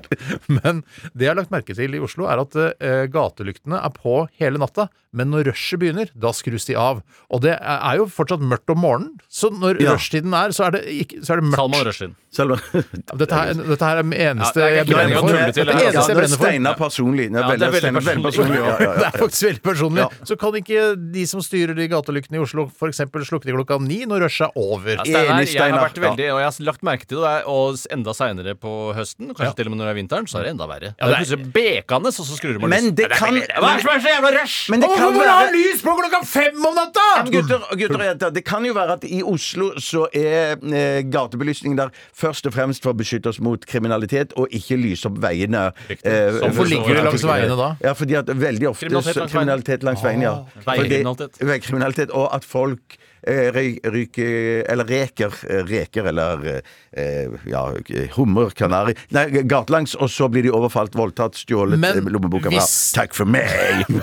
[SPEAKER 4] [LAUGHS] Men det jeg har lagt merke til i Oslo, er at eh, gatelyktene er på hele natta. Men når rushet begynner, da skrus de av. Og det er jo fortsatt mørkt om morgenen, så når
[SPEAKER 6] Ja.
[SPEAKER 4] rushtiden er, så er det, ikke, så er det
[SPEAKER 5] Salman
[SPEAKER 4] mørkt.
[SPEAKER 5] Rushdin.
[SPEAKER 6] Selve
[SPEAKER 4] Dette her, dette her er det eneste
[SPEAKER 5] Ja, det er
[SPEAKER 4] jeg
[SPEAKER 5] ikke meningen
[SPEAKER 4] brenner
[SPEAKER 5] å
[SPEAKER 4] for.
[SPEAKER 5] tulle til,
[SPEAKER 4] Det
[SPEAKER 5] altså.
[SPEAKER 4] eneste jeg
[SPEAKER 6] det er
[SPEAKER 4] brenner for.
[SPEAKER 6] Steinar personlig. Det er
[SPEAKER 5] Ja, det er
[SPEAKER 6] veldig,
[SPEAKER 5] veldig
[SPEAKER 6] Steinar
[SPEAKER 5] personlig.
[SPEAKER 6] personlig. Ja, ja,
[SPEAKER 4] Det
[SPEAKER 6] ja.
[SPEAKER 4] er faktisk veldig personlig. Så kan ikke de som styrer de gatelyktene i Oslo f.eks. slukke de klokka ni når rushet er over?
[SPEAKER 5] Ja, Steinar,
[SPEAKER 6] Enig,
[SPEAKER 5] jeg har
[SPEAKER 6] Steinar.
[SPEAKER 5] vært veldig, og jeg har lagt merke til det, og jeg- og s- enda seinere på høsten, kanskje til og med når det er vinteren, så er det enda verre. det er plutselig bekende, og så skrur man
[SPEAKER 6] Men
[SPEAKER 5] lyset.
[SPEAKER 6] det
[SPEAKER 5] er
[SPEAKER 6] kan-
[SPEAKER 5] veldig- Hva er det som er så jævla rush?
[SPEAKER 6] Men det
[SPEAKER 4] Hvorfor
[SPEAKER 6] kan
[SPEAKER 4] må du ha
[SPEAKER 6] være
[SPEAKER 4] lys på klokka fem om natta?!
[SPEAKER 6] Men Gutter, gutter og jenter, det kan jo være at i Oslo så er eh, gatebelysningen der først og fremst for å beskytte oss mot kriminalitet, og ikke lyse opp veiene. Eh,
[SPEAKER 5] Så hvorfor ligger det
[SPEAKER 4] langs veiene da?
[SPEAKER 6] Ja, fordi at veldig ofte
[SPEAKER 5] Kriminalitet
[SPEAKER 6] så-
[SPEAKER 5] langs
[SPEAKER 6] kriminalitet langs veiene. ja. Fordi-
[SPEAKER 5] veikriminalitet.
[SPEAKER 6] Veikriminalitet. Og at folk eh, ry- ryker Eller reker. eh, Reker eller eh, ja, hummer, kanari Nei, gatelangs, og så blir de overfalt, voldtatt, stjålet,
[SPEAKER 4] Men
[SPEAKER 6] eh, lommeboka fra.
[SPEAKER 4] hvis-
[SPEAKER 6] Takk for meg!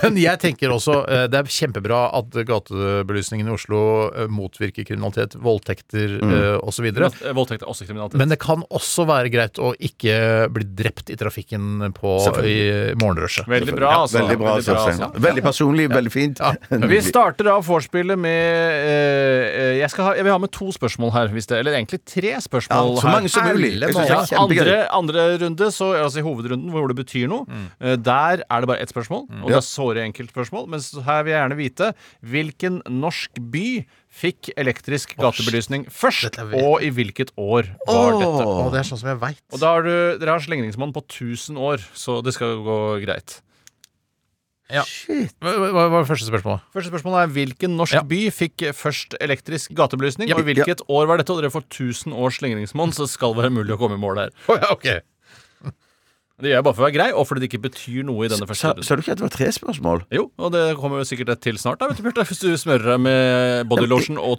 [SPEAKER 4] Men jeg tenker også eh, det er kjempebra at gatebelysningen i Oslo eh, motvirker kriminalitet, voldtekter
[SPEAKER 6] Mm.
[SPEAKER 4] osv.
[SPEAKER 5] Eh, Voldtekt er også kriminalitet.
[SPEAKER 4] Men det kan også være greit å ikke bli drept i trafikken på, i morgenrushet.
[SPEAKER 5] veldig bra,
[SPEAKER 6] Ja,
[SPEAKER 5] altså.
[SPEAKER 6] veldig bra,
[SPEAKER 4] altså.
[SPEAKER 6] Steinar. Veldig personlig, veldig fint.
[SPEAKER 5] Vi starter av vorspielet med eh, eh, jeg, skal ha, jeg vil ha med to spørsmål her, hvis det, eller egentlig tre spørsmål.
[SPEAKER 6] Ja, så mange som
[SPEAKER 5] her.
[SPEAKER 6] mulig. Jeg synes det
[SPEAKER 5] Ja,
[SPEAKER 6] er kjempegøy. Mm.
[SPEAKER 5] andre, andre runde, så, altså i hovedrunden hvor det betyr noe, eh, der er det bare ett spørsmål. Og det er såre enkelt spørsmål. Men så her vil jeg gjerne vite hvilken norsk by fikk elektrisk gatebelysning først,
[SPEAKER 4] vet jeg.
[SPEAKER 5] og i hvilket år var dette?
[SPEAKER 4] Å, det er sånn som jeg veit.
[SPEAKER 5] Og da har du, Dere har slengningsmann på 1000 år, så det skal gå greit.
[SPEAKER 4] Hva hva var det første spørsmålet?
[SPEAKER 5] Første spørsmål er Hvilken norsk
[SPEAKER 4] Ja.
[SPEAKER 5] by fikk først elektrisk gatebelysning? og i hvilket år var dette? Og dere får 1000 års slingringsmonn, så det skal være mulig [LAUGHS] å komme i mål her.
[SPEAKER 4] Å ja, ok.
[SPEAKER 5] Det gjør jeg bare for å være grei, og fordi det ikke betyr noe i denne første
[SPEAKER 6] Sa,
[SPEAKER 5] runden.
[SPEAKER 6] sa du ikke at det var tre spørsmål?
[SPEAKER 5] Jo, og det kommer jo sikkert et til snart, da, vet du, Bjarte. Hvis du smører deg med bodylotion og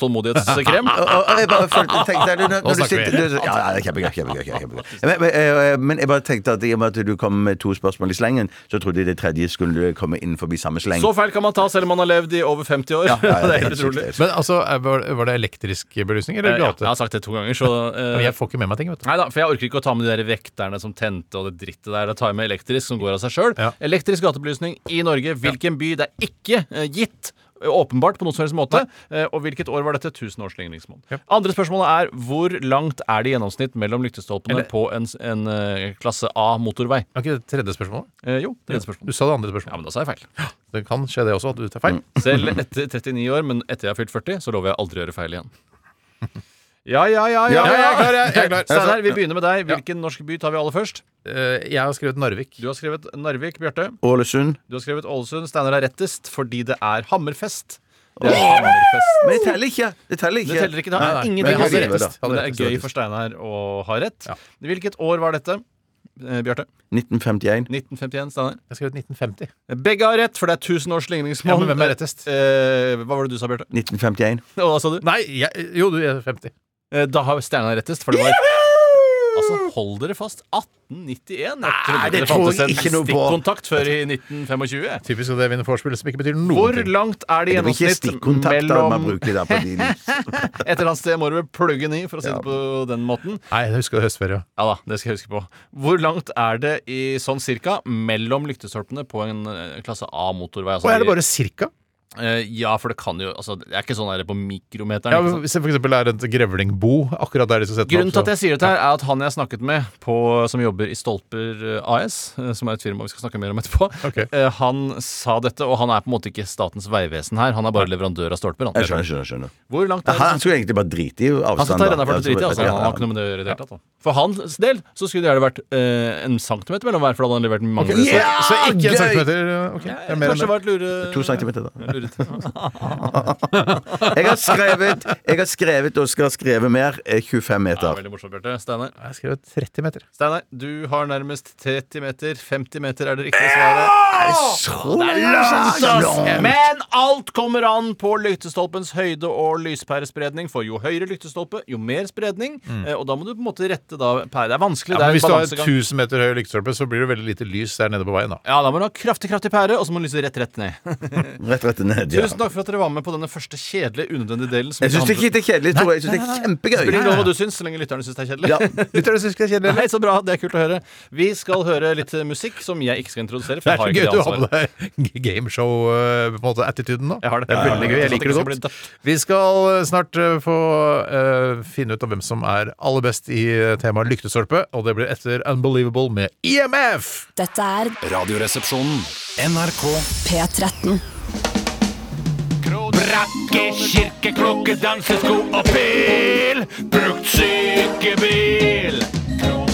[SPEAKER 6] [LAUGHS]
[SPEAKER 5] tålmodighetskrem.
[SPEAKER 6] Og, og og jeg bare følte, tenkte, når, når du
[SPEAKER 4] snakker
[SPEAKER 6] sitter, du, ja, ja, det er kjempegøy. kjempegøy, kjempegøy. Men, men, eh, men jeg bare tenkte at i og med at du kom med to spørsmål i slengen, så trodde jeg det tredje skulle komme innenfor samme sleng.
[SPEAKER 5] Så feil kan man ta selv om man har levd i over 50 år.
[SPEAKER 6] ja, ja,
[SPEAKER 5] [LAUGHS] det er
[SPEAKER 6] helt
[SPEAKER 5] helt
[SPEAKER 6] sykt,
[SPEAKER 5] utrolig.
[SPEAKER 6] helt sykt.
[SPEAKER 4] Men altså, er- var var det elektrisk belysning
[SPEAKER 5] Eh,
[SPEAKER 4] eller
[SPEAKER 5] Ja,
[SPEAKER 4] gate?
[SPEAKER 5] jeg har sagt det to ganger, så eh,
[SPEAKER 4] Jeg får ikke med meg ting, vet du.
[SPEAKER 5] Nei da, for jeg orker ikke å ta med de der vekterne som tente og det drittet der. Da tar jeg med elektrisk, som går av seg sjøl.
[SPEAKER 4] Ja.
[SPEAKER 5] Elektrisk gatebelysning i Norge. Hvilken by? Det er ikke eh, gitt. eh, Åpenbart på noen som helst måte. Eh, Og hvilket år var dette? 1000 års slingringsmål.
[SPEAKER 4] Ja.
[SPEAKER 5] Andre spørsmålet er hvor langt er det i gjennomsnitt mellom lyktestolpene på en, s- en eh, klasse A motorvei?
[SPEAKER 4] Var ikke det tredje spørsmålet?
[SPEAKER 5] Eh, jo, tredje
[SPEAKER 4] Du
[SPEAKER 5] spørsmål.
[SPEAKER 4] sa det andre spørsmålet.
[SPEAKER 5] Ja, men da sa jeg feil.
[SPEAKER 4] Det kan skje det også, at du tar feil.
[SPEAKER 5] Selv [LAUGHS] etter 39 år, men etter jeg har fylt 40, så lover jeg aldri å gjøre feil igjen. Ja, ja, ja. ja,
[SPEAKER 4] [LAUGHS] Ja,
[SPEAKER 5] ja,
[SPEAKER 4] jeg er klar, jeg- jeg er klar.
[SPEAKER 5] Steinar, vi begynner med deg. Hvilken norsk by tar vi aller først?
[SPEAKER 4] Eh, jeg har skrevet Narvik.
[SPEAKER 5] Du har skrevet Narvik, Bjarte.
[SPEAKER 6] Ålesund.
[SPEAKER 5] Du har skrevet Ålesund. Steinar er rettest fordi det er Hammerfest. Det er Hammerfest.
[SPEAKER 6] Men det teller ikke. Det teller ikke.
[SPEAKER 5] Det teller ikke. Det har
[SPEAKER 4] Nei, nei.
[SPEAKER 5] ingenting
[SPEAKER 6] Men
[SPEAKER 5] med
[SPEAKER 6] jeg hadde
[SPEAKER 5] rettest.
[SPEAKER 4] rett.
[SPEAKER 5] Men det er
[SPEAKER 4] Hadde rett.
[SPEAKER 5] gøy for Steinar å ha rett. Hvilket år var dette? Eh, Bjarte.
[SPEAKER 6] 1951.
[SPEAKER 5] 1951, Steinar.
[SPEAKER 4] Jeg har skrevet 1950.
[SPEAKER 5] Begge har rett, for det er 1000 års ligningsmål.
[SPEAKER 4] Ja, men hvem er rettest?
[SPEAKER 5] Eh, hva var det du sa, Bjarte?
[SPEAKER 6] 1951.
[SPEAKER 5] Og Hva sa du?
[SPEAKER 4] Nei, jeg, jo, du jeg er 50.
[SPEAKER 5] Eh, da har Steinar rettest, for det var Altså, hold dere fast. 1891? Jeg trodde ikke
[SPEAKER 6] det
[SPEAKER 5] det
[SPEAKER 6] tror
[SPEAKER 5] fantes
[SPEAKER 6] jeg
[SPEAKER 5] en
[SPEAKER 6] ikke noe på.
[SPEAKER 5] stikkontakt før i 1925.
[SPEAKER 4] Typisk at det vinner vorspiel som ikke betyr noen
[SPEAKER 5] Hvor
[SPEAKER 4] ting.
[SPEAKER 5] langt er det i
[SPEAKER 6] Det var ikke
[SPEAKER 5] gjennomsnitt
[SPEAKER 6] stikkontakter man
[SPEAKER 5] mellom
[SPEAKER 6] bruker der på din
[SPEAKER 5] Et eller annet sted må du vel plugge den i, for å si det på den måten.
[SPEAKER 4] Nei, jeg husker høstferie.
[SPEAKER 5] Ja da, det skal jeg huske på. Hvor langt er det i sånn cirka mellom lyktestolpene på en eh, klasse A-motorvei?
[SPEAKER 4] Og
[SPEAKER 5] Altså,
[SPEAKER 4] er det bare cirka?
[SPEAKER 5] eh, Ja, for det kan jo altså, Det er ikke sånn der på mikrometeren.
[SPEAKER 4] Ja,
[SPEAKER 5] ikke sant?
[SPEAKER 4] Hvis det for eksempel er et grevlingbo akkurat der de skal sette
[SPEAKER 5] Grunnen til
[SPEAKER 4] opp,
[SPEAKER 5] at
[SPEAKER 4] så-
[SPEAKER 5] jeg sier dette, her er at han jeg snakket med på, som jobber i Stolper eh, AS, eh, som er et firma vi skal snakke mer om etterpå,
[SPEAKER 4] Ok.
[SPEAKER 5] eh, han sa dette, og han er på en måte ikke Statens vegvesen her, han er bare leverandør av stolper.
[SPEAKER 6] Jeg
[SPEAKER 5] Han.
[SPEAKER 6] skjønner, skjønner. skjønner.
[SPEAKER 5] Hvor langt er
[SPEAKER 6] Han,
[SPEAKER 5] det?
[SPEAKER 6] han skulle egentlig bare drite i
[SPEAKER 5] Han
[SPEAKER 6] avstanden.
[SPEAKER 5] skal
[SPEAKER 6] da.
[SPEAKER 5] ta rennaført og drite i, altså.
[SPEAKER 6] Ja,
[SPEAKER 5] Han har ikke noe med det å gjøre i det hele tatt. da. For hans del så skulle det gjerne vært eh, en centimeter mellom hver, for da hadde han levert mange.
[SPEAKER 6] ja.
[SPEAKER 4] Så ikke en
[SPEAKER 6] Gøy!
[SPEAKER 4] centimeter? Ok, det er mer enn
[SPEAKER 5] Kanskje det
[SPEAKER 4] det.
[SPEAKER 5] var et [LAUGHS] lure...
[SPEAKER 6] To centimeter, da.
[SPEAKER 5] surret.
[SPEAKER 6] Jeg har skrevet, jeg har skrevet og skal skrive mer eh, 25
[SPEAKER 5] Ja,
[SPEAKER 6] meter.
[SPEAKER 5] veldig morsomt, Bjarte. Steinar.
[SPEAKER 4] Jeg skrev 30 meter.
[SPEAKER 5] Steinar, du har nærmest 30 meter. 50 meter er det riktige svaret.
[SPEAKER 6] Så
[SPEAKER 5] Men alt kommer an på lyktestolpens høyde og lyspærespredning. For jo høyere lyktestolpe, jo mer spredning. Eh, Og da må du på en måte rette da pære. Det er vanskelig.
[SPEAKER 4] Mm. Ja, men
[SPEAKER 5] det
[SPEAKER 4] hvis
[SPEAKER 5] er
[SPEAKER 4] du
[SPEAKER 5] en
[SPEAKER 4] har
[SPEAKER 5] balansegang.
[SPEAKER 4] 1000 meter høy lyktestolpe, så blir det veldig lite lys der nede på veien. da
[SPEAKER 5] Ja, da må du ha kraftig, kraftig pære, og så må du lyse rett, rett ned.
[SPEAKER 6] Rett, rett ned. Ja.
[SPEAKER 5] Tusen takk for at dere var med på denne første kjedelige, unødvendige delen. som
[SPEAKER 6] Jeg syns det er
[SPEAKER 5] handlet-
[SPEAKER 6] ikke kjedelig, Tore. Jeg syns det er
[SPEAKER 5] Spiller ingen rolle hva
[SPEAKER 6] kjempegøy.
[SPEAKER 5] du syns, så lenge lytterne syns det er kjedelig.
[SPEAKER 6] Ja.
[SPEAKER 4] [LAUGHS] Lytter du syns det er kjedelig? eller?
[SPEAKER 5] [LAUGHS] Nei, så bra, det er kult å høre. Vi skal høre litt musikk som jeg ikke skal introdusere. For
[SPEAKER 4] Det
[SPEAKER 5] jeg
[SPEAKER 4] er så gøy
[SPEAKER 5] har ikke
[SPEAKER 4] du
[SPEAKER 5] det
[SPEAKER 4] har
[SPEAKER 5] ansvaret.
[SPEAKER 4] med deg eh, gameshow-attituden nå.
[SPEAKER 5] Jeg har det.
[SPEAKER 4] det er
[SPEAKER 5] Ja,
[SPEAKER 4] veldig gøy. Jeg
[SPEAKER 5] sånn
[SPEAKER 4] liker det
[SPEAKER 5] at ikke skal bli
[SPEAKER 4] godt.
[SPEAKER 5] dødt.
[SPEAKER 4] Vi skal eh, snart eh, få eh, finne ut av hvem som er aller best i eh, temaet lyktestolpe, og det blir etter Unbelievable med E IMF.
[SPEAKER 1] Dette er
[SPEAKER 2] Radioresepsjonen.
[SPEAKER 1] P13.
[SPEAKER 7] Brakke, kirke, klokke, dansesko og pil. Brukt sykebil.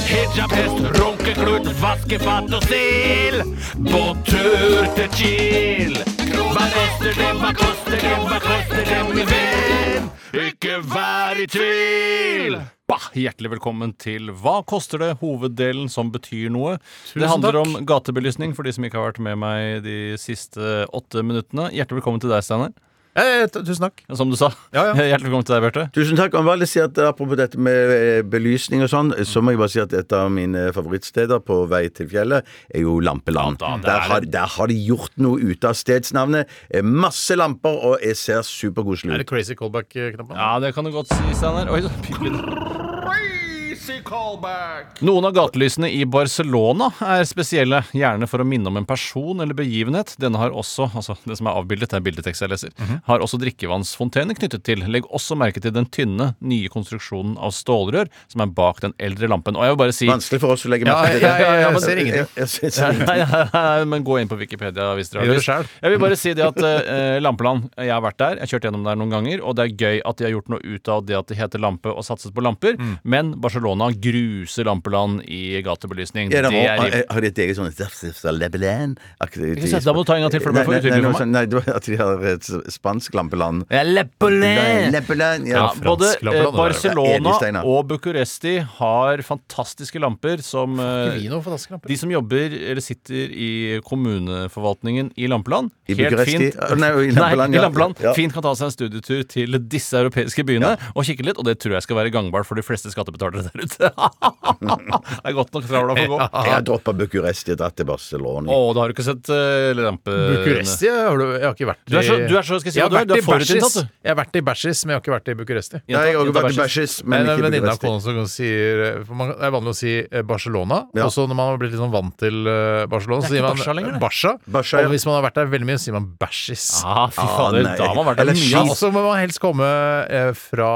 [SPEAKER 7] Hijab, hest, runkeklut, vaskefat og stil. Båttur til Kiel. Hva koster det, hva koster det, hva koster det, min venn? Ikke vær i tvil.
[SPEAKER 5] Bah, hjertelig velkommen til Hva koster det? Hoveddelen som betyr noe. det handler om gatebelysning for de som ikke har vært med meg de siste åtte minuttene. Hjertelig velkommen til deg, Steinar.
[SPEAKER 4] Eh, t- tusen takk.
[SPEAKER 5] Som du sa.
[SPEAKER 4] Ja, ja.
[SPEAKER 5] [LAUGHS] Hjertelig velkommen til deg, Bjarte.
[SPEAKER 6] Tusen takk. Og bare si at Apropos dette med eh, belysning og sånn, så må jeg bare si at et av mine favorittsteder på vei til fjellet er jo Lampeland. der, har, der har de gjort noe ut av stedsnavnet. Eh, Masse lamper, og jeg ser superkoselig
[SPEAKER 4] Er det
[SPEAKER 6] ut.
[SPEAKER 4] crazy callback-knappen?
[SPEAKER 5] Ja, det kan du godt si, Steinar. Oi, piper det. Noen av gatelysene i Barcelona er spesielle, gjerne for å minne om en person eller begivenhet. Denne har også, altså det som er avbildet, det er bildetekst jeg leser, har også drikkevannsfontener knyttet til. Legg også merke til den tynne, nye konstruksjonen av stålrør som er bak den eldre lampen. Og jeg vil bare si
[SPEAKER 6] Vanskelig for oss å legge merke til
[SPEAKER 4] Ja, ja,
[SPEAKER 6] det.
[SPEAKER 4] ja, ja,
[SPEAKER 5] men-
[SPEAKER 4] ser ingenting.
[SPEAKER 6] Jeg- jeg ser- ser ingenting.
[SPEAKER 5] Nei, nei, nei, men gå inn på Wikipedia hvis dere har
[SPEAKER 4] Gjør det
[SPEAKER 5] lyst.
[SPEAKER 4] selv.
[SPEAKER 5] Jeg vil bare si det at eh, Lampeland, jeg har vært der, jeg har kjørt gjennom der noen ganger, og det er gøy at de har gjort noe ut av det at det heter Lampe og satses på lamper,
[SPEAKER 4] Mm.
[SPEAKER 5] men Barcelona gruser Lampeland i gatebelysning.
[SPEAKER 6] Ja, da må,
[SPEAKER 5] [LAUGHS] det
[SPEAKER 6] har,
[SPEAKER 5] er
[SPEAKER 6] har de et eget sånn Ikke
[SPEAKER 5] Ikke sant, da må du ta en gang til, for det ble for utydelig for meg.
[SPEAKER 6] Nei, sånn- det var at de har et spansk lampeland.
[SPEAKER 5] Leppeland!
[SPEAKER 6] Lampeland,
[SPEAKER 5] Ja,
[SPEAKER 6] ja.
[SPEAKER 5] både
[SPEAKER 4] fransk
[SPEAKER 5] eh,
[SPEAKER 4] Lampeland, det der.
[SPEAKER 5] Barcelona
[SPEAKER 6] Ja, Edelstein, ja.
[SPEAKER 5] og Bucuresti har fantastiske lamper som eh,
[SPEAKER 4] Ikke vi noe fantastiske
[SPEAKER 5] de som jobber eller sitter i kommuneforvaltningen i Lampeland
[SPEAKER 6] I
[SPEAKER 5] helt
[SPEAKER 6] Bucuresti?
[SPEAKER 5] fint-
[SPEAKER 6] Å, [LAUGHS] nei, i Lampeland,
[SPEAKER 5] Nei, i
[SPEAKER 6] ja.
[SPEAKER 5] Lampeland
[SPEAKER 6] Ja.
[SPEAKER 5] fint kan ta seg en studietur til disse europeiske byene og kikke litt, og det tror jeg skal være gangbart for de fleste skattebetalere der ute. [LAUGHS] det er godt nok travla for å gå.
[SPEAKER 6] Jeg har droppa Bucuresti og dratt til Barcelona.
[SPEAKER 5] Å, da har du ikke sett uh, lampe...
[SPEAKER 4] Bucuresti har du Jeg har ikke vært i
[SPEAKER 5] Du er så- du er så- skal jeg si
[SPEAKER 4] Jeg har
[SPEAKER 5] hva du er,
[SPEAKER 4] vært
[SPEAKER 5] du er
[SPEAKER 4] i Bæsjis.
[SPEAKER 5] forutinntatt, du.
[SPEAKER 4] Jeg har vært i Bæsjis, men jeg har ikke vært i Bucuresti.
[SPEAKER 6] Nei, jeg har også vært i
[SPEAKER 5] Bæsjis.
[SPEAKER 6] Bæsjis,
[SPEAKER 4] Men
[SPEAKER 6] men
[SPEAKER 4] en
[SPEAKER 6] ikke
[SPEAKER 4] venninne av
[SPEAKER 6] Bucuresti.
[SPEAKER 4] kona som sier eh, for man, Det er vanlig å si eh, Barcelona.
[SPEAKER 6] Ja.
[SPEAKER 4] Og så når man har blitt litt sånn vant til eh, Barcelona,
[SPEAKER 5] Det
[SPEAKER 4] så
[SPEAKER 5] er
[SPEAKER 4] sier
[SPEAKER 5] ikke
[SPEAKER 4] man
[SPEAKER 5] Barca lenger, det.
[SPEAKER 4] Barca.
[SPEAKER 6] Barca, ja.
[SPEAKER 4] Og hvis man har vært der veldig mye, så sier man Bæsjis.
[SPEAKER 5] Ah, fy
[SPEAKER 6] Ah,
[SPEAKER 5] fader,
[SPEAKER 6] nei.
[SPEAKER 5] da har man vært der
[SPEAKER 6] Eller
[SPEAKER 5] mye.
[SPEAKER 4] Ja,
[SPEAKER 6] skis.
[SPEAKER 5] altså.
[SPEAKER 4] så må man helst komme eh, fra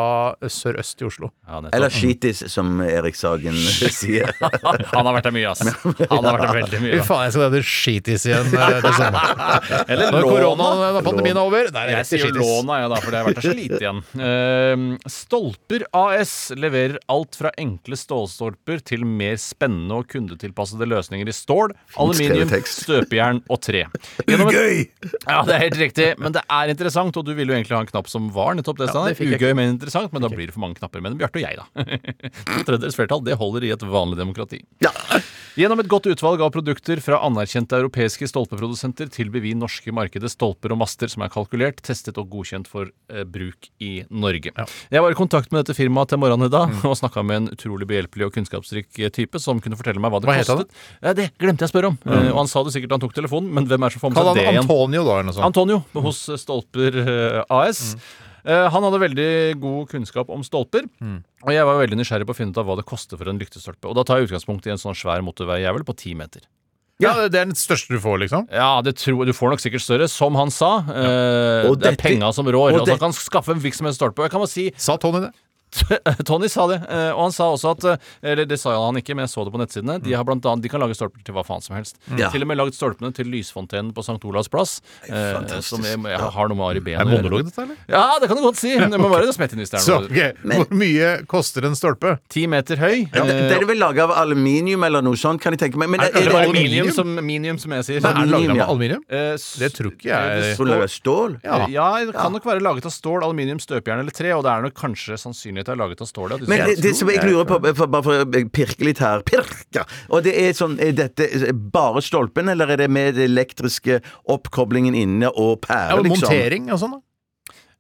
[SPEAKER 4] sørøst i Oslo.
[SPEAKER 5] Ja, nettopp.
[SPEAKER 6] Eller Skitis, som Erik
[SPEAKER 4] [LAUGHS]
[SPEAKER 6] Sagen sier.
[SPEAKER 5] [LAUGHS] Han har vært der
[SPEAKER 6] [LAUGHS]
[SPEAKER 5] mye, ass. Han har vært der veldig mye.
[SPEAKER 4] Fy
[SPEAKER 5] da.
[SPEAKER 4] faen, jeg skal hete Skitis igjen eh, til sommeren.
[SPEAKER 5] [LAUGHS] Eller
[SPEAKER 4] Når
[SPEAKER 5] Låna.
[SPEAKER 4] koronaen og pandemien er over, der er
[SPEAKER 5] Jeg
[SPEAKER 4] det
[SPEAKER 5] sier
[SPEAKER 4] Skitis.
[SPEAKER 5] låna, jeg, da, for det har vært der så lite
[SPEAKER 4] [LAUGHS]
[SPEAKER 5] igjen. Eh, Stolper AS leverer alt fra enkle stålstolper til mer spennende og kundetilpassede løsninger i stål, aluminium,
[SPEAKER 6] tekst.
[SPEAKER 5] støpejern og
[SPEAKER 4] [LAUGHS]
[SPEAKER 5] tre. Gjennom en- Ja, det er helt riktig, men det er interessant, og du ville jo egentlig ha en knapp som var nettopp det. Steinar.
[SPEAKER 4] det fikk jeg
[SPEAKER 5] Ugøy, men interessant, men da blir det for mange knapper. Men Bjarte og jeg, da. [LAUGHS] To tredjedels flertall, det holder i et vanlig demokrati. Gjennom et godt utvalg av produkter fra anerkjente europeiske stolpeprodusenter tilbyr vi norske markedet stolper og master som er kalkulert, testet og godkjent for eh, bruk i Norge. Jeg var i kontakt med dette firmaet til morgenen i dag
[SPEAKER 4] Mm.
[SPEAKER 5] og snakka med en utrolig behjelpelig og kunnskapsrik eh, type som kunne fortelle meg hva det
[SPEAKER 4] Hva het han?
[SPEAKER 5] kostet. Ja, det glemte jeg å spørre om. Eh, og han sa det sikkert da han tok telefonen, men hvem er det som får med
[SPEAKER 4] Kall
[SPEAKER 5] seg det
[SPEAKER 4] han
[SPEAKER 5] igjen?
[SPEAKER 4] Antonio, da, eller noe sånt.
[SPEAKER 5] Antonio hos Stolper eh, AS.
[SPEAKER 6] Mm.
[SPEAKER 5] Eh, han hadde veldig god kunnskap om stolper.
[SPEAKER 6] Mm.
[SPEAKER 5] Og jeg var veldig nysgjerrig på å finne ut av hva det koster for en lyktestolpe. Og da tar jeg utgangspunkt i en sånn svær motorveijævel på ti meter.
[SPEAKER 4] Ja, det er den største du får, liksom.
[SPEAKER 5] Ja, det tror, Du får nok sikkert større, som han sa. eh,
[SPEAKER 6] Og
[SPEAKER 5] det er
[SPEAKER 6] dette-
[SPEAKER 5] penga som rår.
[SPEAKER 6] og
[SPEAKER 5] Altså,
[SPEAKER 6] det-
[SPEAKER 5] han kan skaffe en hvilken som helst stolpe. Og jeg kan bare si
[SPEAKER 4] Sa Tony det?
[SPEAKER 5] Tony sa det, eh, og han sa også at eh, Eller det sa han ikke, men jeg så det på nettsidene. De, har blant annet, de kan lage stolper til hva faen som helst.
[SPEAKER 6] Mm. Ja.
[SPEAKER 5] Til og med lagd stolpene til lysfontenen på St. Olavs plass. eh, som jeg, jeg har noe med Ari Behn
[SPEAKER 4] Er
[SPEAKER 5] å
[SPEAKER 4] det
[SPEAKER 5] gjøre.
[SPEAKER 4] monolog, dette, eller?
[SPEAKER 5] Ja, det kan du godt si. Men Det må være det smette inn hvis det er
[SPEAKER 4] Så,
[SPEAKER 5] noe.
[SPEAKER 4] ok, Hvor mye koster en stolpe?
[SPEAKER 5] Ti meter høy.
[SPEAKER 6] Ja.
[SPEAKER 5] eh,
[SPEAKER 6] Den er vel laga av aluminium eller noe sånt, kan jeg tenke meg. Men
[SPEAKER 4] Er- er
[SPEAKER 5] eller
[SPEAKER 4] det
[SPEAKER 6] er det,
[SPEAKER 5] aluminium,
[SPEAKER 4] aluminium?
[SPEAKER 5] som, minium, som jeg sier.
[SPEAKER 4] Nei, er den laget av
[SPEAKER 6] Aluminium, ja.
[SPEAKER 4] aluminium?
[SPEAKER 5] Eh, s- eh,
[SPEAKER 4] Det tror ikke jeg.
[SPEAKER 6] Hvor lager jeg stål?
[SPEAKER 5] Ja, det kan nok være laget av stål, aluminium, støpejern eller tre. Og det er nok kanskje sannsynlighet det er laget av stål. Ja,
[SPEAKER 6] Men
[SPEAKER 5] sier-
[SPEAKER 6] det, det som jeg lurer på, for, bare for å pirke litt her Pirke! Og det er sånn, er dette bare stolpen, eller er det med det elektriske oppkoblingen inne og
[SPEAKER 4] Ja,
[SPEAKER 6] pære,
[SPEAKER 4] men
[SPEAKER 6] liksom?
[SPEAKER 4] montering og sånn, da?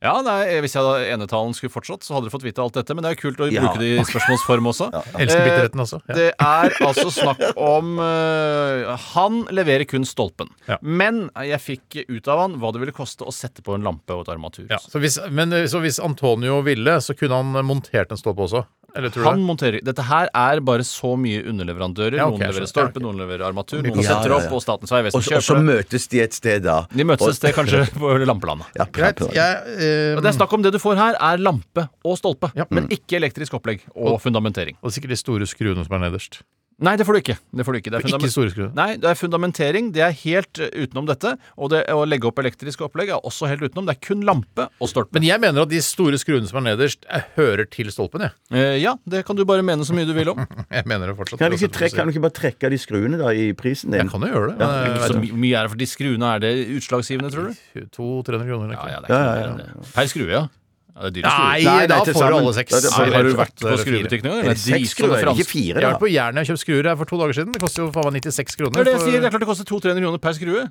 [SPEAKER 5] Ja, nei, eh, Hvis jeg da enetalen skulle fortsatt, så hadde dere fått vite alt dette. Men det er jo kult å
[SPEAKER 6] Ja.
[SPEAKER 5] bruke det i spørsmålsform
[SPEAKER 4] [LAUGHS]
[SPEAKER 5] også.
[SPEAKER 4] Elsker bitterheten, altså. Ja.
[SPEAKER 5] Det er altså snakk om eh, Han leverer kun stolpen.
[SPEAKER 4] Ja.
[SPEAKER 5] Men jeg fikk ut av han hva det ville koste å sette på en lampe og et armatur.
[SPEAKER 4] Ja, så hvis, men eh, så hvis Antonio ville, så kunne han montert en stolpe også? Eller tror du
[SPEAKER 5] Han
[SPEAKER 4] det?
[SPEAKER 5] monterer Dette her er bare så mye underleverandører.
[SPEAKER 4] Ja, ok,
[SPEAKER 5] noen leverer
[SPEAKER 4] jeg skjønner.
[SPEAKER 5] stolpe,
[SPEAKER 4] Ja, ok.
[SPEAKER 5] noen leverer armatur,
[SPEAKER 4] Mye
[SPEAKER 5] noen
[SPEAKER 6] kost.
[SPEAKER 5] setter
[SPEAKER 6] Ja,
[SPEAKER 5] opp,
[SPEAKER 6] ja, ja.
[SPEAKER 5] og Statens
[SPEAKER 6] Og
[SPEAKER 5] vegvesen
[SPEAKER 6] så- og så
[SPEAKER 5] kjøper det.
[SPEAKER 6] møtes de et sted, da.
[SPEAKER 5] De møtes
[SPEAKER 6] og,
[SPEAKER 5] det
[SPEAKER 4] [LAUGHS]
[SPEAKER 5] kanskje på Lampelandet.
[SPEAKER 6] Ja,
[SPEAKER 4] Greit. Jeg, eh,
[SPEAKER 5] Og Det er snakk om det du får her, er lampe og stolpe,
[SPEAKER 4] Ja.
[SPEAKER 5] men ikke elektrisk opplegg og fundamentering.
[SPEAKER 4] og det er sikkert de store skruene som er nederst.
[SPEAKER 5] Nei, det får du ikke. Det får du ikke. Det er
[SPEAKER 4] Ikke
[SPEAKER 5] fundament-
[SPEAKER 4] store skruene.
[SPEAKER 5] Nei, det er fundamentering. Det er helt eh, utenom dette. Og det å legge opp elektriske opplegg er også helt utenom. Det er kun lampe og stolpe.
[SPEAKER 4] Men jeg mener at de store skruene som er nederst, eh, hører til stolpen, jeg. [LAUGHS]
[SPEAKER 5] Eh, ja, det kan du bare mene så mye du vil om.
[SPEAKER 4] Jeg mener det fortsatt.
[SPEAKER 6] Kan du, ikke
[SPEAKER 4] uansett hva
[SPEAKER 6] trekke, kan du ikke bare trekke av de skruene da i prisen din?
[SPEAKER 4] Jeg kan jo gjøre det. men
[SPEAKER 6] Ja,
[SPEAKER 4] jeg
[SPEAKER 5] Så
[SPEAKER 4] vet
[SPEAKER 5] my- mye er det for de skruene. Er det utslagsgivende, tror du?
[SPEAKER 4] ikke. 200-300 kroner.
[SPEAKER 5] Ja,
[SPEAKER 4] Ikke?
[SPEAKER 5] ja,
[SPEAKER 6] Ja,
[SPEAKER 5] det er ikke noe
[SPEAKER 6] ja,
[SPEAKER 5] mer
[SPEAKER 6] ja.
[SPEAKER 5] enn det. Per skrue, ja. ja det er dyre skruer.
[SPEAKER 4] Nei,
[SPEAKER 6] Nei, nei,
[SPEAKER 4] da får
[SPEAKER 6] til
[SPEAKER 4] du
[SPEAKER 6] sammen.
[SPEAKER 4] alle seks.
[SPEAKER 6] Ja, det får
[SPEAKER 5] Nei,
[SPEAKER 6] du
[SPEAKER 5] har du
[SPEAKER 6] helt
[SPEAKER 5] vært på
[SPEAKER 4] skruebutikken?
[SPEAKER 5] skrubutikken?
[SPEAKER 6] Er det seks skruer, ikke fire?
[SPEAKER 4] Jeg har
[SPEAKER 6] da?
[SPEAKER 4] vært på Jæren jeg har kjøpt skruer her for to dager siden. Det koster jo faen meg 96 kroner.
[SPEAKER 5] Det er det jeg
[SPEAKER 4] for-
[SPEAKER 5] sier. Det er klart det koster 200-300 kroner per skrue.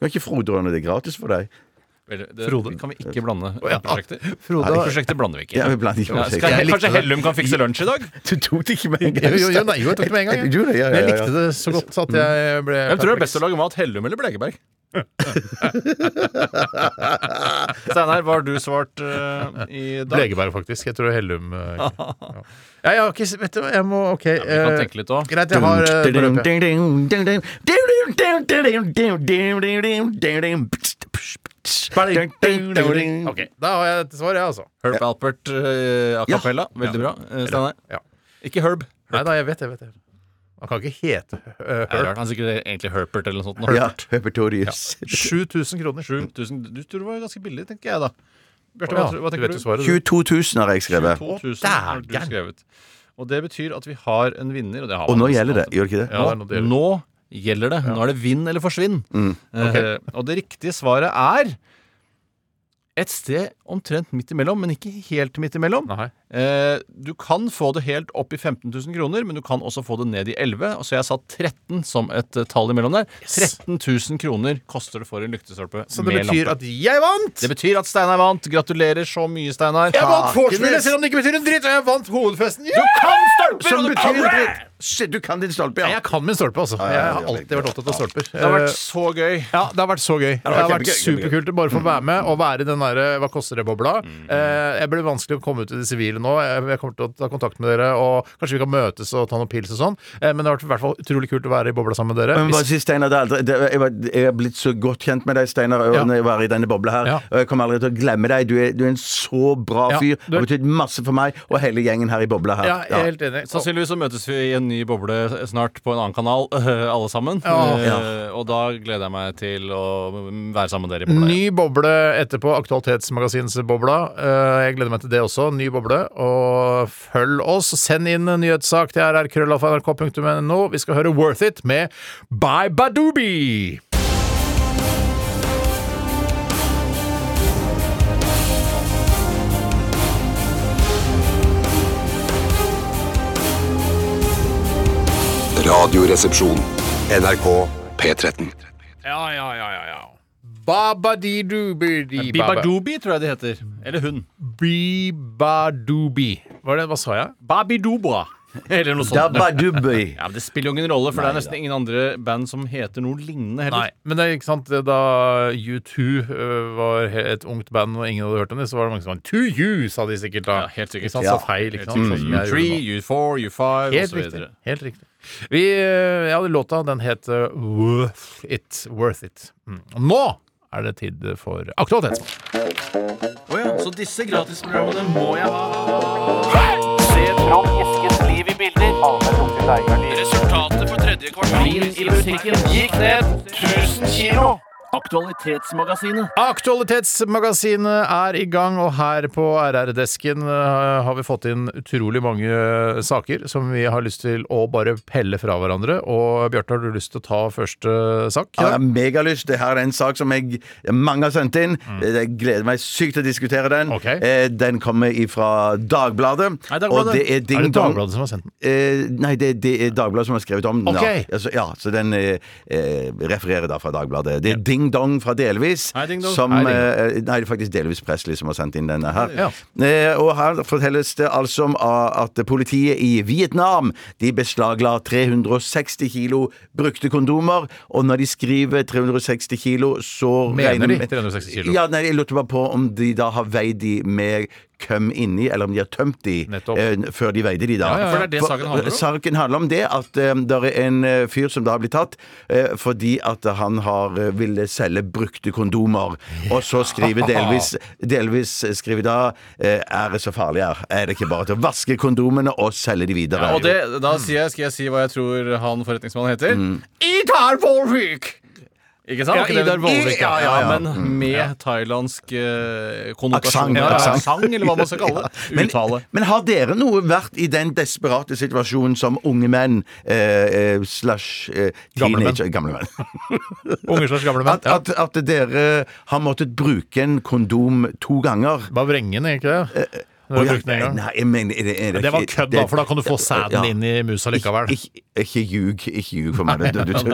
[SPEAKER 6] Kan ikke Frode ordne det gratis for deg?
[SPEAKER 5] Vel, Det
[SPEAKER 4] Frode.
[SPEAKER 5] kan vi ikke blande
[SPEAKER 4] ja.
[SPEAKER 5] [LAUGHS] prosjekter.
[SPEAKER 4] Frode,
[SPEAKER 5] Nei,
[SPEAKER 4] da-
[SPEAKER 5] prosjekter blander vi ikke.
[SPEAKER 6] Ja, vi blander ikke
[SPEAKER 5] Ja,
[SPEAKER 6] prosjekter.
[SPEAKER 5] skal,
[SPEAKER 6] Jeg likte
[SPEAKER 5] kanskje
[SPEAKER 6] det.
[SPEAKER 5] Hellum kan fikse lunsj i dag?
[SPEAKER 6] [LAUGHS] Du tok det ikke med en
[SPEAKER 4] Jo, jo, jo, nei, jo, jeg tok det med en gang.
[SPEAKER 6] Du gjorde det, ja,
[SPEAKER 4] Men
[SPEAKER 6] ja,
[SPEAKER 4] Jeg
[SPEAKER 6] ja.
[SPEAKER 4] likte det så godt at jeg ble
[SPEAKER 5] Hvem tror du er best til å lage mat, Hellum eller Blekeberg? Steinar, hva har du svart
[SPEAKER 4] [LAUGHS]
[SPEAKER 5] eh, i dag?
[SPEAKER 4] Blegeberg, faktisk. Jeg tror det er Hellum. eh, ja. Ja, jeg har ikke s- Vet du hva, jeg må OK.
[SPEAKER 5] Vi kan
[SPEAKER 4] eh,
[SPEAKER 5] tenke litt òg.
[SPEAKER 4] Greit, jeg har eh, beløpet.
[SPEAKER 6] Ok.
[SPEAKER 4] Ok, Da har jeg et svar, jeg, altså.
[SPEAKER 5] Herb Alpert eh, a
[SPEAKER 6] Ja.
[SPEAKER 5] cappella. Veldig bra. eh, Steinar.
[SPEAKER 4] Ja.
[SPEAKER 5] Ikke Herb.
[SPEAKER 4] Nei da, jeg vet det. jeg vet det. Han kan ikke hete eh,
[SPEAKER 5] Det er rart. Han er sikkert egentlig Herpert eller noe sånt. nå.
[SPEAKER 6] Ja, Herpetorius. [LAUGHS]
[SPEAKER 4] 7000 kroner.
[SPEAKER 5] 7000. Du tror det var ganske billig, tenker jeg da. Bjarte,
[SPEAKER 4] Ja,
[SPEAKER 5] hva, tror- hva
[SPEAKER 4] du
[SPEAKER 5] tenker
[SPEAKER 4] vet
[SPEAKER 5] du?
[SPEAKER 4] jo svaret. du.
[SPEAKER 6] 22 000 har jeg skrevet.
[SPEAKER 5] 2000 har du
[SPEAKER 4] dægen.
[SPEAKER 5] skrevet. Og det betyr at vi har en vinner. Og, det har altså.
[SPEAKER 6] Og
[SPEAKER 5] man
[SPEAKER 6] nå
[SPEAKER 5] nesten
[SPEAKER 6] gjelder det,
[SPEAKER 5] alltid.
[SPEAKER 6] gjør det ikke det?
[SPEAKER 4] Ja, det er noe det
[SPEAKER 5] nå,
[SPEAKER 4] gjelder.
[SPEAKER 5] nå gjelder det. Nå er det vinn eller forsvinn. Eh, og det riktige svaret er et sted omtrent midt imellom, men ikke helt midt imellom.
[SPEAKER 4] Nei.
[SPEAKER 5] Eh, du kan få det helt opp i 15 000 kroner, men du kan også få det ned i 11 og Så jeg sa 13 som et eh, tall imellom der. 13 000 kroner koster det for en lyktestolpe
[SPEAKER 4] Så det
[SPEAKER 5] med
[SPEAKER 4] betyr
[SPEAKER 5] lampe.
[SPEAKER 4] at jeg vant!
[SPEAKER 5] Det betyir at Steinar vant. Gratulerer så mye, Steinar.
[SPEAKER 4] Jeg vant vorspielet, selv om det ikke betyr en dritt! Og jeg vant hovedfesten! Yeah!
[SPEAKER 6] Som betyr en dritt. Shit, du kan din stolpe,
[SPEAKER 4] Jeg
[SPEAKER 6] ja.
[SPEAKER 4] kan min stolpe, altså. Jeg har alltid vært opptatt av stolper.
[SPEAKER 5] Det har
[SPEAKER 4] Eh,
[SPEAKER 5] vært så gøy.
[SPEAKER 4] Ja, det har vært så gøy. Mm. Det har vært superkult å bare få være med og være i den derre hva koster det-bobla. Eh, Jeg blir vanskelig å komme ut i det sivile nå. Jeg jeg kommer til å ta kontakt med dere, og kanskje vi kan møtes og ta noen pils og sånn. Eh, Men det har vært i hvert fall utrolig kult å være i bobla sammen med dere.
[SPEAKER 6] Men bare
[SPEAKER 4] Hvis-
[SPEAKER 6] si, Steinar, det er aldri, det, jeg, var, jeg er blitt så godt kjent med deg, Steinar,
[SPEAKER 4] Ja.
[SPEAKER 6] når jeg var i denne bobla her.
[SPEAKER 4] Ja.
[SPEAKER 6] Og jeg kommer aldri til å glemme deg. Du er, du er en så bra
[SPEAKER 4] Ja,
[SPEAKER 6] fyr.
[SPEAKER 4] du
[SPEAKER 6] Du
[SPEAKER 4] er-
[SPEAKER 6] har betydd masse for meg og hele gjengen her i bobla her.
[SPEAKER 4] Ja, jeg er helt enig.
[SPEAKER 5] Sannsynligvis så møtes vi i en ny boble snart på en annen kanal, [LAUGHS] alle sammen.
[SPEAKER 4] Ja.
[SPEAKER 5] Eh, Og da gleder jeg meg til å være sammen med dere i bobla.
[SPEAKER 4] Ny boble etterpå. Aktualitetsmagasinsbobla. Eh, Jeg gleder meg til det også. Ny boble. Og følg oss. Send inn en nyhetssak til rrkrøllalfa.nrk.no. Vi skal høre Worth It med Bye Badoobi!
[SPEAKER 2] Radioresepsjon. NRK P13.
[SPEAKER 4] Ja, ja, ja, ja, ja. Babadidubidi
[SPEAKER 5] Bibadobi, tror jeg det heter. Eller hun.
[SPEAKER 4] Bibadubi. Hva, er det, hva sa jeg?
[SPEAKER 5] Babidobra. [LAUGHS] Eller
[SPEAKER 4] sånn.
[SPEAKER 5] noe
[SPEAKER 4] [LAUGHS]
[SPEAKER 5] sånt.
[SPEAKER 6] Dabadubøy.
[SPEAKER 5] Ja, men Det spiller jo ingen rolle, for det er nesten ingen andre band som heter noe
[SPEAKER 4] Nei,
[SPEAKER 5] lignende heller.
[SPEAKER 4] men det er ikke sant det Da U2 øh, var he- et ungt band og ingen hadde hørt om det, så var det mange som sa To you, sa de sikkert da.
[SPEAKER 5] Ja, helt sikkert.
[SPEAKER 4] Ikke sant?
[SPEAKER 5] Ja.
[SPEAKER 4] Så feil, ikke sant?
[SPEAKER 5] Sånn
[SPEAKER 4] Sånn
[SPEAKER 5] som
[SPEAKER 4] som jeg
[SPEAKER 5] U3,
[SPEAKER 4] gjorde nå.
[SPEAKER 5] U4,
[SPEAKER 4] Helt
[SPEAKER 5] U5 osv.
[SPEAKER 4] riktig. Helt riktig. eh, Vi, øh, ja, låta den het øh, Worth It. Worth It. Mm. Nå er det tid for Aktualitetsmorgen.
[SPEAKER 5] Så disse gratisprogrammene må jeg ha. Resultatet for tredje
[SPEAKER 4] Aktualitetsmagasinet er i gang, og her på RR-desken eh, har vi fått inn utrolig mange eh, saker som vi har lyst til å bare pelle fra hverandre. Og Bjarte, har du lyst til å ta første sak? i
[SPEAKER 6] Ja, jeg
[SPEAKER 4] dag?
[SPEAKER 6] har megalyst. Det her er en sak som jeg, mange har sendt inn. Eh, Jeg gleder meg sykt til å diskutere den.
[SPEAKER 4] Mm. Ok.
[SPEAKER 6] Eh, Den kommer ifra Dagbladet.
[SPEAKER 5] Nei,
[SPEAKER 6] Og
[SPEAKER 5] Dagbladet.
[SPEAKER 6] det er
[SPEAKER 4] Er
[SPEAKER 6] Ding
[SPEAKER 4] det
[SPEAKER 6] Dong.
[SPEAKER 4] Dagbladet som har sendt den?
[SPEAKER 6] Eh, nei, det, det er Dagbladet som har skrevet om den. da.
[SPEAKER 4] Ok.
[SPEAKER 6] Altså, ja, så den eh, eh, refererer da fra Dagbladet. Det er Ding Dong fra Delvis.
[SPEAKER 5] Hei, Ding Dong.
[SPEAKER 4] Hei, Ding
[SPEAKER 6] Som, eh, nei, det er faktisk Delvis Presley som har sendt inn denne her.
[SPEAKER 4] Ja.
[SPEAKER 6] Eh, og her fortelles det altså om ah, at politiet i Vietnam De beslagla 360 kilo brukte kondomer, og når de skriver 360 kilo, så
[SPEAKER 4] Mener
[SPEAKER 6] regner
[SPEAKER 4] de
[SPEAKER 6] med-
[SPEAKER 4] 360 kilo?
[SPEAKER 6] Ja, nei, jeg lurte bare på om de da har veid de med køm inni, eller om de har tømt de
[SPEAKER 4] Nettopp.
[SPEAKER 6] eh, før de veide de, da. eh,
[SPEAKER 5] Ja, ja, ja. For det er det saken handler om.
[SPEAKER 6] Saken handler om det at det er en eh, fyr som da har blitt tatt eh, fordi at han har eh, ville selge brukte kondomer. Og så skriver
[SPEAKER 5] [LAUGHS]
[SPEAKER 6] delvis, delvis skriver da eh, Er det så farlig her? Er det ikke bare til å vaske kondomene og selge de videre?
[SPEAKER 5] Og det, da sier jeg, skal jeg si hva jeg tror han forretningsmannen heter? Idar Volvik! Ikke sant?
[SPEAKER 4] Ja,
[SPEAKER 5] Var ikke det-
[SPEAKER 4] Idar Vollvik,
[SPEAKER 5] ja, ja,
[SPEAKER 6] ja.
[SPEAKER 5] men med thailandsk eh,
[SPEAKER 6] Aksang,
[SPEAKER 5] konnotasjon. Ja,
[SPEAKER 6] aksang.
[SPEAKER 5] aksang, eller hva man skal kalle det.
[SPEAKER 6] Men,
[SPEAKER 5] Uttale.
[SPEAKER 6] men har dere noe vært i den desperate situasjonen som unge menn eh, eh, slash eh,
[SPEAKER 4] Gamle menn.
[SPEAKER 6] teenager Gamle menn.
[SPEAKER 4] Unge slags gamle menn.
[SPEAKER 6] At,
[SPEAKER 4] Ja.
[SPEAKER 6] at, at dere har måttet bruke en kondom to ganger.
[SPEAKER 4] Bare vrenge den, egentlig. Når du har
[SPEAKER 6] Å, ja,
[SPEAKER 4] brukt den en gang.
[SPEAKER 6] Nei, jeg mener, er det, er
[SPEAKER 4] Det var
[SPEAKER 6] Eh, ikke-
[SPEAKER 4] kødd, da, for da kan du få sæden
[SPEAKER 6] Ja.
[SPEAKER 4] inn i musa likevel.
[SPEAKER 6] Ikke, ikke ljug. Ikke ljug for meg. Det, du, du, du,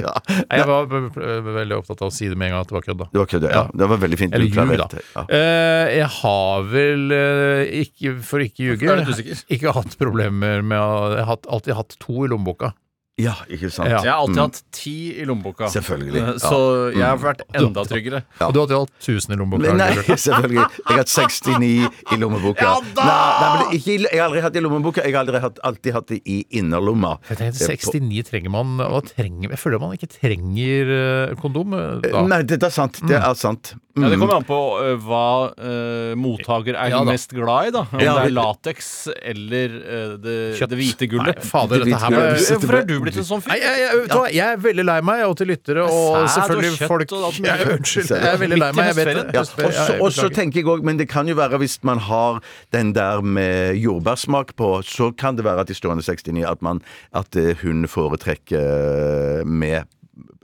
[SPEAKER 6] ja.
[SPEAKER 4] Nei, Jeg var b- b- veldig opptatt av å si det med en gang at det var kødd, da.
[SPEAKER 6] Det var kødd, ja. Det var veldig fint.
[SPEAKER 4] Eller
[SPEAKER 6] du klarerte
[SPEAKER 4] ljug, da.
[SPEAKER 6] det. Ja.
[SPEAKER 4] Eh, jeg har vel, eh, ikke, for ikke å
[SPEAKER 5] Er du litt
[SPEAKER 4] ljuge,
[SPEAKER 5] usikker?
[SPEAKER 4] ikke hatt problemer med å Jeg har hatt- alltid hatt to i lommeboka.
[SPEAKER 6] ja, ikke sant.
[SPEAKER 4] Ja.
[SPEAKER 5] Jeg har alltid hatt ti i lommeboka.
[SPEAKER 6] Selvfølgelig,
[SPEAKER 5] Eh,
[SPEAKER 6] ja.
[SPEAKER 5] Så jeg har vært enda tryggere.
[SPEAKER 4] Og du har alltid hatt 1000 i lommeboka.
[SPEAKER 6] Men, nei,
[SPEAKER 4] har du hørt.
[SPEAKER 6] selvfølgelig. Jeg har hatt 69 i lommeboka.
[SPEAKER 4] Ja da!
[SPEAKER 6] Nei, nei, men det- ikke, i- jeg har aldri hatt det i lommeboka. Jeg har aldri hatt, alltid hatt det i innerlomma.
[SPEAKER 4] Jeg tenkte, 69 trenger man, og trenger, Jeg føler man ikke trenger eh, kondom eh, da.
[SPEAKER 6] Nei, det, det er sant. Det
[SPEAKER 4] Mm.
[SPEAKER 6] er sant.
[SPEAKER 5] Ja, det kommer an på eh, hva eh, mottaker er
[SPEAKER 4] Ja, da.
[SPEAKER 5] mest glad i, da. Om
[SPEAKER 6] Ja,
[SPEAKER 5] det er
[SPEAKER 6] vi-
[SPEAKER 5] lateks eller eh, det,
[SPEAKER 4] Kjøtt.
[SPEAKER 5] det hvite
[SPEAKER 4] Nei,
[SPEAKER 5] gullet.
[SPEAKER 4] fader,
[SPEAKER 6] Det
[SPEAKER 4] dette her ble
[SPEAKER 6] hvite gullet.
[SPEAKER 5] Eh, Hvorfor er du blitt en sånn
[SPEAKER 4] Nei,
[SPEAKER 5] fyr?
[SPEAKER 4] jeg, jeg, vet du hva, jeg er veldig lei meg, og til lyttere og
[SPEAKER 5] Sæd og
[SPEAKER 4] selvfølgelig
[SPEAKER 5] kjøtt
[SPEAKER 4] folk
[SPEAKER 5] og alt mulig.
[SPEAKER 4] jeg, er- Unnskyld. Jeg er veldig lei meg. Jeg vet det.
[SPEAKER 5] Midt i
[SPEAKER 6] Ja,
[SPEAKER 4] Jeg
[SPEAKER 6] også- og så
[SPEAKER 4] beklager.
[SPEAKER 6] tenker jeg òg, men det kan jo være hvis man har den der med jordbærsmak på, så kan det være at i stående 69 at, man, at eh, hun foretrekker med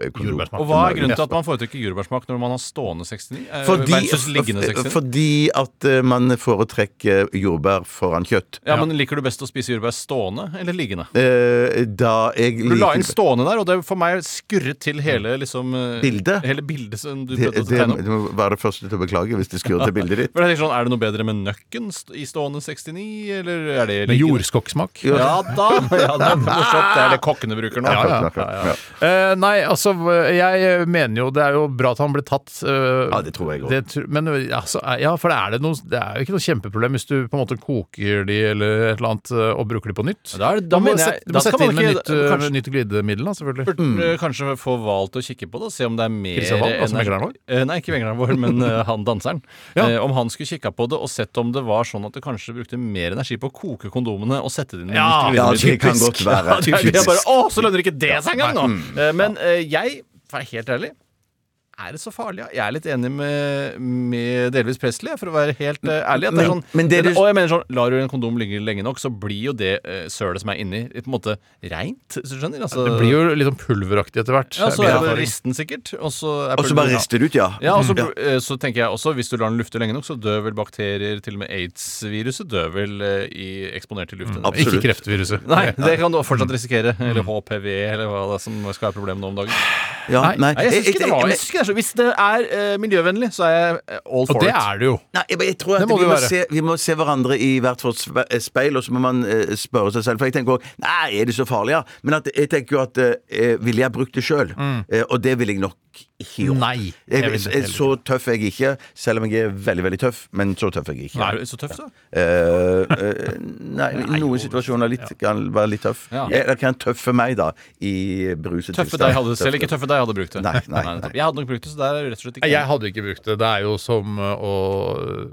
[SPEAKER 6] eh, kondom.
[SPEAKER 4] Jordbærsmak.
[SPEAKER 5] Og hva er grunnen til at man foretrekker jordbærsmak når man har stående 69? eh,
[SPEAKER 6] Fordi,
[SPEAKER 5] versus liggende 69?
[SPEAKER 6] fordi at eh, man foretrekker jordbær foran kjøtt.
[SPEAKER 5] ja, men Liker du best å spise jordbær stående eller liggende?
[SPEAKER 6] Eh, Da jeg
[SPEAKER 5] Du la inn
[SPEAKER 6] liker
[SPEAKER 5] stående der, og det for meg skurret til hele liksom, eh,
[SPEAKER 6] Bildet?
[SPEAKER 5] Hele bildet som du
[SPEAKER 6] det,
[SPEAKER 5] prøvde å
[SPEAKER 6] det,
[SPEAKER 5] tegne opp.
[SPEAKER 6] det må være det første til å beklage hvis det skurrer til bildet ditt.
[SPEAKER 5] For jeg tenker sånn, Er det noe bedre med nøkken st- i stående 69, eller er det
[SPEAKER 4] Med
[SPEAKER 5] liggende?
[SPEAKER 4] jordskokksmak.
[SPEAKER 5] Ja da! [LAUGHS] Ja, det er morsomt. Det er det kokkene bruker nå.
[SPEAKER 4] Ja, ja.
[SPEAKER 6] Ja.
[SPEAKER 4] Eh, nei, altså, jeg mener jo Det er jo bra at han ble tatt. eh,
[SPEAKER 6] Ja, det tror jeg også.
[SPEAKER 4] det tr- Men altså, ja, for er det, noe, det er jo ikke noe kjempeproblem hvis du på en måte koker de eller et eller annet eh, og bruker de på nytt.
[SPEAKER 5] Da er det- da
[SPEAKER 4] du må,
[SPEAKER 5] mener jeg-
[SPEAKER 4] sette- du
[SPEAKER 5] da
[SPEAKER 4] må
[SPEAKER 5] skal
[SPEAKER 4] sette
[SPEAKER 5] man
[SPEAKER 4] inn med
[SPEAKER 5] ikke-
[SPEAKER 4] nytt, eh,
[SPEAKER 5] kanskje-
[SPEAKER 4] nytt glidemiddel, da, selvfølgelig.
[SPEAKER 6] Mm.
[SPEAKER 5] Burde kanskje få Val til å kikke på det og se om det er mer
[SPEAKER 4] Christian Wahl, altså
[SPEAKER 5] energi-
[SPEAKER 4] megleren vår?
[SPEAKER 5] Eh, Nei, ikke megleren vår, men eh, han danseren.
[SPEAKER 4] Ja.
[SPEAKER 5] Eh, Om han skulle kikka på det og sett om det var sånn at du kanskje brukte mer energi på å koke kondomene og sette det inn i
[SPEAKER 4] Ja,
[SPEAKER 6] Ja,
[SPEAKER 5] mikrofonen.
[SPEAKER 6] det kan godt
[SPEAKER 5] [LAUGHS]
[SPEAKER 6] være. mm.
[SPEAKER 5] Det er det jeg bare, Å, så lønner ikke det seg engang, nå! Eh, Men eh, jeg, for å være helt ærlig er det så farlig? ja? Jeg er litt enig med, med delvis Presley, for å være helt eh, ærlig. At det er
[SPEAKER 6] Men-
[SPEAKER 5] sånn,
[SPEAKER 6] men det du-
[SPEAKER 5] og jeg mener sånn, Lar du en kondom ligge lenge nok, så blir jo det eh, sølet som er inni, på en måte reint. Hvis du skjønner? Altså,
[SPEAKER 4] Det blir jo litt sånn pulveraktig etter hvert.
[SPEAKER 5] ja, så
[SPEAKER 4] Min
[SPEAKER 5] er det
[SPEAKER 4] erfaring.
[SPEAKER 5] risten sikkert. Og så er
[SPEAKER 6] Og så bare rister det ut, ja.
[SPEAKER 5] Ja, og så,
[SPEAKER 6] Ja.
[SPEAKER 5] eh, så tenker jeg også Hvis du lar den lufte lenge nok, så dør vel bakterier. Til og med aids-viruset dør vel eh, i, eksponert i luften.
[SPEAKER 6] Absolutt.
[SPEAKER 4] Ikke kreftviruset.
[SPEAKER 5] Nei, det kan du fortsatt risikere. Eller HPV, eller hva det er som skal være problemet nå om dagen.
[SPEAKER 6] Ja,
[SPEAKER 4] Nei,
[SPEAKER 5] Nei, jeg syns ikke det var jeg synes ikke det er så Hvis det er eh, miljøvennlig, så er jeg eh, all
[SPEAKER 4] Og
[SPEAKER 5] for
[SPEAKER 4] det
[SPEAKER 5] it.
[SPEAKER 4] er det jo.
[SPEAKER 6] Nei, jeg, jeg tror at
[SPEAKER 4] Det må
[SPEAKER 6] vi,
[SPEAKER 4] det
[SPEAKER 6] må
[SPEAKER 4] være.
[SPEAKER 6] se, vi må se hverandre i hvert vårt sve- speil, og så må man eh, spørre seg selv. For jeg tenker òg Nei, er det så farlig, ja? Men at, jeg tenker jo at eh, eh, Ville jeg brukt det sjøl? Eh, og det ville jeg nok ikke gjort.
[SPEAKER 4] Nei, jeg
[SPEAKER 6] Jeg,
[SPEAKER 4] ville
[SPEAKER 6] jeg,
[SPEAKER 4] heller
[SPEAKER 6] så tøff er jeg ikke, selv om jeg er veldig veldig tøff. Men så tøff er jeg ikke.
[SPEAKER 5] Er du så tøff, da?
[SPEAKER 6] Eh, eh, nei, i noen situasjoner litt, kan være litt tøff. Eh,
[SPEAKER 5] Ja.
[SPEAKER 6] Eller kan tøffe meg, da, i bruset
[SPEAKER 5] Tøffe deg hadde det selv. Ikke tøffe deg hadde brukt det.
[SPEAKER 6] Nei,
[SPEAKER 5] [LAUGHS]
[SPEAKER 6] nei, nei.
[SPEAKER 5] Jeg hadde nok brukt det, så der er det rett og slett ikke
[SPEAKER 4] Jeg hadde ikke brukt det. Det er jo som uh, å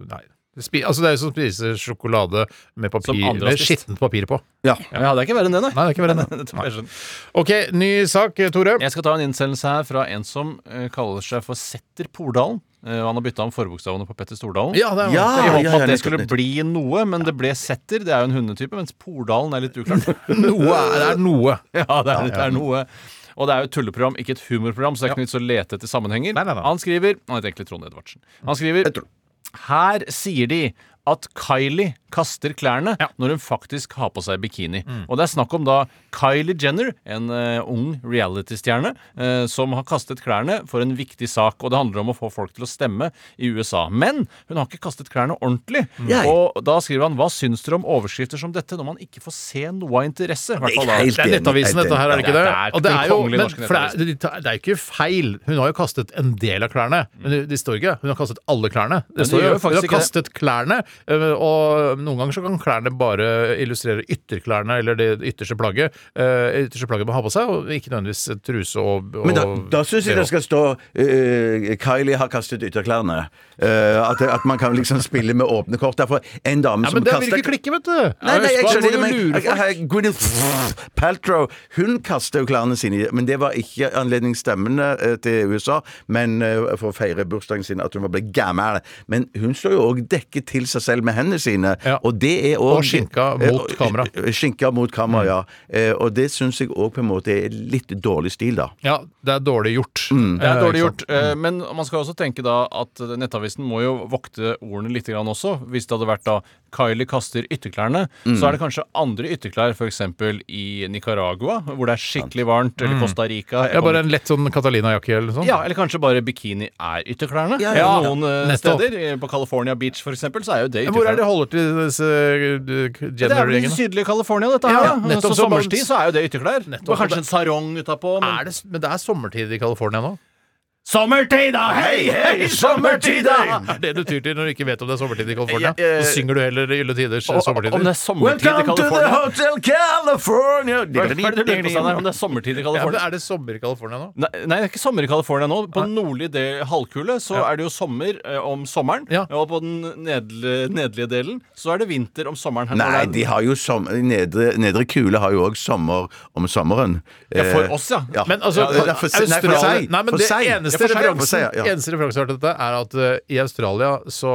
[SPEAKER 4] Nei. Spi, altså det er jo som å spise sjokolade med papir,
[SPEAKER 5] Som andre
[SPEAKER 4] med
[SPEAKER 5] har spist.
[SPEAKER 4] skittent papir på.
[SPEAKER 6] Ja.
[SPEAKER 5] Ja, men det er ikke verre enn [LAUGHS] det, nei.
[SPEAKER 4] Nei, det er ikke verre enn det.
[SPEAKER 5] Nettopp, jeg skjønner.
[SPEAKER 4] OK, ny sak, eh, Tore.
[SPEAKER 5] Jeg skal ta en innsendelse her fra en som eh, kaller seg for Setter Pordalen. Eh, og han har bytta om forbokstavene på Petter Stordalen.
[SPEAKER 4] Ja, det er
[SPEAKER 6] Ja,
[SPEAKER 5] Jeg håpet
[SPEAKER 6] ja, ja,
[SPEAKER 5] at det
[SPEAKER 6] nettopp,
[SPEAKER 5] skulle
[SPEAKER 6] nettopp.
[SPEAKER 5] bli noe, men det ble Setter. Det er jo en hundetype, mens Pordalen er litt uklart.
[SPEAKER 4] [LAUGHS] noe. er- Det er noe.
[SPEAKER 5] [LAUGHS] Ja, det er, det er noe. Og det er jo et tulleprogram, ikke et humorprogram, så det er ikke noe vits å lete etter sammenhenger.
[SPEAKER 4] Nei, nei, nei.
[SPEAKER 5] Han skriver Han heter egentlig Trond Edvardsen. Han skriver Her sier de at Kylie kaster klærne når hun faktisk har på seg bikini. Og det er snakk om da Kylie Jenner, en eh, ung reality-stjerne, eh, som har kastet klærne for en viktig sak. Og det handler om å få folk til å stemme i USA. Men hun har ikke kastet klærne ordentlig.
[SPEAKER 6] Jeg.
[SPEAKER 5] Og da skriver han Hva syns dere om overskrifter som dette når man ikke får se noe av interesse? I hvert fall da-
[SPEAKER 6] helt
[SPEAKER 4] Det er
[SPEAKER 6] enig,
[SPEAKER 4] Nettavisen,
[SPEAKER 6] helt
[SPEAKER 4] dette her, er det
[SPEAKER 5] enig.
[SPEAKER 4] ikke det?
[SPEAKER 5] Ja, det er
[SPEAKER 4] Og det er
[SPEAKER 5] den
[SPEAKER 4] jo,
[SPEAKER 5] kongelige
[SPEAKER 4] men,
[SPEAKER 5] norske
[SPEAKER 4] for det, er, det er jo ikke feil. Hun har jo kastet en del av klærne. Men det- det står ikke. Hun har kastet alle klærne. Det
[SPEAKER 5] det
[SPEAKER 4] står
[SPEAKER 5] gjør
[SPEAKER 4] jo
[SPEAKER 5] jo
[SPEAKER 4] Hun
[SPEAKER 5] faktisk
[SPEAKER 4] har
[SPEAKER 5] ikke
[SPEAKER 4] kastet klærne, øh, og noen ganger så kan klærne bare illustrere ytterklærne, eller det ytterste plagget. øh, Ytterste plagget man har på seg, og ikke nødvendigvis truse og, og
[SPEAKER 6] Men da, da syns jeg det skal stå eh, Kylie har kastet ytterklærne. Eh, at, at man kan liksom spille med åpne kort. Derfor en dame
[SPEAKER 4] Ja,
[SPEAKER 6] som
[SPEAKER 4] men det
[SPEAKER 6] kaster
[SPEAKER 4] vil ikke klikke, vet du!
[SPEAKER 6] Nei, nei, jeg
[SPEAKER 4] Husk på,
[SPEAKER 6] skjønner det,
[SPEAKER 4] må
[SPEAKER 6] men
[SPEAKER 4] du lure folk.
[SPEAKER 6] jeg- Gwyneth Paltrow Hun kastet jo klærne sine, i- men det var ikke anledningsstemmene eh, til USA men eh, for å feire bursdagen sin, at hun var blitt gammel. Men hun står jo òg dekket til seg selv med hendene sine,
[SPEAKER 4] Ja.
[SPEAKER 6] og det er òg
[SPEAKER 4] Og skinka mot kamera. Mm.
[SPEAKER 6] Skinka mot kamera, ja. Eh, Og det syns jeg òg på en måte er litt dårlig stil, da.
[SPEAKER 4] Ja, det er dårlig gjort.
[SPEAKER 5] Det er
[SPEAKER 4] Eh,
[SPEAKER 5] dårlig
[SPEAKER 4] ikke sant?
[SPEAKER 5] gjort, eh, men man skal også tenke da at eh, Nettavisen må jo vokte ordene litt grann også. Hvis det hadde vært da Kylie kaster ytterklærne,
[SPEAKER 4] Mm.
[SPEAKER 5] så er det kanskje andre ytterklær, f.eks. i Nicaragua, hvor det er skikkelig varmt, eller Costa Rica. Jeg
[SPEAKER 4] Mm. Ja, bare
[SPEAKER 5] kommer-
[SPEAKER 4] en lett sånn Catalina-jakke eller noe sånt.
[SPEAKER 5] ja, eller kanskje bare bikini er ytterklærne.
[SPEAKER 6] Ja, ja, ja.
[SPEAKER 5] Noen eh,
[SPEAKER 4] Nettopp.
[SPEAKER 5] steder, eh, på California Beach f.eks., så er jo det
[SPEAKER 4] Hvor er det
[SPEAKER 5] ytterklærne.
[SPEAKER 4] holder til disse øh,
[SPEAKER 5] Det er vel i
[SPEAKER 4] Jenner-gjengen? da?
[SPEAKER 5] sydlige California, dette her.
[SPEAKER 4] Ja,
[SPEAKER 5] da.
[SPEAKER 4] nettopp,
[SPEAKER 5] så
[SPEAKER 4] så bare-
[SPEAKER 5] sommerstid så er jo det ytterklær.
[SPEAKER 4] Nettopp.
[SPEAKER 5] Og kanskje en sarong utapå. Men...
[SPEAKER 4] Er det, men det er sommertid i California nå?
[SPEAKER 5] Sommertida! Hei, hei, sommertida!
[SPEAKER 4] Det er det du tyr til når du ikke vet om det er sommertid i California.
[SPEAKER 6] Ja, ja, ja.
[SPEAKER 4] Så synger du heller Ylle Tiders eh, sommertider.
[SPEAKER 5] Om det er sommertid i California
[SPEAKER 6] Hotel California!
[SPEAKER 5] Hva er det du lurer på, Steinar? Om det er sommertid i
[SPEAKER 4] ja, men
[SPEAKER 5] California?
[SPEAKER 4] er det sommer i California nå?
[SPEAKER 5] Nei, nei, det er ikke sommer i California nå. På den nordlige del, halvkule så er det jo sommer eh, om sommeren.
[SPEAKER 4] Ja.
[SPEAKER 5] Og på den nedle, nedlige delen så er det vinter om sommeren. Her
[SPEAKER 6] Nei,
[SPEAKER 5] når
[SPEAKER 6] de
[SPEAKER 5] det er-
[SPEAKER 6] har jo som, nedre, nedre Kule har jo òg sommer om sommeren. Eh,
[SPEAKER 5] Ja, for oss, ja.
[SPEAKER 6] Ja.
[SPEAKER 4] Men altså,
[SPEAKER 6] det er for se- nei, for
[SPEAKER 4] Australia-
[SPEAKER 6] seg.
[SPEAKER 4] Nei, men
[SPEAKER 6] For
[SPEAKER 4] det
[SPEAKER 6] seg. Ja,
[SPEAKER 4] eneste
[SPEAKER 6] for seg, ja, for
[SPEAKER 4] referansen
[SPEAKER 6] seg, ja.
[SPEAKER 4] Eneste referansen jeg har til dette, er at eh, i Australia så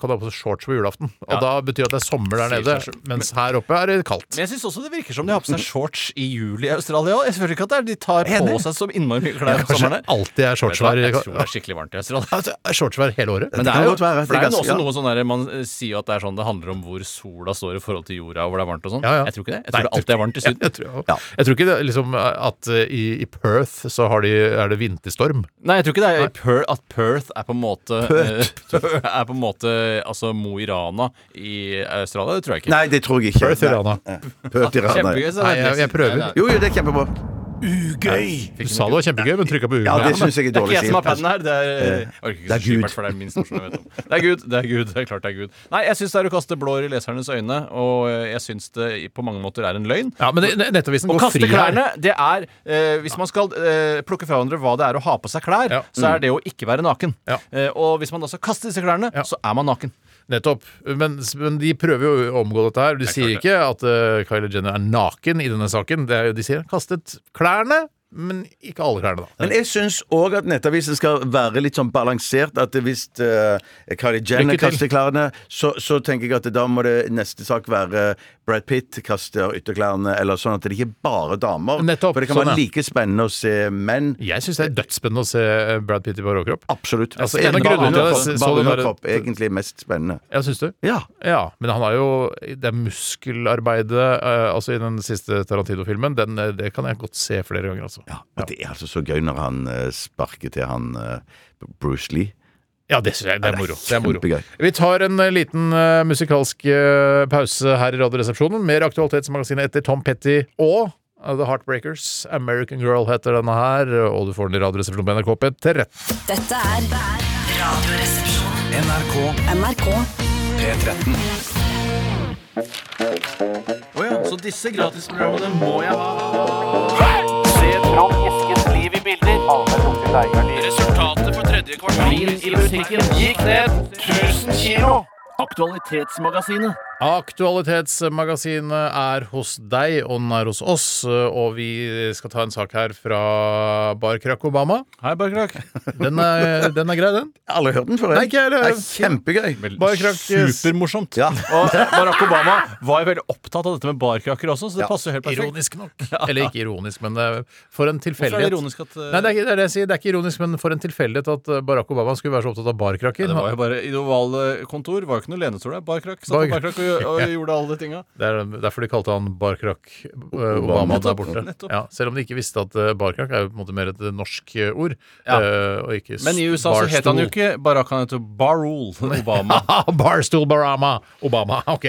[SPEAKER 4] kan du ha på deg shorts på julaften. Og da betyr det at det er sommer der nede, mens her oppe er det kaldt.
[SPEAKER 5] Men jeg syns også det virker som de har på seg shorts i juli i Australia. også. Jeg føler ikke at det er, de tar på seg så innmari mye klær om
[SPEAKER 4] Kanskje
[SPEAKER 5] sommeren. her.
[SPEAKER 4] alltid er
[SPEAKER 5] Vet du hva,
[SPEAKER 4] shortsvær
[SPEAKER 5] Jeg
[SPEAKER 4] i-
[SPEAKER 5] tror det er skikkelig varmt i Australia.
[SPEAKER 4] Altså, er shortsvær hele året.
[SPEAKER 5] Men det
[SPEAKER 6] kan
[SPEAKER 5] er jo,
[SPEAKER 6] godt være,
[SPEAKER 5] for det er jo
[SPEAKER 6] ganske-
[SPEAKER 5] også
[SPEAKER 6] ja.
[SPEAKER 5] noe sånn der, Man eh, sier jo at det er sånn Det handler om hvor sola står i forhold til jorda, og hvor det er varmt og sånn.
[SPEAKER 4] Ja, ja.
[SPEAKER 5] Jeg tror ikke det.
[SPEAKER 4] Nei,
[SPEAKER 5] Jeg tror det alltid er varmt i
[SPEAKER 4] jeg,
[SPEAKER 5] Syden.
[SPEAKER 4] jeg, tror, jeg tror ikke det, liksom, at eh, i, i Perth så har de, er det vinterstorm.
[SPEAKER 5] Nei, jeg tror ikke det er per, at Perth er på en måte eh, [LAUGHS] Er på en måte altså Mo i Rana i Australia. Det tror jeg ikke.
[SPEAKER 6] Nei, det tror jeg ikke.
[SPEAKER 4] Perth i Rana.
[SPEAKER 6] Nei. Perth i Rana.
[SPEAKER 5] Kjempegøy.
[SPEAKER 6] ja.
[SPEAKER 5] så det er
[SPEAKER 4] Nei, jeg- jeg prøver.
[SPEAKER 5] Nei, nei.
[SPEAKER 6] Jo, jo, det er kjempebra.
[SPEAKER 4] Du sa det var kjempegøy, men trykka på
[SPEAKER 6] Ja,
[SPEAKER 4] uret.
[SPEAKER 6] det syns jeg er
[SPEAKER 5] Det er ikke
[SPEAKER 6] dårlig
[SPEAKER 5] jeg som har paden her. Det er, jeg orker ikke
[SPEAKER 6] det er
[SPEAKER 5] så
[SPEAKER 6] Gud.
[SPEAKER 5] supert, for det er minst morsomme jeg vet om. Det er Gud. Det er Gud, det er klart det er Gud. Nei, jeg syns det er å kaste blår i lesernes øyne, og eh, jeg syns det i- på mange måter er en løgn.
[SPEAKER 4] Ja, men det- Nettavisen
[SPEAKER 5] Å
[SPEAKER 4] går
[SPEAKER 5] kaste
[SPEAKER 4] fri her.
[SPEAKER 5] klærne, det er eh, Hvis man skal eh, plukke fra hverandre hva det er å ha på seg klær,
[SPEAKER 4] Ja.
[SPEAKER 5] så er det å ikke være naken.
[SPEAKER 4] Ja.
[SPEAKER 5] Eh, og hvis man da skal kaste disse klærne,
[SPEAKER 4] Ja.
[SPEAKER 5] så er man naken.
[SPEAKER 4] Nettopp. Men, men de prøver jo å omgå dette her. De sier ikke at eh, Kylie Jenner er naken i denne saken. Det er, jo- de sier kastet klærne, men ikke alle klærne, da.
[SPEAKER 6] Men jeg syns òg at Nettavisen skal være litt sånn balansert. At hvis uh, Kylie Jenner
[SPEAKER 4] Lykke til.
[SPEAKER 6] kaster klærne, så, så tenker jeg at da må det neste sak være Brad Pitt kaster ytterklærne, eller sånn at det ikke bare er damer.
[SPEAKER 4] Nettopp,
[SPEAKER 6] For det kan
[SPEAKER 4] sånn,
[SPEAKER 6] være
[SPEAKER 4] ja.
[SPEAKER 6] like spennende å se menn.
[SPEAKER 4] Jeg syns det er dødsspennende å se eh, Brad Pitt i bare overkropp.
[SPEAKER 6] Absolutt.
[SPEAKER 4] Altså, en av grunnene til at jeg så
[SPEAKER 6] Bare
[SPEAKER 4] den der-
[SPEAKER 6] underkropp er egentlig mest spennende.
[SPEAKER 4] Ja, syns du?
[SPEAKER 6] Ja.
[SPEAKER 4] Ja, men han har jo det er muskelarbeidet eh, Altså i den siste Tarantino-filmen. Den, eh, Det kan jeg godt se flere ganger, altså.
[SPEAKER 6] Ja, og det er altså så gøy når han eh, sparker til han eh, Bruce Lee.
[SPEAKER 4] Ja, det syns jeg. Det er
[SPEAKER 6] Ja, det er
[SPEAKER 4] moro. Det er moro.
[SPEAKER 6] kjempegøy.
[SPEAKER 4] Vi tar en eh, liten eh, musikalsk eh, pause her i Radioresepsjonen. Mer Aktualitetsmagasinet etter Tom Petty og Uh, The Heartbreakers. American Girl heter denne her, og du får den i Radioresepsjonen på NRK P13.
[SPEAKER 1] Dette er Radioresepsjonen. NRK. NRK.
[SPEAKER 5] Så disse gratisprogrammene må jeg ha.
[SPEAKER 7] Se Trond Eskens liv i bilder. Resultatet for tredje kvartal i musikken gikk ned 1000 kilo. Aktualitetsmagasinet.
[SPEAKER 4] Aktualitetsmagasinet er hos deg, og den er hos oss. eh, Og vi skal ta en sak her fra Bar Krakobama.
[SPEAKER 5] Hei,
[SPEAKER 4] [LAUGHS]
[SPEAKER 5] Barkrak.
[SPEAKER 4] Den er, [LAUGHS] den er grei, den.
[SPEAKER 6] Alle har hørt den før?
[SPEAKER 4] Nei, ikke jeg heller.
[SPEAKER 6] Det er kjempegøy.
[SPEAKER 4] Barkrakk, yes.
[SPEAKER 5] Supermorsomt. Og Barack Obama var jo veldig opptatt av dette med barkrakker også, så det passer jo helt perfekt.
[SPEAKER 4] Ironisk nok. Eller ikke ironisk, men eh, for en
[SPEAKER 5] Hvorfor er det
[SPEAKER 4] tilfeldighet.
[SPEAKER 5] ironisk at eh,
[SPEAKER 4] Nei, det er, ikke- det er det jeg sier. Det er ikke ironisk, men for en tilfeldighet at eh, Barack Obama skulle være så opptatt av barkrakker.
[SPEAKER 5] det var jo bare I det ovale kontor var jo ikke noe lenestol der. Barkrakk satt på
[SPEAKER 4] Barkrakk.
[SPEAKER 5] barkrakk
[SPEAKER 4] [LAUGHS]
[SPEAKER 5] og, og gjorde alle de tinga.
[SPEAKER 4] Det er derfor de kalte han Barkrakk eh, Obama der borte.
[SPEAKER 5] nettopp.
[SPEAKER 4] Ja, selv om de ikke visste at eh, Barkrakk er jo på en måte mer et eh, norsk eh, ord.
[SPEAKER 5] Ja.
[SPEAKER 4] eh, Og ikke s-
[SPEAKER 5] Men i USA så het han jo
[SPEAKER 4] barstol.
[SPEAKER 5] ikke Barack, han heter Barul
[SPEAKER 4] [LAUGHS]
[SPEAKER 5] Obama.
[SPEAKER 4] Ah, Barstool Barama Obama. [LAUGHS] Ok,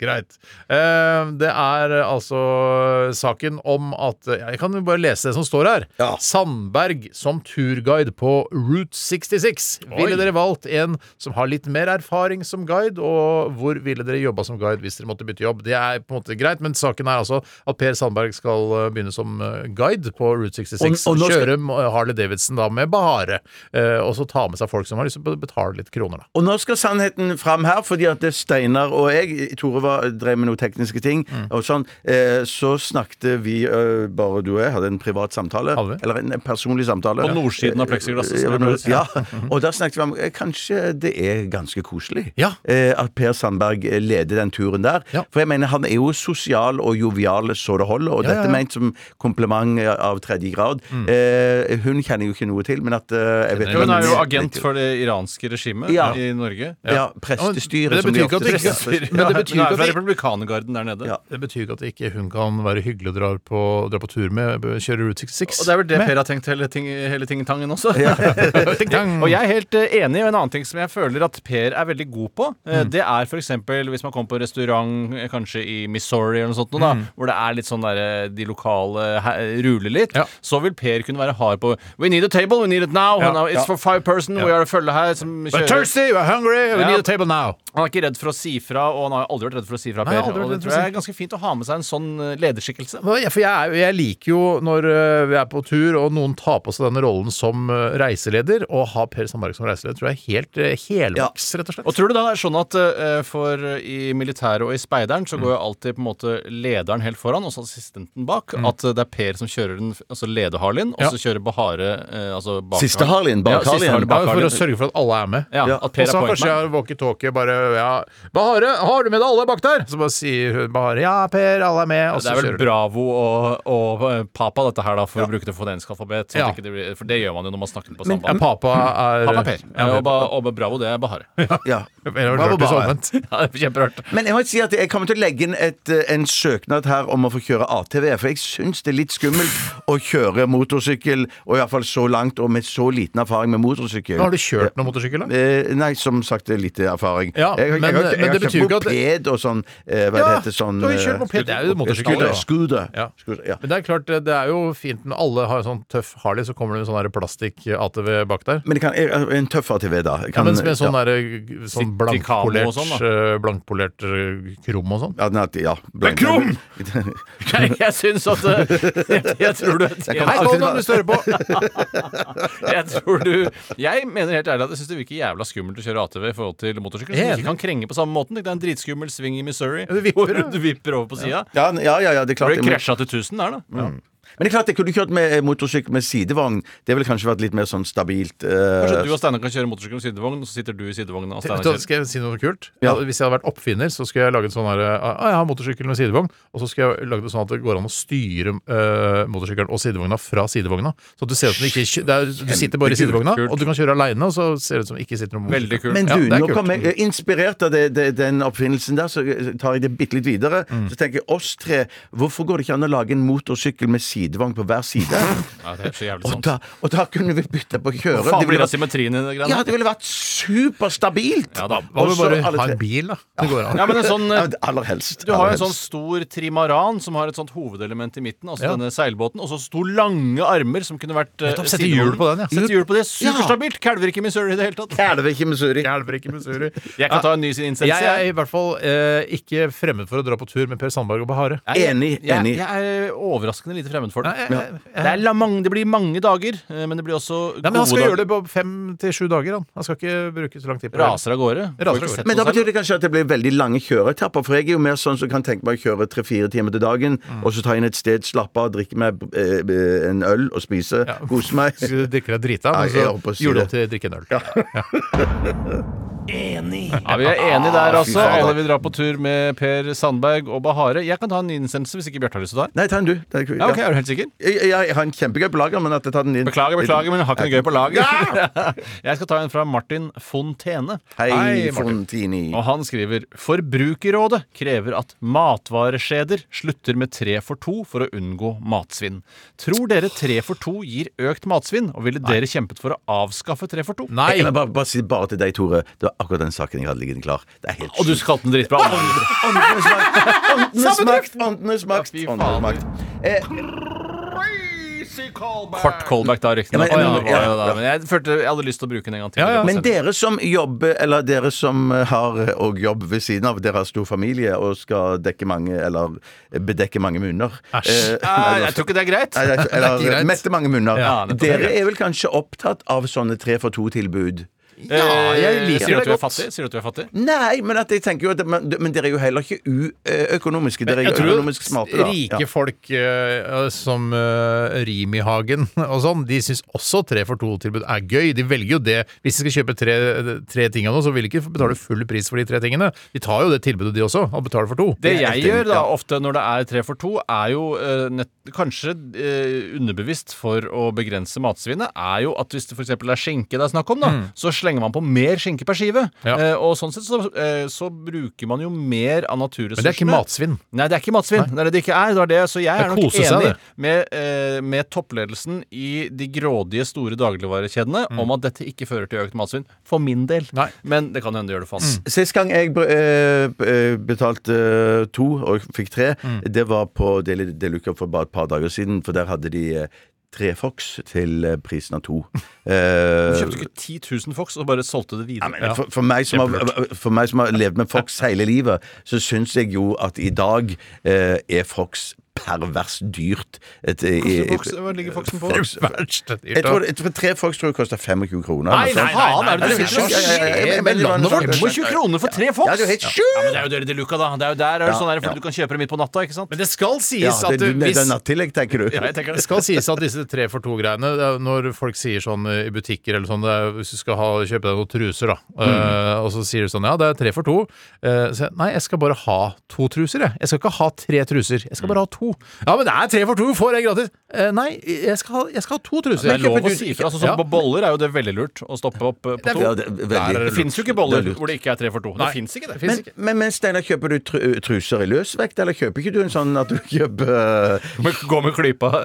[SPEAKER 4] greit. Eh, Det er eh, altså saken om at eh, Jeg kan jo bare lese det som står her.
[SPEAKER 6] Ja.
[SPEAKER 4] Sandberg som turguide på Route 66. Ville dere valgt en som har litt mer erfaring som guide, og hvor ville dere jobba som guide hvis dere måtte bytte jobb? Det er på en måte greit, men saken er altså at Per Sandberg skal eh, begynne som eh, guide på Route 66.
[SPEAKER 6] Og- og nå skal-
[SPEAKER 4] Kjøre eh, Harley Davidson da med bare, eh, og så ta med seg folk som har lyst til å betale litt kroner, da.
[SPEAKER 6] Og nå skal sannheten fram her, fordi at det Steinar og jeg Tore var, drev med noen tekniske ting.
[SPEAKER 5] Mm.
[SPEAKER 6] og sånn, eh, Så snakket vi, eh, bare du og jeg, hadde en privat samtale.
[SPEAKER 4] Hadde vi?
[SPEAKER 6] Eller en personlig samtale.
[SPEAKER 5] På nordsiden av plexiglasset, som det ble- [LAUGHS]
[SPEAKER 6] Ja, og da snakket vi om eh, kanskje det er ganske koselig
[SPEAKER 4] Ja.
[SPEAKER 6] eh, at Per Sandberg eh, leder den turen der.
[SPEAKER 4] Ja.
[SPEAKER 6] For jeg mener han er jo sosial og jovial så det holder, og
[SPEAKER 4] Ja, ja, ja.
[SPEAKER 6] dette er ment som kompliment eh, av tredje grad. Eh, hun kjenner jo ikke noe til, men at eh, jeg vet
[SPEAKER 5] Mm. Jo, Hun
[SPEAKER 6] hva
[SPEAKER 5] er jo
[SPEAKER 6] hun-
[SPEAKER 5] agent for det iranske regimet
[SPEAKER 6] Ja.
[SPEAKER 5] i Norge.
[SPEAKER 6] ja,
[SPEAKER 4] Men
[SPEAKER 6] prestestyret,
[SPEAKER 4] det
[SPEAKER 6] som
[SPEAKER 4] betyr
[SPEAKER 6] de
[SPEAKER 4] ikke at
[SPEAKER 6] ofte
[SPEAKER 4] det ikke- [LAUGHS]
[SPEAKER 6] sier.
[SPEAKER 4] Men det betyr
[SPEAKER 5] hun er
[SPEAKER 4] ikke
[SPEAKER 5] fra
[SPEAKER 4] at vi-
[SPEAKER 5] republikanergarden der nede.
[SPEAKER 6] Ja.
[SPEAKER 4] Det betyr ikke at ikke hun kan være hyggelig og dra på, dra på tur med, kjøre Route 66.
[SPEAKER 5] Og det er vel det Per har tenkt hele, ting, hele tingetangen også.
[SPEAKER 4] [LAUGHS] Tingetang.
[SPEAKER 5] [LAUGHS] og jeg er helt eh, enig, og en annen ting som jeg føler at Per er veldig god på,
[SPEAKER 6] Mm.
[SPEAKER 5] eh, det er f.eks. hvis man kommer på restaurant eh, kanskje i Missouri eller noe sånt, noe, da,
[SPEAKER 6] Mm.
[SPEAKER 5] hvor det er litt sånn der eh, de lokale he- ruler litt,
[SPEAKER 4] Ja.
[SPEAKER 5] så vil Per kunne være hard på We need a table, we need it now.
[SPEAKER 4] Ja.
[SPEAKER 5] Now It's for five person, we are a følge her som
[SPEAKER 4] We're
[SPEAKER 5] kjører.
[SPEAKER 4] thirsty, we're hungry, we
[SPEAKER 5] Ja.
[SPEAKER 4] need a table now.
[SPEAKER 5] Han er ikke redd for å si fra, og han har aldri vært redd for å si fra,
[SPEAKER 4] Nei,
[SPEAKER 5] Per.
[SPEAKER 4] aldri vært
[SPEAKER 5] og det
[SPEAKER 4] redd for å
[SPEAKER 5] tror
[SPEAKER 4] si-
[SPEAKER 5] jeg er ganske fint å ha med seg en sånn eh, lederskikkelse.
[SPEAKER 4] Nå, Jeg, for jeg, er jo- jeg liker jo når øh, vi er på tur og noen tar på seg denne rollen som øh, reiseleder, og ha Per Sandberg som reiseleder tror jeg er helt øh, helmaks, rett og slett.
[SPEAKER 5] Og tror du da det er sånn at eh, for i militæret og i speideren så går jo alltid på en måte lederen helt foran, og så assistenten bak? At eh, det er Per som kjører den, altså leder-Harlin, og
[SPEAKER 4] Ja.
[SPEAKER 5] så kjører Bahare eh, altså bak
[SPEAKER 6] Siste Harlin, bak
[SPEAKER 5] Ja, siste
[SPEAKER 6] Harlin.
[SPEAKER 5] Harlin,
[SPEAKER 4] Ja,
[SPEAKER 5] bak
[SPEAKER 4] for å
[SPEAKER 5] Harlin.
[SPEAKER 4] sørge for at alle er med.
[SPEAKER 5] Ja,
[SPEAKER 6] Ja.
[SPEAKER 5] at
[SPEAKER 4] Og
[SPEAKER 5] Per
[SPEAKER 4] så
[SPEAKER 5] er
[SPEAKER 4] kanskje jeg
[SPEAKER 5] pointman.
[SPEAKER 4] har walkietalkie bare ja, 'Bahare, har du med deg alle bak der?' Så bare sier hun Bahare 'Ja, Per, alle er med', og
[SPEAKER 5] Det
[SPEAKER 4] så
[SPEAKER 5] er vel
[SPEAKER 4] kjører du.
[SPEAKER 5] Bravo og, og eh, Papa, dette her, da, for å bruke det fonenske alfabet. sånn
[SPEAKER 4] Ja.
[SPEAKER 5] at ikke det blir- For det gjør man jo når man snakker på
[SPEAKER 4] Ja,
[SPEAKER 5] samband.
[SPEAKER 4] Papa er
[SPEAKER 5] Papa Per.
[SPEAKER 4] Ja,
[SPEAKER 5] Ja, og, ba, og Bravo, det er Bahare.
[SPEAKER 6] Ja.
[SPEAKER 4] Det var
[SPEAKER 6] Bravo,
[SPEAKER 4] rart hvis
[SPEAKER 6] Bahare.
[SPEAKER 4] omvendt.
[SPEAKER 5] Ja, det er Kjemperart.
[SPEAKER 6] Men jeg må si at jeg kommer til å legge inn et, eh, en søknad her om å få kjøre ATV. For jeg syns det er litt skummelt å kjøre motorsykkel, og iallfall så langt, og med så liten erfaring med motorsykkel.
[SPEAKER 4] Men Har du kjørt noen motorsykkel, da?
[SPEAKER 6] Eh, nei, som sagt, det er lite erfaring.
[SPEAKER 4] Ja, men-
[SPEAKER 6] jeg, jeg, jeg,
[SPEAKER 4] men
[SPEAKER 6] jeg,
[SPEAKER 4] det
[SPEAKER 6] har
[SPEAKER 4] betyr
[SPEAKER 6] kjørt
[SPEAKER 4] ikke at-
[SPEAKER 6] moped og sånn eh, Hva det heter sånn
[SPEAKER 4] du har jo
[SPEAKER 6] eh,
[SPEAKER 4] kjørt moped. Det er jo motorsykkel.
[SPEAKER 6] Scooter. Scooter.
[SPEAKER 4] Ja.
[SPEAKER 6] Scooter, ja.
[SPEAKER 4] Men det er klart, det er jo fint når alle har sånn tøff Harley, så kommer det en sånn der plastikk-ATV bak der.
[SPEAKER 6] Men det kan, eh, en tøff ATV, da.
[SPEAKER 4] Ja,
[SPEAKER 6] Kan,
[SPEAKER 4] mens med sånn
[SPEAKER 6] ja.
[SPEAKER 4] der, sånn
[SPEAKER 5] Sitikano og
[SPEAKER 4] blankpolert,
[SPEAKER 5] sånn, da.
[SPEAKER 4] eh, blankpolert eh, krom og sånn.
[SPEAKER 6] Ja, den er- ja,
[SPEAKER 5] krum! Nei, [LAUGHS] jeg syns at eh, Jeg, jeg tror du
[SPEAKER 4] Hei, Golden, du står på!
[SPEAKER 5] [LAUGHS] Jeg tror du Jeg mener helt ærlig at jeg syns det virker jævla skummelt å kjøre ATV i forhold til motorsykkel. Som
[SPEAKER 4] Enig.
[SPEAKER 5] ikke kan krenge på samme måten. Det er en dritskummel sving i Missouri
[SPEAKER 4] du vipper,
[SPEAKER 5] hvor
[SPEAKER 4] ja.
[SPEAKER 5] du vipper over på sida.
[SPEAKER 6] [LAUGHS] Ja, ja, ja, ja, det er klart.
[SPEAKER 5] Ble
[SPEAKER 6] Men-
[SPEAKER 5] krasja til 1000 der, da.
[SPEAKER 6] Men det er klart, jeg kunne kjørt med eh, motorsykkel med sidevogn. Det ville kanskje vært litt mer sånn stabilt. eh,
[SPEAKER 5] Kanskje du og Steinar kan kjøre motorsykkel med sidevogn, og så sitter du i sidevogna og Steinar
[SPEAKER 4] Vet du hva,
[SPEAKER 5] kjører.
[SPEAKER 4] Skal jeg si noe kult? Altså,
[SPEAKER 6] Ja.
[SPEAKER 4] Hvis jeg hadde vært oppfinner, så skulle jeg laget sånn her ah, Jeg har motorsykkel med sidevogn, og så skulle jeg laget det sånn at det går an å styre eh, motorsykkelen og sidevogna fra sidevogna. Så at du ser ut som du ikke kjø- det er, Du sitter bare i sidevogna,
[SPEAKER 5] Kult.
[SPEAKER 4] og du kan kjøre aleine, og så ser det ut som det ikke sitter noen
[SPEAKER 5] Veldig kult.
[SPEAKER 6] men
[SPEAKER 4] Ja,
[SPEAKER 6] du,
[SPEAKER 4] det er
[SPEAKER 6] nå
[SPEAKER 4] kult.
[SPEAKER 6] kom jeg Inspirert av det, det, den oppfinnelsen
[SPEAKER 5] Mm.
[SPEAKER 6] der, så tar jeg det bitte litt videre. Så tenker jeg oss tre, hvorfor går det ikke an å lage en motorsykkel med sidevogn på hver
[SPEAKER 5] [LAUGHS]
[SPEAKER 6] side.
[SPEAKER 5] Ja, det er så jævlig
[SPEAKER 6] og,
[SPEAKER 5] sant.
[SPEAKER 6] da, og da kunne vi bytte på kjøre.
[SPEAKER 5] Sånn. Faen blir
[SPEAKER 6] vært,
[SPEAKER 5] det asymmetrien i det greiene?
[SPEAKER 6] ja, det ville vært superstabilt!
[SPEAKER 5] Ja da.
[SPEAKER 4] Hva om vi
[SPEAKER 6] Også
[SPEAKER 4] bare
[SPEAKER 6] alle
[SPEAKER 4] har
[SPEAKER 6] tre.
[SPEAKER 4] en bil, da? Det går an.
[SPEAKER 5] Ja, men en sånn
[SPEAKER 6] Ja,
[SPEAKER 5] eh,
[SPEAKER 6] men aller helst.
[SPEAKER 5] Du har
[SPEAKER 6] aller
[SPEAKER 5] jo en sånn
[SPEAKER 6] helst.
[SPEAKER 5] stor trimaran som har et sånt hovedelement i midten, altså
[SPEAKER 4] Ja.
[SPEAKER 5] denne seilbåten, og så sto lange armer som kunne vært eh,
[SPEAKER 4] Nettopp, sette hjul på den, ja.
[SPEAKER 5] Sette hjul på det.
[SPEAKER 6] Ja.
[SPEAKER 5] Superstabilt! Kalver ikke i Missouri i det hele tatt.
[SPEAKER 6] Er det ikke Missouri?
[SPEAKER 4] Hjelper ikke Missouri.
[SPEAKER 5] Jeg kan ta en ny innsendelse.
[SPEAKER 4] Jeg er i hvert fall eh, ikke fremmed for å dra på tur med Per Sandberg og Bahare.
[SPEAKER 5] Jeg-
[SPEAKER 6] Enig,
[SPEAKER 5] jeg-
[SPEAKER 6] enig.
[SPEAKER 5] Jeg, er eh, overraskende lite fremmed for det.
[SPEAKER 4] Nei, jeg- jeg-
[SPEAKER 5] Det, er la mange, det blir mange dager, eh, men det blir også
[SPEAKER 4] Nei, men
[SPEAKER 5] gode
[SPEAKER 4] Han skal
[SPEAKER 5] dager.
[SPEAKER 4] gjøre det på fem til sju dager. Han Han skal ikke bruke så lang tid på det.
[SPEAKER 5] Raser av gårde.
[SPEAKER 4] Raser av
[SPEAKER 5] Får ikke
[SPEAKER 4] gårde.
[SPEAKER 5] sett
[SPEAKER 6] Men da
[SPEAKER 5] noe selv.
[SPEAKER 6] betyr det kanskje at det blir veldig lange kjøreetapper. For jeg er jo mer sånn som kan tenke meg å kjøre tre-fire timer til dagen,
[SPEAKER 5] Mm.
[SPEAKER 6] og så ta inn et sted, slappe av, drikke meg eh, en øl og spise, kose
[SPEAKER 5] [LAUGHS]
[SPEAKER 6] meg.
[SPEAKER 4] Skal du drikke deg drita, men
[SPEAKER 6] Nei, jeg
[SPEAKER 4] så
[SPEAKER 6] holdt på å si
[SPEAKER 4] gjorde du
[SPEAKER 6] det.
[SPEAKER 4] opp til å drikke en øl.
[SPEAKER 5] Ja, Vi er enige der, altså.
[SPEAKER 6] faen.
[SPEAKER 5] Alle vil dra på tur med Per Sandberg og Bahare. Jeg kan ta en ny innsendelse hvis ikke Bjarte har lyst til å ta en.
[SPEAKER 6] Nei, ta den du. Ta den,
[SPEAKER 5] Ja, ok, er du helt sikker?
[SPEAKER 6] Jeg, jeg, jeg har en kjempegøy på lager, men at jeg tar den inn
[SPEAKER 5] Beklager, beklager, men jeg har ikke noe gøy på laget. [LAUGHS] Jeg skal ta en fra Martin Fontene.
[SPEAKER 6] Hei,
[SPEAKER 4] Hei, Martin.
[SPEAKER 6] Fontini.
[SPEAKER 5] Og han skriver Forbrukerrådet krever at matvareskjeder slutter med tre for to for å unngå matsvinn. Tror dere tre for to gir økt matsvinn, og ville dere kjempet for å avskaffe tre for to?
[SPEAKER 4] Nei!
[SPEAKER 6] Jeg kan bare, bare si det bare til deg, Tore. Det var akkurat den saken jeg hadde liggende klar. Det er helt
[SPEAKER 5] Og du skal kalle den dritbra.
[SPEAKER 6] Åndenes
[SPEAKER 5] [LAUGHS]
[SPEAKER 6] makt! Åndenes makt! Åndenes makt!
[SPEAKER 5] Ja, fy
[SPEAKER 6] Åndenes
[SPEAKER 5] faen.
[SPEAKER 6] makt.
[SPEAKER 5] Kort callback, da, riktignok.
[SPEAKER 6] Ja, men-
[SPEAKER 5] Ja,
[SPEAKER 6] ja,
[SPEAKER 5] ja, da, men jeg følte jeg hadde lyst til å bruke den en gang til.
[SPEAKER 4] Ja, ja.
[SPEAKER 6] Men dere som jobber, eller dere som har eh, og jobb ved siden av, dere har stor familie og skal dekke mange, eller eh, bedekke mange munner Eh,
[SPEAKER 4] Æsj.
[SPEAKER 5] Nei, Ah, jeg tror ikke det er greit.
[SPEAKER 6] Nei, det er ikke-
[SPEAKER 4] ikke greit.
[SPEAKER 6] Eller mette mange munner.
[SPEAKER 5] Ja, nettopp.
[SPEAKER 6] Dere er vel kanskje opptatt av sånne tre for to-tilbud?
[SPEAKER 5] Eh,
[SPEAKER 4] jeg liker
[SPEAKER 5] sier du
[SPEAKER 4] det
[SPEAKER 5] at du er
[SPEAKER 4] godt.
[SPEAKER 5] fattig? Sier du at du er fattig?
[SPEAKER 6] Nei, men at jeg tenker jo at Men, men dere er jo heller ikke uøkonomiske. Dere er jo økonomisk smarte, da.
[SPEAKER 4] rike
[SPEAKER 6] Ja.
[SPEAKER 4] folk eh, som uh, Rimi-Hagen [LAUGHS] og sånn, de syns også tre for to-tilbud er gøy. De velger jo det. Hvis de skal kjøpe tre, tre ting av noe, så vil de ikke betale full pris for de tre tingene. De tar jo det tilbudet, de også, og betaler for to.
[SPEAKER 5] Det
[SPEAKER 6] er helt
[SPEAKER 5] jeg gjør
[SPEAKER 6] enig,
[SPEAKER 5] da
[SPEAKER 6] ja.
[SPEAKER 5] ofte når det er tre for to, er jo eh, nett, kanskje eh, underbevisst for å begrense matsvinnet, er jo at hvis det f.eks. er skinke det er snakk om, da, så slenger man på mer skinke per skive.
[SPEAKER 4] Mm. Ja.
[SPEAKER 5] Eh, og sånn sett så, eh, så bruker man jo mer av
[SPEAKER 4] Men
[SPEAKER 5] naturressursene.
[SPEAKER 4] det er ikke matsvinn.
[SPEAKER 5] Nei, det er ikke matsvinn. Det er det det ikke er. Det var det. Så jeg
[SPEAKER 4] Det
[SPEAKER 5] er nok
[SPEAKER 4] koser
[SPEAKER 5] enig
[SPEAKER 4] seg, det.
[SPEAKER 5] med, eh, med toppledelsen i de grådige, store dagligvarekjedene om at dette ikke fører til økt matsvinn. For min del.
[SPEAKER 4] Mm. Nei. Mm.
[SPEAKER 5] Men det kan hende det gjør det for hans.
[SPEAKER 6] Sist gang jeg eh, eh, betalte eh, to og jeg fikk tre,
[SPEAKER 5] Mm.
[SPEAKER 6] det var på Deli de Luca for bare et par dager siden. For der hadde de eh, tre Fox til eh, prisen av to.
[SPEAKER 5] [LAUGHS] Du
[SPEAKER 6] Eh,
[SPEAKER 5] kjøpte ikke 10 000 Fox og bare solgte det videre.
[SPEAKER 6] ja, men for, for, meg som har, for meg som har levd med Fox hele livet, så syns jeg jo at i dag eh, er Fox pervers dyrt. Et, eh, i- i-
[SPEAKER 5] Fox? Hva ligger Foxen på?
[SPEAKER 6] Fox-
[SPEAKER 4] Verste dyrt,
[SPEAKER 6] jeg
[SPEAKER 4] da.
[SPEAKER 6] tror, jeg tror Tre Fox tror jeg koster 25 kroner. Altså.
[SPEAKER 5] Nei, nei, nei, nei,
[SPEAKER 6] det
[SPEAKER 5] Altså, det
[SPEAKER 6] er
[SPEAKER 5] som
[SPEAKER 6] helt sjukt.
[SPEAKER 5] skjer med landet vårt? 25 kroner for tre Fox?
[SPEAKER 6] Ja, det er jo helt
[SPEAKER 5] Ja,
[SPEAKER 6] sjukt!
[SPEAKER 5] men det er jo Deli de Luca, da. Det er jo der er det sånn der, for du kan kjøpe det midt på natta, ikke sant?
[SPEAKER 4] Men det skal
[SPEAKER 6] Ja,
[SPEAKER 4] sies
[SPEAKER 6] det,
[SPEAKER 4] at
[SPEAKER 6] det,
[SPEAKER 4] du,
[SPEAKER 6] det,
[SPEAKER 4] hvis
[SPEAKER 6] er nattillegg, tenker du.
[SPEAKER 5] Ja, jeg tenker
[SPEAKER 4] Det
[SPEAKER 5] det.
[SPEAKER 4] skal sies at disse tre for to-greiene, det er når folk sier sånn eh, i butikker eller sånn, det er, hvis du skal ha, kjøpe deg noen truser, da, eh, og så sier du sånn ja, det er tre for to. Eh, så jeg, nei, jeg skal bare ha to truser, jeg. Jeg skal ikke ha tre truser, jeg skal bare ha to. Ja, men det er tre for to, får jeg gratis. Eh, nei, jeg skal, ha, jeg skal ha to truser.
[SPEAKER 5] Det er lov å si ifra. Sånn som
[SPEAKER 4] Ja.
[SPEAKER 5] på boller er jo det veldig lurt å stoppe opp eh, på
[SPEAKER 6] Ja,
[SPEAKER 5] to.
[SPEAKER 6] det,
[SPEAKER 4] Der
[SPEAKER 6] er
[SPEAKER 4] er
[SPEAKER 6] veldig.
[SPEAKER 5] Det fins jo ikke
[SPEAKER 6] Det
[SPEAKER 5] boller
[SPEAKER 6] er lurt.
[SPEAKER 5] hvor det ikke er tre for to. Det fins ikke, det.
[SPEAKER 4] finnes
[SPEAKER 6] Men,
[SPEAKER 4] ikke.
[SPEAKER 6] men, men Steinar, kjøper du tru, truser i løsvekt, eller kjøper ikke du en sånn at du kjøper
[SPEAKER 5] Men [LAUGHS] Gå med klypa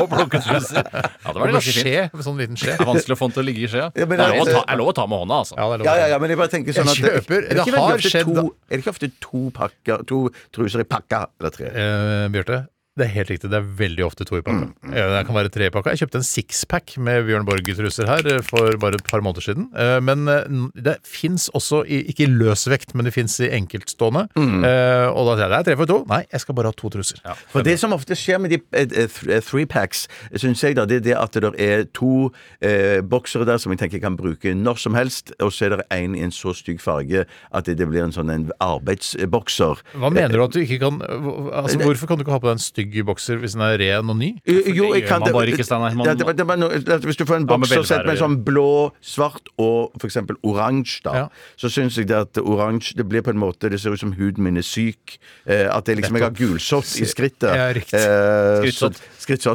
[SPEAKER 5] og plukke truser. Ja, det var
[SPEAKER 4] Var det
[SPEAKER 5] ganske
[SPEAKER 4] en
[SPEAKER 5] fint.
[SPEAKER 4] skje? En sånn liten
[SPEAKER 5] [LAUGHS]
[SPEAKER 4] skje?
[SPEAKER 5] Det er vanskelig å få den til å ligge i skjea.
[SPEAKER 6] Ja,
[SPEAKER 5] Det
[SPEAKER 6] men
[SPEAKER 5] er lov å
[SPEAKER 6] det-
[SPEAKER 5] ta- er lov å ta med hånda, altså.
[SPEAKER 4] Ja, det er lov.
[SPEAKER 6] Ja, ja, ja, men jeg bare tenker sånn at
[SPEAKER 4] Jeg kjøper.
[SPEAKER 6] er det,
[SPEAKER 4] Det
[SPEAKER 6] ikke veldig
[SPEAKER 4] har
[SPEAKER 6] ofte
[SPEAKER 4] skjedd,
[SPEAKER 6] To, er det ikke ofte to pakker To truser i pakka, eller tre?
[SPEAKER 4] Eh, Bjarte. Det er helt riktig, det er veldig ofte to i pakka. Eh, Det kan være tre i pakka. Jeg kjøpte en sixpack med Bjørn Borge-truser her eh, for bare et par måneder siden. Eh, Men eh, n- det fins også, i, ikke i løsvekt, men det fins i enkeltstående. Eh, Og da sier jeg det er tre for to. Nei, jeg skal bare ha to truser.
[SPEAKER 6] For det som ofte skjer med de eh, eh, th- eh, three-packs, syns jeg, da, det er det at det der er to eh, boksere der som jeg tenker jeg kan bruke når som helst, og så er det en i en så stygg farge at det, det blir en sånn en arbeidsbokser.
[SPEAKER 4] Hva mener du at du ikke kan hva- Altså, Hvorfor kan du ikke ha på deg en stygg bokser hvis den er ren og ny?
[SPEAKER 6] Jo,
[SPEAKER 5] det
[SPEAKER 6] jeg
[SPEAKER 5] gjør
[SPEAKER 6] kan
[SPEAKER 5] man bare ikke, Steinar. Man-
[SPEAKER 6] Ja, det, var- det var noe- at hvis du får en
[SPEAKER 5] Ja, men
[SPEAKER 6] bokser
[SPEAKER 5] velferd
[SPEAKER 6] sett med
[SPEAKER 5] å gjøre.
[SPEAKER 6] sånn blå, svart og for eksempel oransje, da,
[SPEAKER 4] Ja.
[SPEAKER 6] så syns jeg det at oransje Det blir på en måte Det ser ut som huden min er syk. Eh, at det liksom Jeg har gulsott i skrittet.
[SPEAKER 4] Ja, riktig.
[SPEAKER 6] Eh,
[SPEAKER 5] Skrittsott.
[SPEAKER 6] så-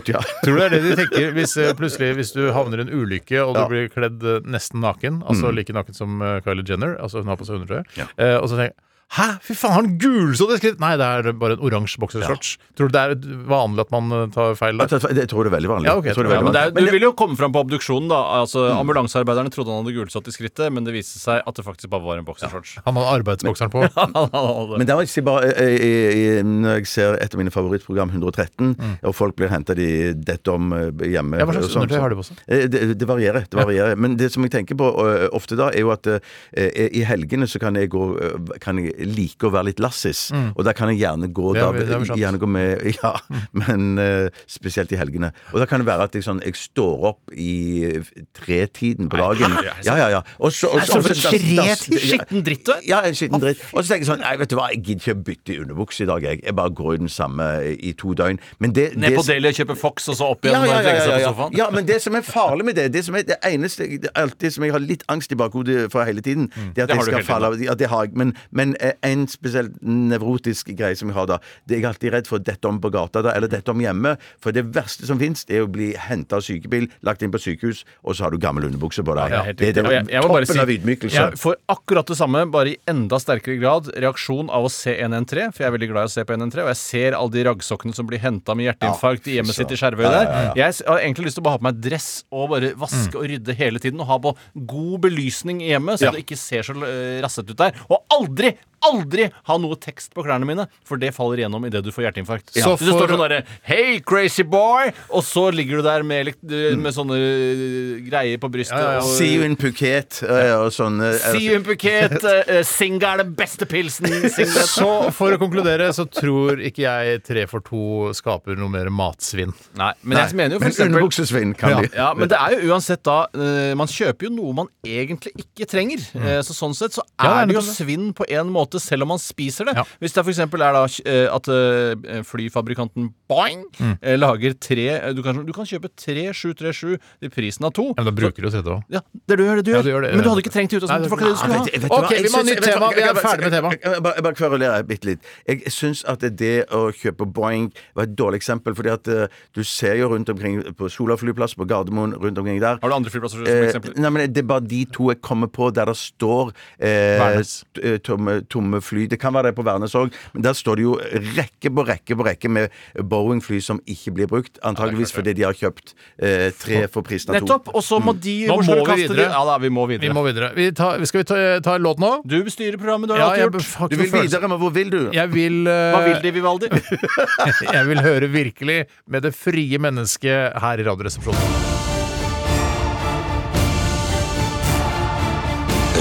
[SPEAKER 6] Skrittsott, ja. [LAUGHS]
[SPEAKER 4] Tror du det er det de tenker hvis eh, plutselig hvis du havner i en ulykke og du
[SPEAKER 6] Ja.
[SPEAKER 5] Mm.
[SPEAKER 4] blir kledd eh, nesten naken, altså like naken som eh, Kylie Jenner, altså hun har på seg undertøy, eh, og så tenker jeg Hæ, fy faen, har han gulsott i skritt? Nei, det er bare en oransje boksershorts. Tror du det er vanlig at man eh, tar feil
[SPEAKER 6] Jeg
[SPEAKER 4] der?
[SPEAKER 6] tror- Jeg tror det er veldig vanlig.
[SPEAKER 4] Ja, ok,
[SPEAKER 6] Jeg tror det er
[SPEAKER 5] Ja,
[SPEAKER 6] veldig
[SPEAKER 5] men det er,
[SPEAKER 6] vanlig.
[SPEAKER 5] du vil jo komme fram på obduksjonen, da. Altså,
[SPEAKER 6] Mm.
[SPEAKER 5] Ambulansearbeiderne trodde han hadde gulsott i skrittet, men det viste seg at det faktisk bare var en
[SPEAKER 6] [LAUGHS]
[SPEAKER 5] boksershorts.
[SPEAKER 4] Han har arbeidsbokseren på.
[SPEAKER 5] [LAUGHS] Ja.
[SPEAKER 6] Men der må jeg si bare, eh, eh, eh, når jeg ser et av mine favorittprogram, 113, og folk blir henta de dette om eh,
[SPEAKER 4] Mm.
[SPEAKER 6] hjemme
[SPEAKER 4] Ja, hva slags
[SPEAKER 6] og sånn,
[SPEAKER 4] undertøy
[SPEAKER 6] så-
[SPEAKER 4] har de på seg?
[SPEAKER 6] Eh, Det, det varierer. det varierer Men det som jeg tenker på eh, ofte da, er jo at eh, eh, i helgene så kan jeg, gå, eh, kan jeg like å være litt lassis. Og da kan jeg gjerne gå,
[SPEAKER 4] Mm. Det er
[SPEAKER 6] da,
[SPEAKER 4] vel- det er vel sant.
[SPEAKER 6] gjerne gå med [LAUGHS] Ja,
[SPEAKER 4] Mm.
[SPEAKER 6] men eh, spesielt i helgene. Og da kan det være at jeg, sånn, jeg står opp i eh, tretiden på dagen. Ja, ja, ja. Og så, og, så-
[SPEAKER 5] for
[SPEAKER 6] og så-
[SPEAKER 5] tretid? Skitten dritt, du er.
[SPEAKER 6] ja, en skitten dritt. Og så tenker jeg sånn Nei, vet du hva, jeg gidder ikke å bytte underbukse i dag, jeg. Jeg bare går i den samme i to døgn. Men det,
[SPEAKER 5] Ned
[SPEAKER 6] det
[SPEAKER 5] på Delia kjøpe Fox, og så opp igjen
[SPEAKER 6] ja,
[SPEAKER 5] og
[SPEAKER 6] ja, ja,
[SPEAKER 5] legge
[SPEAKER 6] ja,
[SPEAKER 5] seg på
[SPEAKER 6] ja.
[SPEAKER 5] sofaen.
[SPEAKER 6] ja, men det som er farlig med det, det som er det eneste det er alltid som jeg har litt angst i bakhodet for hele tiden, det at jeg
[SPEAKER 5] Mm. Det har du
[SPEAKER 6] skal
[SPEAKER 5] hele tiden.
[SPEAKER 6] falle av Ja, det har jeg, men, men eh, en spesielt nevrotisk greie som jeg har da, det er jeg alltid redd for å dette om på gata da, eller dette om hjemme, for det verste som finnes, det er å bli henta av sykebil, lagt inn på sykehus, og så har du gammel underbukse på deg.
[SPEAKER 5] Ja, helt
[SPEAKER 6] det er
[SPEAKER 5] riktig.
[SPEAKER 6] den
[SPEAKER 5] Og jeg, jeg må bare
[SPEAKER 6] toppen
[SPEAKER 5] si-
[SPEAKER 6] av ydmykelse.
[SPEAKER 5] Jeg får akkurat det samme, bare i enda sterkere grad. Reaksjon av å se 113, for jeg er veldig glad i å se på 113. Og jeg ser alle de raggsokkene som blir henta med hjerteinfarkt i hjemmet sitt i Skjervøy der. Jeg s- har egentlig lyst til å bare ha på meg dress og bare vaske og rydde hele tiden. Og ha på god belysning i hjemmet, så det ikke ser så eh, rassete ut der. Og aldri! Aldri ha noe tekst på klærne mine, for det faller igjennom idet du får hjerteinfarkt.
[SPEAKER 4] Ja.
[SPEAKER 5] Så
[SPEAKER 4] Så
[SPEAKER 5] det står
[SPEAKER 4] for-
[SPEAKER 5] sånn derre Hei, crazy boy! Og så ligger du der med, elekt- med sånne eh, greier på brystet.
[SPEAKER 4] Ja, ja, ja.
[SPEAKER 5] og-
[SPEAKER 6] See you in Phuket eh, og sånn eh,
[SPEAKER 5] Si en buket. eh, eh, Singa er den beste pilsen. Singa.
[SPEAKER 4] Så for å konkludere så tror ikke jeg Tre for to skaper noe mer matsvinn.
[SPEAKER 5] Nei, men jeg mener jo for
[SPEAKER 6] Men
[SPEAKER 5] eksempel
[SPEAKER 6] underbuksesvinn kan de.
[SPEAKER 5] ja, men det er jo uansett da eh, Man kjøper jo noe man egentlig ikke trenger. Eh, så Sånn sett så er
[SPEAKER 4] Ja, det
[SPEAKER 5] det
[SPEAKER 4] er
[SPEAKER 5] jo
[SPEAKER 4] nettopp
[SPEAKER 5] svinn på en måte, selv om man spiser det.
[SPEAKER 4] Ja.
[SPEAKER 5] Hvis det f.eks. er da eh, at eh, flyfabrikanten Boeing eh, lager tre eh, du kan, du kan kjøpe tre 737 til prisen av to.
[SPEAKER 4] Ja, men da bruker du tredje òg.
[SPEAKER 5] Ja, det du gjør, det du
[SPEAKER 4] Ja,
[SPEAKER 5] gjør.
[SPEAKER 4] du gjør det,
[SPEAKER 5] men du
[SPEAKER 4] ja.
[SPEAKER 5] hadde ikke trengt det ut. og sånt,
[SPEAKER 4] Nei, det-
[SPEAKER 5] for det var
[SPEAKER 4] Nei, det-
[SPEAKER 5] ikke det du skulle ha.
[SPEAKER 6] Vet du hva?
[SPEAKER 4] Ok, vi
[SPEAKER 6] Jeg
[SPEAKER 4] må ha
[SPEAKER 6] syns-
[SPEAKER 4] nytt
[SPEAKER 6] vet du hva?
[SPEAKER 4] tema. Vi er
[SPEAKER 6] Jeg- jeg-
[SPEAKER 4] ferdig med tema.
[SPEAKER 6] jeg- Jeg jeg bare, jeg bare kverulerer bitte litt. Jeg syns at det å kjøpe Boeing var et dårlig eksempel, fordi at eh, du ser jo rundt omkring på Sola flyplass, på Gardermoen, rundt omkring der
[SPEAKER 5] Har du andre flyplasser som
[SPEAKER 6] Eh,
[SPEAKER 5] eksempler?
[SPEAKER 6] nei, men Det er bare de to jeg kommer på der det står eh,
[SPEAKER 4] Værnes.
[SPEAKER 6] t- eh, tomme, tomme fly. Det kan være det på Værnes òg, men der står det jo rekke på rekke på rekke med Boeing-fly som ikke blir brukt. Antageligvis fordi de har kjøpt eh, tre for prisen av to.
[SPEAKER 5] Nettopp! Og så må de
[SPEAKER 4] Mm. Nå
[SPEAKER 5] hvor skal
[SPEAKER 4] må
[SPEAKER 5] du
[SPEAKER 4] vi
[SPEAKER 5] kaste
[SPEAKER 4] videre.
[SPEAKER 5] de- Ja da, vi må
[SPEAKER 4] Vi
[SPEAKER 5] videre.
[SPEAKER 4] må videre. Vi tar, skal vi ta, ta en låt nå?
[SPEAKER 5] Du bestyrer programmet, du har
[SPEAKER 4] Ja,
[SPEAKER 5] alltid
[SPEAKER 4] jeg
[SPEAKER 5] gjort.
[SPEAKER 4] har
[SPEAKER 6] Du
[SPEAKER 4] ikke
[SPEAKER 6] vil
[SPEAKER 4] noe følelse.
[SPEAKER 6] videre, men hvor vil du?
[SPEAKER 4] Jeg vil, eh,
[SPEAKER 5] Hva vil de, [LAUGHS]
[SPEAKER 4] [LAUGHS]
[SPEAKER 5] Vivaldi?
[SPEAKER 4] jeg vil høre virkelig med det frie mennesket her i Radioresepsjonen.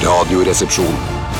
[SPEAKER 2] Radioresepsjon.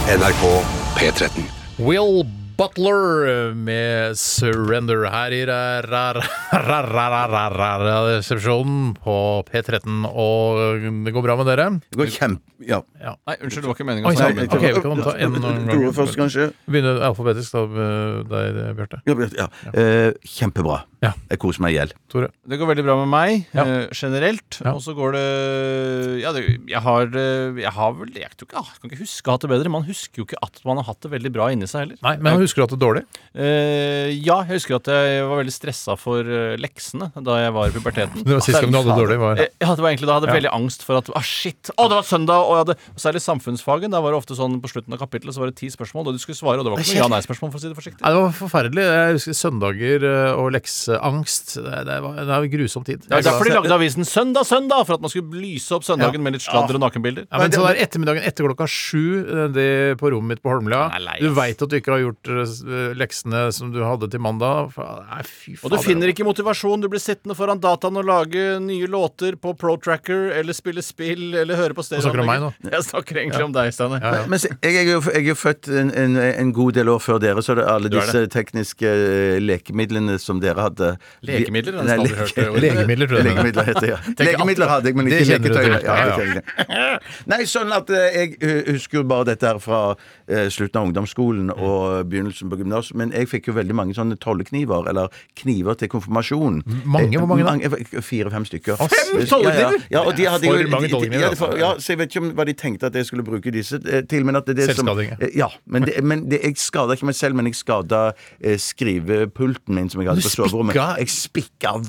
[SPEAKER 2] NRK P13.
[SPEAKER 4] Will Butler med 'Surrender' her i ra- ra- ra- ra- ra- ra- ra- ra- Radioresepsjonen på P13. Og det går bra med dere?
[SPEAKER 6] Det går kjempe... Ja.
[SPEAKER 5] Nei, unnskyld, det var ikke
[SPEAKER 4] Oi,
[SPEAKER 5] meningen.
[SPEAKER 4] nei, nei,
[SPEAKER 5] å si
[SPEAKER 4] ok, vi
[SPEAKER 5] det.
[SPEAKER 4] kan ta en gang.
[SPEAKER 6] Tore først, kanskje?
[SPEAKER 4] Begynne alfabetisk, da, med deg, Bjarte.
[SPEAKER 6] Ja, Bjarte, ja. Eh, kjempebra.
[SPEAKER 4] Ja.
[SPEAKER 6] Jeg koser meg i hjel.
[SPEAKER 4] Tore.
[SPEAKER 5] Det går veldig bra med meg
[SPEAKER 4] Ja.
[SPEAKER 5] eh, generelt.
[SPEAKER 4] Ja.
[SPEAKER 5] Og så går det Ja, det, jeg har eh, Jeg har vel Jeg tror ikke, ah, jeg kan ikke huske å ha hatt det bedre. Man husker jo ikke at man har hatt det veldig bra inni seg heller.
[SPEAKER 4] Nei, men han husker at det er dårlig.
[SPEAKER 5] Eh, ja, jeg husker at jeg var veldig stressa for eh, leksene da jeg var i puberteten.
[SPEAKER 4] Det var sist gang du hadde det dårlig. Var.
[SPEAKER 5] Eh, Ja, det var egentlig da jeg hadde veldig angst for at ah, shit, å, det var søndag! Og jeg hadde, og særlig samfunnsfagen. Da var det ofte sånn på slutten av kapittelet så var det ti spørsmål, og du skulle svare, og det var ikke noe ja-nei-spørsmål, for å si det forsiktig.
[SPEAKER 4] Nei, det var forferdelig. Jeg husker søndager eh, og lekseangst. Det, det, var, det var en grusom tid.
[SPEAKER 5] Det er derfor de lagde avisen Søndag, søndag! For at man skulle lyse opp søndagen
[SPEAKER 4] Ja.
[SPEAKER 5] med litt sladder og nakenbilder.
[SPEAKER 4] Ja, men så der Ettermiddagen etter klokka sju eh, det på rommet mitt på Holmlia
[SPEAKER 5] Jeg er lei, ass.
[SPEAKER 4] Du veit at du ikke har gjort eh, leksene som du hadde til mandag. Fa- Nei, fy faen.
[SPEAKER 5] Og du finner ikke motivasjon. Du blir sittende foran dataen og lage nye låter på ProTracker eller spille spill eller høre på
[SPEAKER 4] snakker du om meg nå?
[SPEAKER 5] stereoanlegget. [LAUGHS] Jeg snakker egentlig om deg, Steinar.
[SPEAKER 6] Men se, jeg, er jo, jeg er jo født en, en, en god del år før dere, så det er alle
[SPEAKER 5] Du er
[SPEAKER 6] disse tekniske eh, lekemidlene som dere hadde
[SPEAKER 5] Lekemidler? Det har
[SPEAKER 6] Nei,
[SPEAKER 5] jeg aldri hørt det ordet.
[SPEAKER 4] Legemidler, tror jeg det er.
[SPEAKER 6] Legemidler heter det,
[SPEAKER 5] [LAUGHS]
[SPEAKER 6] ja. Lekemidler hadde jeg, men
[SPEAKER 4] Det
[SPEAKER 6] ikke
[SPEAKER 4] kjenner du til.
[SPEAKER 6] leketøy.
[SPEAKER 4] Ja,
[SPEAKER 6] Ja,
[SPEAKER 4] ja.
[SPEAKER 6] det kjenner jeg. [LAUGHS] Nei, sånn at eh, jeg eh, husker jo bare dette her fra eh, slutten av ungdomsskolen
[SPEAKER 5] Mm.
[SPEAKER 6] og begynnelsen på gymnas, men jeg fikk jo veldig mange sånne tollekniver, eller kniver til konfirmasjon. Eh,
[SPEAKER 4] Mange? Hvor mange da?
[SPEAKER 6] Fire-fem stykker.
[SPEAKER 4] Fem
[SPEAKER 6] Ja,
[SPEAKER 4] tollekniver?
[SPEAKER 6] ja. ja, og de hadde jo
[SPEAKER 4] For mange
[SPEAKER 6] de- de-
[SPEAKER 4] tollekniver,
[SPEAKER 6] ja, det-
[SPEAKER 4] altså.
[SPEAKER 6] Ja, så jeg vet ikke om hva de tenkte at jeg skulle bruke disse eh, til. Men at det er det som,
[SPEAKER 4] Selvskading, ja.
[SPEAKER 6] eh, ja. Men, det, men det, jeg skada ikke meg selv, men jeg skada eh, skrivepulten min som jeg hadde
[SPEAKER 4] Du
[SPEAKER 6] på soverommet.
[SPEAKER 4] spikka?
[SPEAKER 6] meg. Jeg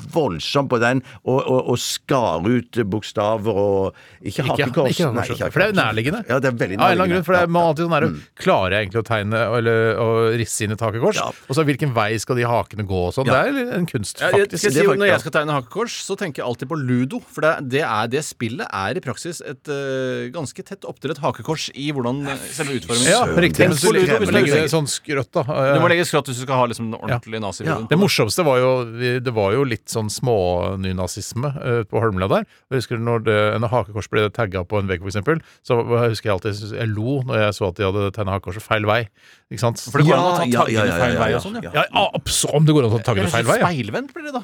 [SPEAKER 6] spikka voldsomt på den, og, og, og skar ut bokstaver og Ikke hakekors.
[SPEAKER 4] ikke
[SPEAKER 6] Nei,
[SPEAKER 4] hakekors. For det er jo nærliggende.
[SPEAKER 6] Ja, det er veldig nærliggende.
[SPEAKER 4] Av en eller annen grunn, for det er
[SPEAKER 6] Ja. Mm.
[SPEAKER 4] man alltid sånn her, Klarer jeg egentlig å tegne eller å risse inn et hakekors?
[SPEAKER 6] Ja.
[SPEAKER 4] Og så hvilken vei skal de hakene gå og sånn?
[SPEAKER 6] Ja.
[SPEAKER 4] Det er en kunst,
[SPEAKER 5] Ja, jeg,
[SPEAKER 4] faktisk.
[SPEAKER 5] skal si,
[SPEAKER 6] det er
[SPEAKER 5] jo,
[SPEAKER 6] faktisk-
[SPEAKER 5] når jeg skal tegne hakekors, så tenker jeg alltid på ludo. For det, det, er, det spillet er i praksis et eh, ganske tett opp til et hakekors i hvordan eh, selve utformingen
[SPEAKER 4] Ja, riktig.
[SPEAKER 5] Tenk
[SPEAKER 4] Men så
[SPEAKER 5] på ludo hvis
[SPEAKER 4] legger
[SPEAKER 5] du
[SPEAKER 4] du
[SPEAKER 5] legger-
[SPEAKER 4] sånn skrøtt, da.
[SPEAKER 5] Du må legge skratt hvis du skal ha liksom, den ordentlige nazivideoen.
[SPEAKER 4] Det morsomste var jo Det var jo litt sånn smånynazisme eh, på Holmlia der. Jeg husker når det, en hakekors ble tagga på en vegg, for eksempel, så husker jeg alltid jeg lo når jeg så at de hadde tegna hakekorset feil vei. Ikke sant?
[SPEAKER 5] For det går an å ta
[SPEAKER 6] Ja, ja, ja,
[SPEAKER 5] taggene
[SPEAKER 6] ja,
[SPEAKER 5] feil
[SPEAKER 6] ja,
[SPEAKER 5] vei
[SPEAKER 6] ja.
[SPEAKER 5] og sånn, ja.
[SPEAKER 4] ja, ja, abs- om det går an å ta taggene feil vei? Ja.
[SPEAKER 5] Speilvendt blir det, da.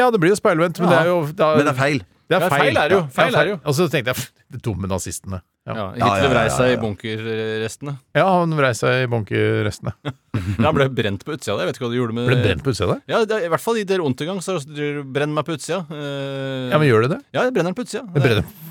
[SPEAKER 4] ja, det blir jo speilvendt, men det er jo da,
[SPEAKER 6] Men det er feil.
[SPEAKER 4] Det er
[SPEAKER 5] Ja,
[SPEAKER 4] feil.
[SPEAKER 5] feil er det jo.
[SPEAKER 4] Ja,
[SPEAKER 5] Feil er det jo.
[SPEAKER 4] Og så tenkte jeg pff, de dumme nazistene. Ja.
[SPEAKER 5] Ja,
[SPEAKER 4] Ja.
[SPEAKER 5] Hitler
[SPEAKER 6] ja,
[SPEAKER 5] vrei
[SPEAKER 6] ja,
[SPEAKER 5] seg
[SPEAKER 6] ja.
[SPEAKER 5] i bunkerrestene.
[SPEAKER 4] han vrei seg i bunkerrestene.
[SPEAKER 5] Eh. Ja, han ble brent på utsida. der. Jeg vet ikke hva de gjorde med
[SPEAKER 4] Ble det brent på utsida der?
[SPEAKER 5] Ja, det er, I hvert fall i Der Untergang. Så er det også, brenn meg på utsida. Eh,
[SPEAKER 4] Ja, men gjør det det?
[SPEAKER 5] ja, jeg brenner den på utsida.
[SPEAKER 4] det brenner.
[SPEAKER 5] Eh.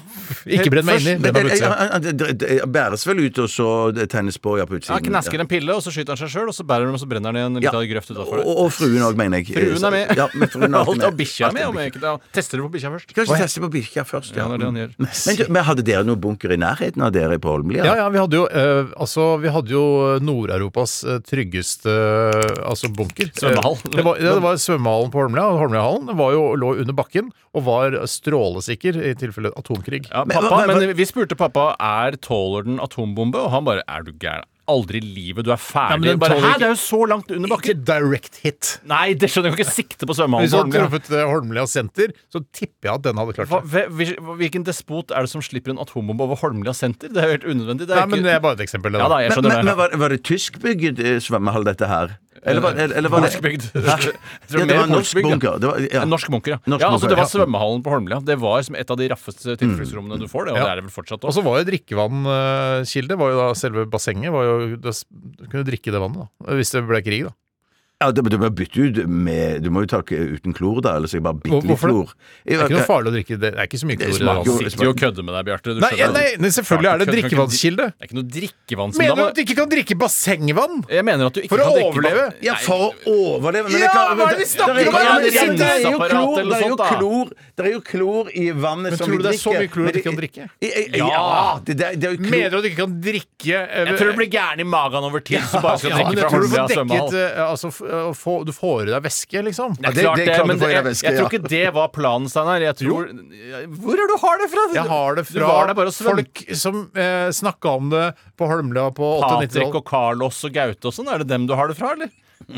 [SPEAKER 4] Ikke brenn meg inni,
[SPEAKER 6] Men
[SPEAKER 4] brenn meg på
[SPEAKER 6] det- ja,
[SPEAKER 4] utsida.
[SPEAKER 6] ja, det- det- det Bæres vel ut, og så det tegnes på ja, på utsiden.
[SPEAKER 5] Han knasker en pille, og så skyter han seg sjøl, og så bærer han og så brenner han i en
[SPEAKER 6] Ja.
[SPEAKER 5] liten grøft
[SPEAKER 6] Ja.
[SPEAKER 5] utafor.
[SPEAKER 6] Og, og fruen òg, mener jeg.
[SPEAKER 5] Fruen er med.
[SPEAKER 6] Ja, men fruen er alltid
[SPEAKER 5] [LAUGHS] Alt,
[SPEAKER 6] med.
[SPEAKER 5] og bikkja er med. Om
[SPEAKER 6] Alltid
[SPEAKER 5] jeg ikke, ja, tester det på bikkja først.
[SPEAKER 6] Kanskje teste på bikkja først, Mm.
[SPEAKER 5] Ja, det er det han gjør.
[SPEAKER 6] Men, du, men hadde dere noen bunker i nærheten av dere på Holmlia?
[SPEAKER 4] Ja, ja, vi hadde jo, eh, altså, vi hadde jo Nord-Europas eh, tryggeste eh, altså bunker.
[SPEAKER 5] Svømmehall.
[SPEAKER 4] Eh, Det var, ja, det var svømmehallen på Holmlia. og Holmliahallen Den var jo, lå under bakken og var strålesikker i tilfelle atomkrig.
[SPEAKER 5] Ja,
[SPEAKER 6] Men-
[SPEAKER 5] pappa,
[SPEAKER 6] men-
[SPEAKER 5] men, vi spurte pappa er tåler den atombombe, og han bare er du gæren? Aldri i livet, du
[SPEAKER 4] men
[SPEAKER 5] er ferdig.
[SPEAKER 4] den
[SPEAKER 5] bare,
[SPEAKER 4] tåler
[SPEAKER 5] Hæ,
[SPEAKER 4] ikke-
[SPEAKER 5] det er jo så langt under bakken!
[SPEAKER 4] Ikke direct hit.
[SPEAKER 5] Nei, det skjønner jeg jo ikke. Sikte på
[SPEAKER 4] Hvis du hadde
[SPEAKER 5] svømmehallen.
[SPEAKER 4] truffet eh, Holmlia senter, så tipper jeg at den hadde klart
[SPEAKER 5] Hva-
[SPEAKER 4] seg.
[SPEAKER 5] hve- hvil- Hvilken despot er det som slipper en atombombe over Holmlia senter? Det er jo helt unødvendig. Det
[SPEAKER 4] Nei,
[SPEAKER 5] er
[SPEAKER 4] men det
[SPEAKER 5] ikke...
[SPEAKER 4] er bare et eksempel. det
[SPEAKER 5] Ja
[SPEAKER 4] da.
[SPEAKER 5] da, jeg
[SPEAKER 6] Men,
[SPEAKER 5] skjønner
[SPEAKER 6] men, men
[SPEAKER 5] det.
[SPEAKER 6] var, var det tyskbygd eh, svømmehall, dette her? Eller var,
[SPEAKER 4] Eh,
[SPEAKER 6] eller, eller var det
[SPEAKER 5] Norskbygd.
[SPEAKER 4] [LAUGHS]
[SPEAKER 6] Hæ?
[SPEAKER 5] Jeg tror
[SPEAKER 6] Ja, det
[SPEAKER 5] mer
[SPEAKER 6] var en norsk
[SPEAKER 5] Kongsbygd, ja.
[SPEAKER 6] bunker. Det var, ja.
[SPEAKER 5] En Norsk bunker, ja.
[SPEAKER 6] Norsk
[SPEAKER 5] ja altså,
[SPEAKER 6] bunker,
[SPEAKER 5] det
[SPEAKER 6] ja.
[SPEAKER 5] var
[SPEAKER 6] Mm.
[SPEAKER 5] svømmehallen på Holmlia. Det var som et av de raffeste tilfluktsrommene du får, det, og
[SPEAKER 4] Ja.
[SPEAKER 5] det er det vel fortsatt
[SPEAKER 4] Og
[SPEAKER 5] også.
[SPEAKER 4] så var jo drikkevannkilde var jo da Selve bassenget var jo da s- Du kunne drikke det vannet, da. Hvis det ble krig, da.
[SPEAKER 6] Ja, du, du må bytte ut med Du må jo ta uten klor, da. Ellers er det bare bitte litt
[SPEAKER 4] Hvorfor det?
[SPEAKER 6] klor.
[SPEAKER 4] Det er ikke noe farlig å drikke det. Det er ikke så mye
[SPEAKER 6] Det
[SPEAKER 4] klor i det
[SPEAKER 6] smaker
[SPEAKER 5] Du
[SPEAKER 6] jo-
[SPEAKER 4] vannet.
[SPEAKER 5] sitter jo og kødder med deg, Bjarte. Du
[SPEAKER 4] Nei,
[SPEAKER 5] skjønner
[SPEAKER 4] nei,
[SPEAKER 5] det.
[SPEAKER 4] nei, selvfølgelig er det
[SPEAKER 5] Du kan ikke-
[SPEAKER 4] drikkevannskilde.
[SPEAKER 5] Det er ikke noe drikkevann som
[SPEAKER 4] Mener du
[SPEAKER 5] da
[SPEAKER 4] at du ikke kan drikke bassengvann?
[SPEAKER 5] Jeg mener at du ikke
[SPEAKER 4] For å
[SPEAKER 5] kan drikke
[SPEAKER 4] overleve?
[SPEAKER 5] vann.
[SPEAKER 6] Ja,
[SPEAKER 5] Nei,
[SPEAKER 6] for å overleve
[SPEAKER 4] Ja,
[SPEAKER 6] men det kan-
[SPEAKER 4] hva er det vi snakker om? Det er
[SPEAKER 6] er- ja, men
[SPEAKER 4] jo
[SPEAKER 6] det er jo
[SPEAKER 5] renseapparat
[SPEAKER 6] klor-
[SPEAKER 5] eller
[SPEAKER 6] Det er jo
[SPEAKER 5] sånt, da.
[SPEAKER 6] klor Det er jo klor i vannet som
[SPEAKER 4] tror du
[SPEAKER 6] vi drikker.
[SPEAKER 4] det er så mye klor at
[SPEAKER 6] men
[SPEAKER 4] du
[SPEAKER 6] det-
[SPEAKER 4] ikke kan drikke?
[SPEAKER 6] I- i-
[SPEAKER 5] Ja.
[SPEAKER 6] Ja! Det, det er- det er jo klor
[SPEAKER 4] Mener du at du ikke kan drikke eh,
[SPEAKER 5] Jeg tror du blir gæren i magen over tid hvis du bare skal
[SPEAKER 4] ja, men
[SPEAKER 5] drikke
[SPEAKER 4] jeg
[SPEAKER 5] fra
[SPEAKER 4] tror du
[SPEAKER 5] Holmlia
[SPEAKER 4] får dekket
[SPEAKER 5] svømmehall.
[SPEAKER 4] eh, altså, f- eh, få, Du får i deg væske, liksom.
[SPEAKER 5] Det er
[SPEAKER 6] det-
[SPEAKER 5] klart
[SPEAKER 6] det
[SPEAKER 5] det,
[SPEAKER 6] klarer
[SPEAKER 5] men
[SPEAKER 6] du på
[SPEAKER 5] det, jeg,
[SPEAKER 6] Eva Veske,
[SPEAKER 5] jeg tror
[SPEAKER 6] ja.
[SPEAKER 5] ikke det var planen, Steinar. Jeg tror Hvor er det du har det fra?
[SPEAKER 4] Jeg har det
[SPEAKER 5] Du
[SPEAKER 4] fra
[SPEAKER 5] var der bare og svømte.
[SPEAKER 4] folk som eh, snakka om det på Holmlia på 98
[SPEAKER 5] Patrick og Carlos og Gaute og sånn, er det dem du har det fra, eller?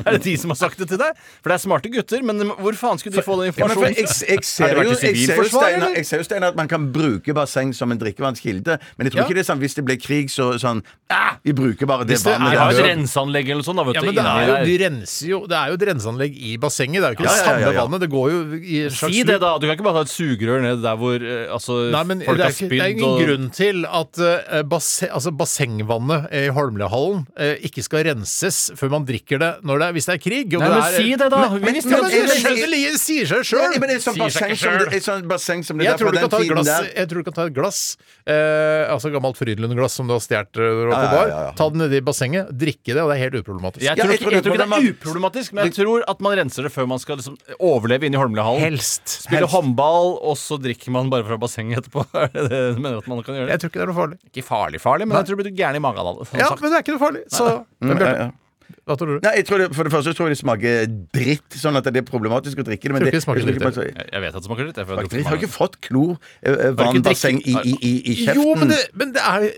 [SPEAKER 5] Er det de som har sagt det til deg? For det er smarte gutter, men hvor faen skulle de få den
[SPEAKER 6] Ja, men for
[SPEAKER 5] informasjonen?
[SPEAKER 6] jeg, jeg, ser
[SPEAKER 5] Har det vært
[SPEAKER 6] jo,
[SPEAKER 5] i
[SPEAKER 6] jeg, ser jo
[SPEAKER 5] sivilforsvar,
[SPEAKER 6] Steinar,
[SPEAKER 5] eller?
[SPEAKER 6] jeg ser jo Steinar at man kan bruke basseng som en drikkevannskilde, men jeg tror
[SPEAKER 4] Ja.
[SPEAKER 6] ikke det er sånn hvis det blir krig, så sånn ah, Vi bruker bare det
[SPEAKER 4] Hvis det
[SPEAKER 5] De
[SPEAKER 6] vannet.
[SPEAKER 4] er-
[SPEAKER 5] har jo
[SPEAKER 6] der.
[SPEAKER 5] et renseanlegg eller noe sånt, da, vet
[SPEAKER 4] Ja,
[SPEAKER 5] du.
[SPEAKER 4] men det er, jo,
[SPEAKER 5] inni
[SPEAKER 4] de
[SPEAKER 5] der.
[SPEAKER 4] renser jo, det er jo et renseanlegg i bassenget. Det er jo ikke
[SPEAKER 6] Ja,
[SPEAKER 4] det
[SPEAKER 6] ja, ja,
[SPEAKER 4] samme
[SPEAKER 6] ja.
[SPEAKER 4] vannet. Det går jo i en slags
[SPEAKER 5] Si det, da. Du kan ikke bare ta et sugerør ned der hvor eh, altså,
[SPEAKER 4] Nei, men det
[SPEAKER 5] folk
[SPEAKER 4] er,
[SPEAKER 5] har
[SPEAKER 4] ikke,
[SPEAKER 5] spydd
[SPEAKER 4] det er ingen
[SPEAKER 5] og
[SPEAKER 4] grunn til at eh, basse, altså bassengvannet i Holmliahallen eh, ikke skal renses før man drikker det når det er, hvis det er krig. og
[SPEAKER 5] Nei,
[SPEAKER 4] det
[SPEAKER 5] men
[SPEAKER 4] er,
[SPEAKER 5] si det, da! Vi
[SPEAKER 4] Men,
[SPEAKER 5] visste
[SPEAKER 4] men,
[SPEAKER 5] jo
[SPEAKER 4] men,
[SPEAKER 5] at det
[SPEAKER 4] det
[SPEAKER 5] skjedde.
[SPEAKER 4] skjønner- det sier seg
[SPEAKER 6] Ja, men
[SPEAKER 4] sjøl!
[SPEAKER 6] det er sånn
[SPEAKER 5] Sier seg
[SPEAKER 6] basseng
[SPEAKER 5] ikke
[SPEAKER 6] som det,
[SPEAKER 5] selv.
[SPEAKER 6] et sånt basseng som det
[SPEAKER 4] Jeg
[SPEAKER 6] der
[SPEAKER 4] tror,
[SPEAKER 6] på
[SPEAKER 4] du
[SPEAKER 6] den
[SPEAKER 4] kan ta et
[SPEAKER 6] tiden
[SPEAKER 4] glass,
[SPEAKER 6] der.
[SPEAKER 4] jeg tror du kan ta et glass eh, Altså gammelt Frydenlund-glass som du har stjålet når du var
[SPEAKER 6] Ja,
[SPEAKER 4] på
[SPEAKER 6] ja,
[SPEAKER 4] bar.
[SPEAKER 6] ja, ja.
[SPEAKER 4] Ta det nedi bassenget, drikke det, og det er helt uproblematisk.
[SPEAKER 5] Jeg
[SPEAKER 6] Ja,
[SPEAKER 5] tror,
[SPEAKER 6] jeg
[SPEAKER 5] ikke,
[SPEAKER 6] tror
[SPEAKER 5] jeg tror ikke det
[SPEAKER 6] hvordan
[SPEAKER 5] er
[SPEAKER 6] man-
[SPEAKER 5] uproblematisk, men jeg tror at man renser det før man skal liksom overleve inne i Holmlia-hallen.
[SPEAKER 4] Helst.
[SPEAKER 5] Spille
[SPEAKER 6] Helst.
[SPEAKER 5] håndball, og så drikker man bare fra bassenget etterpå. [LAUGHS] Er det det du mener at man kan gjøre?
[SPEAKER 4] Jeg tror ikke det er noe farlig.
[SPEAKER 5] Ikke farlig, farlig, men jeg tror du blir gæren i magen av det. som
[SPEAKER 4] Ja,
[SPEAKER 5] sagt.
[SPEAKER 4] men det er ikke noe farlig. Så Men Bjarte,
[SPEAKER 6] ja, ja.
[SPEAKER 4] hva tror du?
[SPEAKER 6] Nei, jeg tror det, For det første tror jeg det smaker dritt, sånn at det er problematisk å drikke det. Men
[SPEAKER 4] Tror ikke
[SPEAKER 6] det,
[SPEAKER 4] det smaker
[SPEAKER 6] jeg tror ikke
[SPEAKER 4] dritt,
[SPEAKER 6] man-
[SPEAKER 5] Jeg, jeg vet at det smaker litt. Jeg, får
[SPEAKER 6] Faktisk,
[SPEAKER 5] drukket
[SPEAKER 6] jeg har
[SPEAKER 5] mange.
[SPEAKER 6] ikke fått klor, eh, vann,
[SPEAKER 5] drikke-
[SPEAKER 6] basseng i, i, i, i kjeften.
[SPEAKER 4] Jo, men det, men det er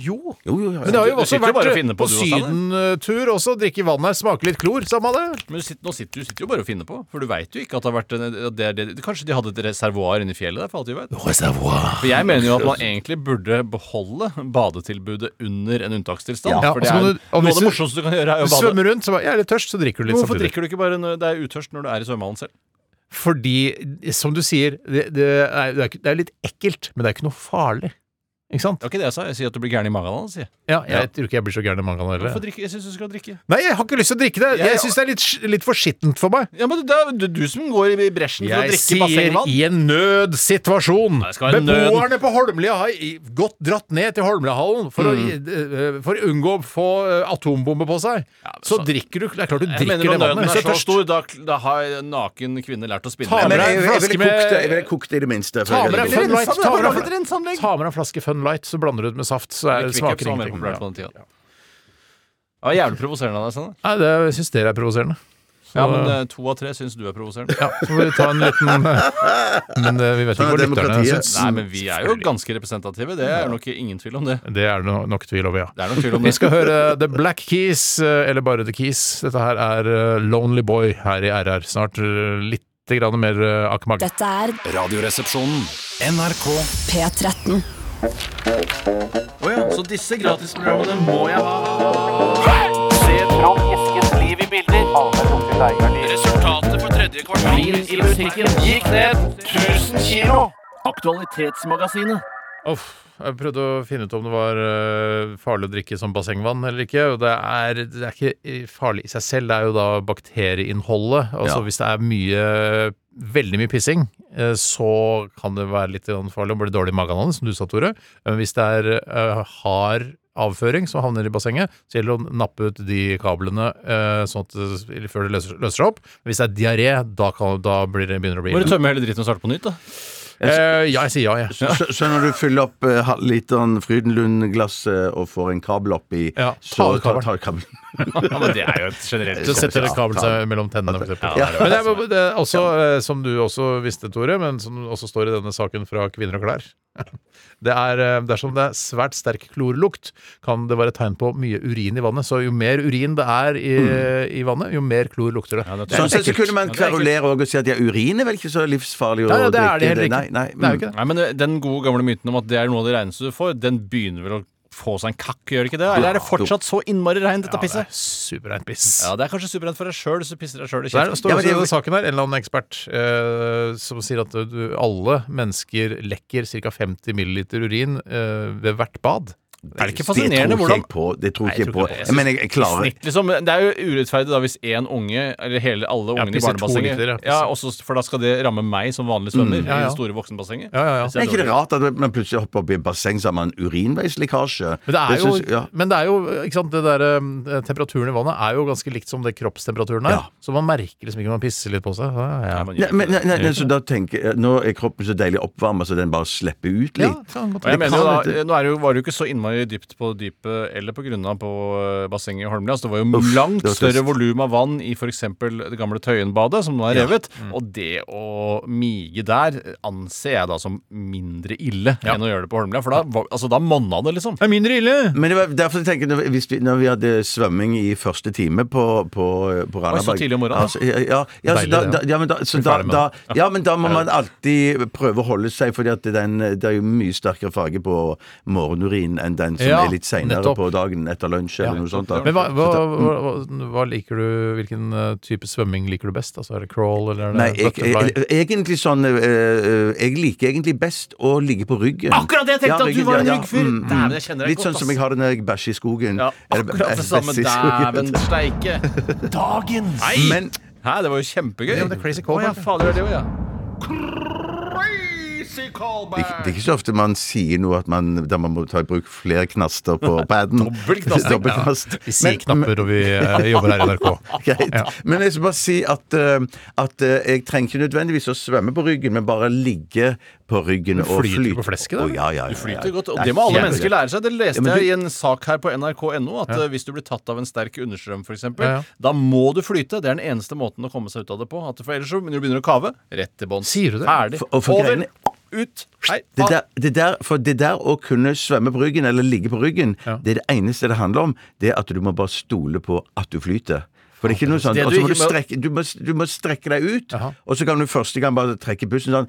[SPEAKER 4] Jo.
[SPEAKER 6] jo, jo, jo.
[SPEAKER 4] Men det har jo
[SPEAKER 5] Du
[SPEAKER 4] også
[SPEAKER 5] sitter
[SPEAKER 4] vært eh,
[SPEAKER 5] jo bare og finner
[SPEAKER 4] på,
[SPEAKER 5] på, du også,
[SPEAKER 4] sydentur også. Drikke vann her, smake litt klor. Samme det.
[SPEAKER 5] men du sitter, nå sitter, du sitter jo bare og finner på, for du veit jo ikke at det har vært en, at det er det, Kanskje de hadde et reservoar inni fjellet der, for alt vi vet. For jeg mener jo at man egentlig burde beholde badetilbudet under en unntakstilstand.
[SPEAKER 4] Ja,
[SPEAKER 5] for det
[SPEAKER 4] og så må
[SPEAKER 5] er,
[SPEAKER 4] du- og hvis
[SPEAKER 5] noe av det
[SPEAKER 4] du-
[SPEAKER 5] morsomste du kan gjøre,
[SPEAKER 4] Du
[SPEAKER 5] er jo å bade.
[SPEAKER 4] svømmer rundt, så bare Jeg er litt tørst, så drikker du litt
[SPEAKER 5] Hvorfor
[SPEAKER 4] samtidig.
[SPEAKER 5] drikker du ikke bare når det er utørst når du er i svømmehallen selv?
[SPEAKER 4] Fordi, som du sier, det, det, er, det, er, ikke- det er litt ekkelt, men det er ikke noe farlig. Ikke sant?
[SPEAKER 5] Det var ikke det jeg sa. Jeg sier at du blir gæren i magen av det. sier jeg.
[SPEAKER 4] Ja, jeg tror ikke jeg blir så gæren i mange ganger.
[SPEAKER 5] Hvorfor drikke? Jeg syns du skal drikke.
[SPEAKER 4] Nei, jeg har ikke lyst til å drikke det. Jeg
[SPEAKER 5] Jeg-
[SPEAKER 4] syns det er litt, litt for skittent for meg.
[SPEAKER 5] Ja, men det er du, du som går i bresjen for å
[SPEAKER 4] Jeg
[SPEAKER 5] drikke
[SPEAKER 4] sier
[SPEAKER 5] bassengvann.
[SPEAKER 4] i en nødsituasjon.
[SPEAKER 5] det skal være
[SPEAKER 4] Beboerne på Holmlia har i- gått dratt ned til Holmliahallen for,
[SPEAKER 5] Mm.
[SPEAKER 4] å, eh, for å unngå å få eh, atombombe på seg. så, drikker du Det er klart du
[SPEAKER 5] Jeg
[SPEAKER 4] drikker
[SPEAKER 5] mener
[SPEAKER 4] det
[SPEAKER 5] når
[SPEAKER 4] vannet
[SPEAKER 5] nøden
[SPEAKER 4] hvis
[SPEAKER 5] er
[SPEAKER 4] du
[SPEAKER 5] så
[SPEAKER 4] er tørst.
[SPEAKER 5] stor, da, da har en naken kvinne lært å spille.
[SPEAKER 4] Ta med
[SPEAKER 6] Men
[SPEAKER 4] deg en
[SPEAKER 6] jeg, jeg, ville
[SPEAKER 4] flaske
[SPEAKER 6] kokt det,
[SPEAKER 4] med-
[SPEAKER 6] jeg ville kokt det i det minste. før
[SPEAKER 4] Ta med
[SPEAKER 6] jeg
[SPEAKER 4] deg
[SPEAKER 6] ville-
[SPEAKER 4] Fun Light,
[SPEAKER 5] rensa-
[SPEAKER 4] ta med
[SPEAKER 5] bare
[SPEAKER 4] deg-
[SPEAKER 5] litt renseanlegg.
[SPEAKER 4] ta med deg en flaske Fun Light, så blander du det med saft. Så er,
[SPEAKER 5] Eller Kvikk Ups
[SPEAKER 4] smaker
[SPEAKER 5] var mer
[SPEAKER 4] ingenting.
[SPEAKER 5] populært på den
[SPEAKER 4] Ja.
[SPEAKER 5] tida. Det var jævlig provoserende av deg, Sanne.
[SPEAKER 4] Nei, det syns dere er provoserende.
[SPEAKER 5] Ja, men eh, to av tre syns du er provoserende.
[SPEAKER 4] Ja, så får vi ta en
[SPEAKER 5] [LAUGHS]
[SPEAKER 4] liten eh, Men eh, vi vet ikke
[SPEAKER 6] Sånn er
[SPEAKER 4] hvor lytterne
[SPEAKER 6] demokratiet.
[SPEAKER 4] syns.
[SPEAKER 5] Nei, men vi er jo ganske representative. Det er nok ingen tvil om det.
[SPEAKER 4] Det er det no- nok tvil over, ja.
[SPEAKER 5] Det er nok tvil om
[SPEAKER 4] Vi
[SPEAKER 5] det.
[SPEAKER 4] skal høre The Black Keys, eh, eller bare The Keys. Dette her er eh, Lonely Boy her i RR. Snart eh, litt grann mer eh, Akmag.
[SPEAKER 1] Dette er
[SPEAKER 2] Radioresepsjonen.
[SPEAKER 1] P13.
[SPEAKER 5] Så disse gratisprogrammene må jeg ha.
[SPEAKER 7] Resultatet for tredje kvartal i musikken gikk ned 1000 kilo. Aktualitetsmagasinet.
[SPEAKER 4] Uff, jeg prøvde å finne ut om det var eh, farlig å drikke som bassengvann eller ikke. Og det er, det er ikke eh, farlig i seg selv, det er jo da bakterieinnholdet. Altså
[SPEAKER 6] Ja.
[SPEAKER 4] hvis det er mye Veldig mye pissing, eh, så kan det være litt grann farlig og bli dårlig i magen av det, som du sa, Tore. Men hvis det er eh, hard avføring som havner i bassenget, så gjelder det å nappe ut de kablene eh, sånn at, det- eller før det løser, løser seg opp. Hvis det er diaré, da, kan, da blir det, begynner det å bli
[SPEAKER 5] Bare
[SPEAKER 4] ille.
[SPEAKER 5] tømme hele dritten og starte på nytt, da.
[SPEAKER 4] Eh, ja, jeg sier ja, jeg.
[SPEAKER 6] Så, så når du fyller opp eh, halvliteren Frydenlund-glasset og får en kabel oppi,
[SPEAKER 4] Ja,
[SPEAKER 6] så
[SPEAKER 4] ta ut
[SPEAKER 6] tar
[SPEAKER 4] kabelen.
[SPEAKER 6] tar kabelen.
[SPEAKER 5] [LAUGHS] Ja, men det er jo et generelt
[SPEAKER 4] Så setter det
[SPEAKER 6] Ja,
[SPEAKER 4] kabel
[SPEAKER 6] ta
[SPEAKER 4] seg mellom tennene, for eksempel.
[SPEAKER 5] Ja,
[SPEAKER 4] Men det er, det er også, eh, som du også visste, Tore, men som også står i denne saken fra Kvinner og klær [LAUGHS] det er, eh, Dersom det er svært sterk klorlukt, kan det være tegn på mye urin i vannet. Så jo mer urin det er i, eh, i vannet, jo mer klor lukter det.
[SPEAKER 5] Ja, det er
[SPEAKER 4] er
[SPEAKER 6] Sånn sett så
[SPEAKER 4] ekkelt.
[SPEAKER 6] kunne man
[SPEAKER 5] Ja, det er ekkelt.
[SPEAKER 6] kverulere og si at ja, urin er vel ikke så livsfarlig å
[SPEAKER 4] Nei, nei, det er det
[SPEAKER 6] drikke.
[SPEAKER 4] heller ikke.
[SPEAKER 6] Nei, nei,
[SPEAKER 4] Det er jo
[SPEAKER 6] mm.
[SPEAKER 4] ikke det.
[SPEAKER 5] Nei, men eh, den gode gamle myten om at det er noe av det reineste du får, den begynner vel å få seg en kakk, gjør det ikke det? Eller er det fortsatt så innmari reint,
[SPEAKER 4] Ja,
[SPEAKER 5] dette
[SPEAKER 4] det er
[SPEAKER 5] pisset?
[SPEAKER 4] Superreint piss.
[SPEAKER 5] Ja, det er kanskje superrent for deg sjøl, så pisser deg sjøl i
[SPEAKER 4] Det er,
[SPEAKER 5] kjeften.
[SPEAKER 4] står
[SPEAKER 6] Ja,
[SPEAKER 4] også
[SPEAKER 6] men
[SPEAKER 4] i
[SPEAKER 6] det-
[SPEAKER 4] denne saken her, en eller annen ekspert eh, som sier at du, alle mennesker lekker ca. 50 milliliter urin eh, ved hvert bad.
[SPEAKER 5] Er det ikke
[SPEAKER 6] det tror
[SPEAKER 5] fascinerende hvordan
[SPEAKER 6] ikke jeg på. Det tror ikke jeg på.
[SPEAKER 4] tror ikke
[SPEAKER 6] Jeg mener, jeg, jeg klarer
[SPEAKER 5] snitt, liksom, Det er jo urettferdig da hvis én unge, eller hele, alle ungene i
[SPEAKER 4] pisser to
[SPEAKER 5] barnebassenget
[SPEAKER 4] liter, ja.
[SPEAKER 5] ja, også, For da skal det ramme meg som vanlig svømmer
[SPEAKER 4] ja,
[SPEAKER 5] i
[SPEAKER 4] ja.
[SPEAKER 5] det store voksenbassenget.
[SPEAKER 4] Ja, ja, ja.
[SPEAKER 6] Er ikke det rart at man plutselig hopper opp i et basseng så har man urinveislekkasje?
[SPEAKER 4] Men det, er jo,
[SPEAKER 6] synes- ja.
[SPEAKER 4] men det er jo ikke sant, det der, eh, Temperaturen i vannet er jo ganske likt som det kroppstemperaturen er.
[SPEAKER 6] Ja.
[SPEAKER 4] Så man merker liksom ikke man pisser litt på seg. Ja, ja.
[SPEAKER 5] Nei, man gjør
[SPEAKER 6] Nei,
[SPEAKER 5] ikke
[SPEAKER 6] men,
[SPEAKER 5] det.
[SPEAKER 6] nei, nei, nei, så da tenker jeg, Nå er kroppen så deilig oppvarma, så den bare slipper ut
[SPEAKER 4] Ja,
[SPEAKER 6] litt.
[SPEAKER 4] kan godt
[SPEAKER 5] Og
[SPEAKER 4] være.
[SPEAKER 5] jeg mener jo da,
[SPEAKER 6] kan
[SPEAKER 5] eh, Nå er det jo, var det jo ikke så innmari dypt på dypet eller på grunna på eh, bassenget i Holmlia. Så det var jo
[SPEAKER 6] Uff,
[SPEAKER 5] langt
[SPEAKER 6] det var
[SPEAKER 5] større
[SPEAKER 6] trist.
[SPEAKER 5] volum av vann i f.eks. det gamle Tøyenbadet, som nå er revet.
[SPEAKER 4] Mm.
[SPEAKER 5] Og det å mige der eh, anser jeg da som mindre ille enn å gjøre det på Holmlia. For da, var- altså, da monna det, liksom.
[SPEAKER 4] Det er mindre ille!
[SPEAKER 6] Men det var derfor jeg tenker, når, hvis vi, når vi hadde svømming i første time på, på, på Randaberg
[SPEAKER 5] så tidlig om morgenen, da?
[SPEAKER 6] Altså, ja, ja, ja, så
[SPEAKER 4] Deilig,
[SPEAKER 6] da,
[SPEAKER 4] det,
[SPEAKER 6] da, ja, men da, så da,
[SPEAKER 4] ferdig med
[SPEAKER 6] da, ja, men da må man alltid prøve å holde seg, for det er jo mye sterkere farge på morgenurin enn den som
[SPEAKER 4] Ja,
[SPEAKER 6] er litt seinere
[SPEAKER 4] nettopp.
[SPEAKER 6] på dagen etter lunsj eller noe sånt. Da.
[SPEAKER 4] Men hva, hva, hva, hva, hva liker du, hvilken eh, type svømming liker du best? Altså Er det crawl eller er det
[SPEAKER 6] Nei, jeg, jeg,
[SPEAKER 4] butterfly?
[SPEAKER 6] egentlig sånn eh, eh, Jeg liker egentlig best å ligge på ryggen.
[SPEAKER 5] Akkurat det jeg tenkte, at du
[SPEAKER 6] ryggen,
[SPEAKER 5] var en ryggfyr. Dæven, jeg kjenner deg
[SPEAKER 6] Litt
[SPEAKER 5] godt,
[SPEAKER 6] sånn som
[SPEAKER 5] ass.
[SPEAKER 6] jeg har det når jeg bæsjer i skogen.
[SPEAKER 5] Ja,
[SPEAKER 6] Eller
[SPEAKER 5] akkurat det
[SPEAKER 6] bæsj-
[SPEAKER 5] samme.
[SPEAKER 6] bæsj i skogen.
[SPEAKER 5] Dæven steike. Dagens! Nei!
[SPEAKER 6] Men
[SPEAKER 5] Hæ, det var jo kjempegøy.
[SPEAKER 4] Ja, men det er crazy callback.
[SPEAKER 5] Å, ja, fader, det er det jo, ja.
[SPEAKER 6] det, det er ikke så ofte man sier noe at man, der man må ta i bruk flere knaster på
[SPEAKER 4] [LAUGHS]
[SPEAKER 6] paden.
[SPEAKER 5] Dobbel knasting,
[SPEAKER 6] Dobbel knast.
[SPEAKER 4] Vi sier knapper, og vi eh, jobber her i NRK.
[SPEAKER 6] [LAUGHS] Greit.
[SPEAKER 4] Ja.
[SPEAKER 6] Men jeg skal bare si at, eh, at eh, jeg trenger ikke nødvendigvis å svømme på ryggen, men bare ligge på ryggen og
[SPEAKER 4] flyter
[SPEAKER 6] flyte.
[SPEAKER 4] på flesket, da.
[SPEAKER 6] Å, ja, ja, ja, ja.
[SPEAKER 5] Du flyter godt, og
[SPEAKER 6] Nei,
[SPEAKER 5] det må alle
[SPEAKER 6] kjempegøy.
[SPEAKER 5] mennesker lære seg. Det leste
[SPEAKER 6] Ja, men du-
[SPEAKER 5] jeg i en sak her på nrk.no, at eh, hvis du blir tatt av en sterk understrøm f.eks.,
[SPEAKER 4] Ja, ja.
[SPEAKER 5] da må du flyte. Det er den eneste måten å komme seg ut av det på. At for ellers så når du begynner å kave, rett til bånn.
[SPEAKER 4] Sier du det?
[SPEAKER 5] Ferdig.
[SPEAKER 6] For- og for
[SPEAKER 5] Over.
[SPEAKER 6] greiene-
[SPEAKER 5] Ut. Hei.
[SPEAKER 6] Det
[SPEAKER 5] faen.
[SPEAKER 6] der, det der, for det der å kunne svømme på ryggen eller ligge på ryggen, det er det eneste det handler om. Det er at du må bare stole på at du flyter. For det er ikke noe sånn,
[SPEAKER 5] Det du
[SPEAKER 6] og så må du,
[SPEAKER 5] ikke må-
[SPEAKER 6] strekke, du, må, du må strekke deg ut,
[SPEAKER 4] Jaha.
[SPEAKER 6] og så kan du første gang bare trekke pusten sånn.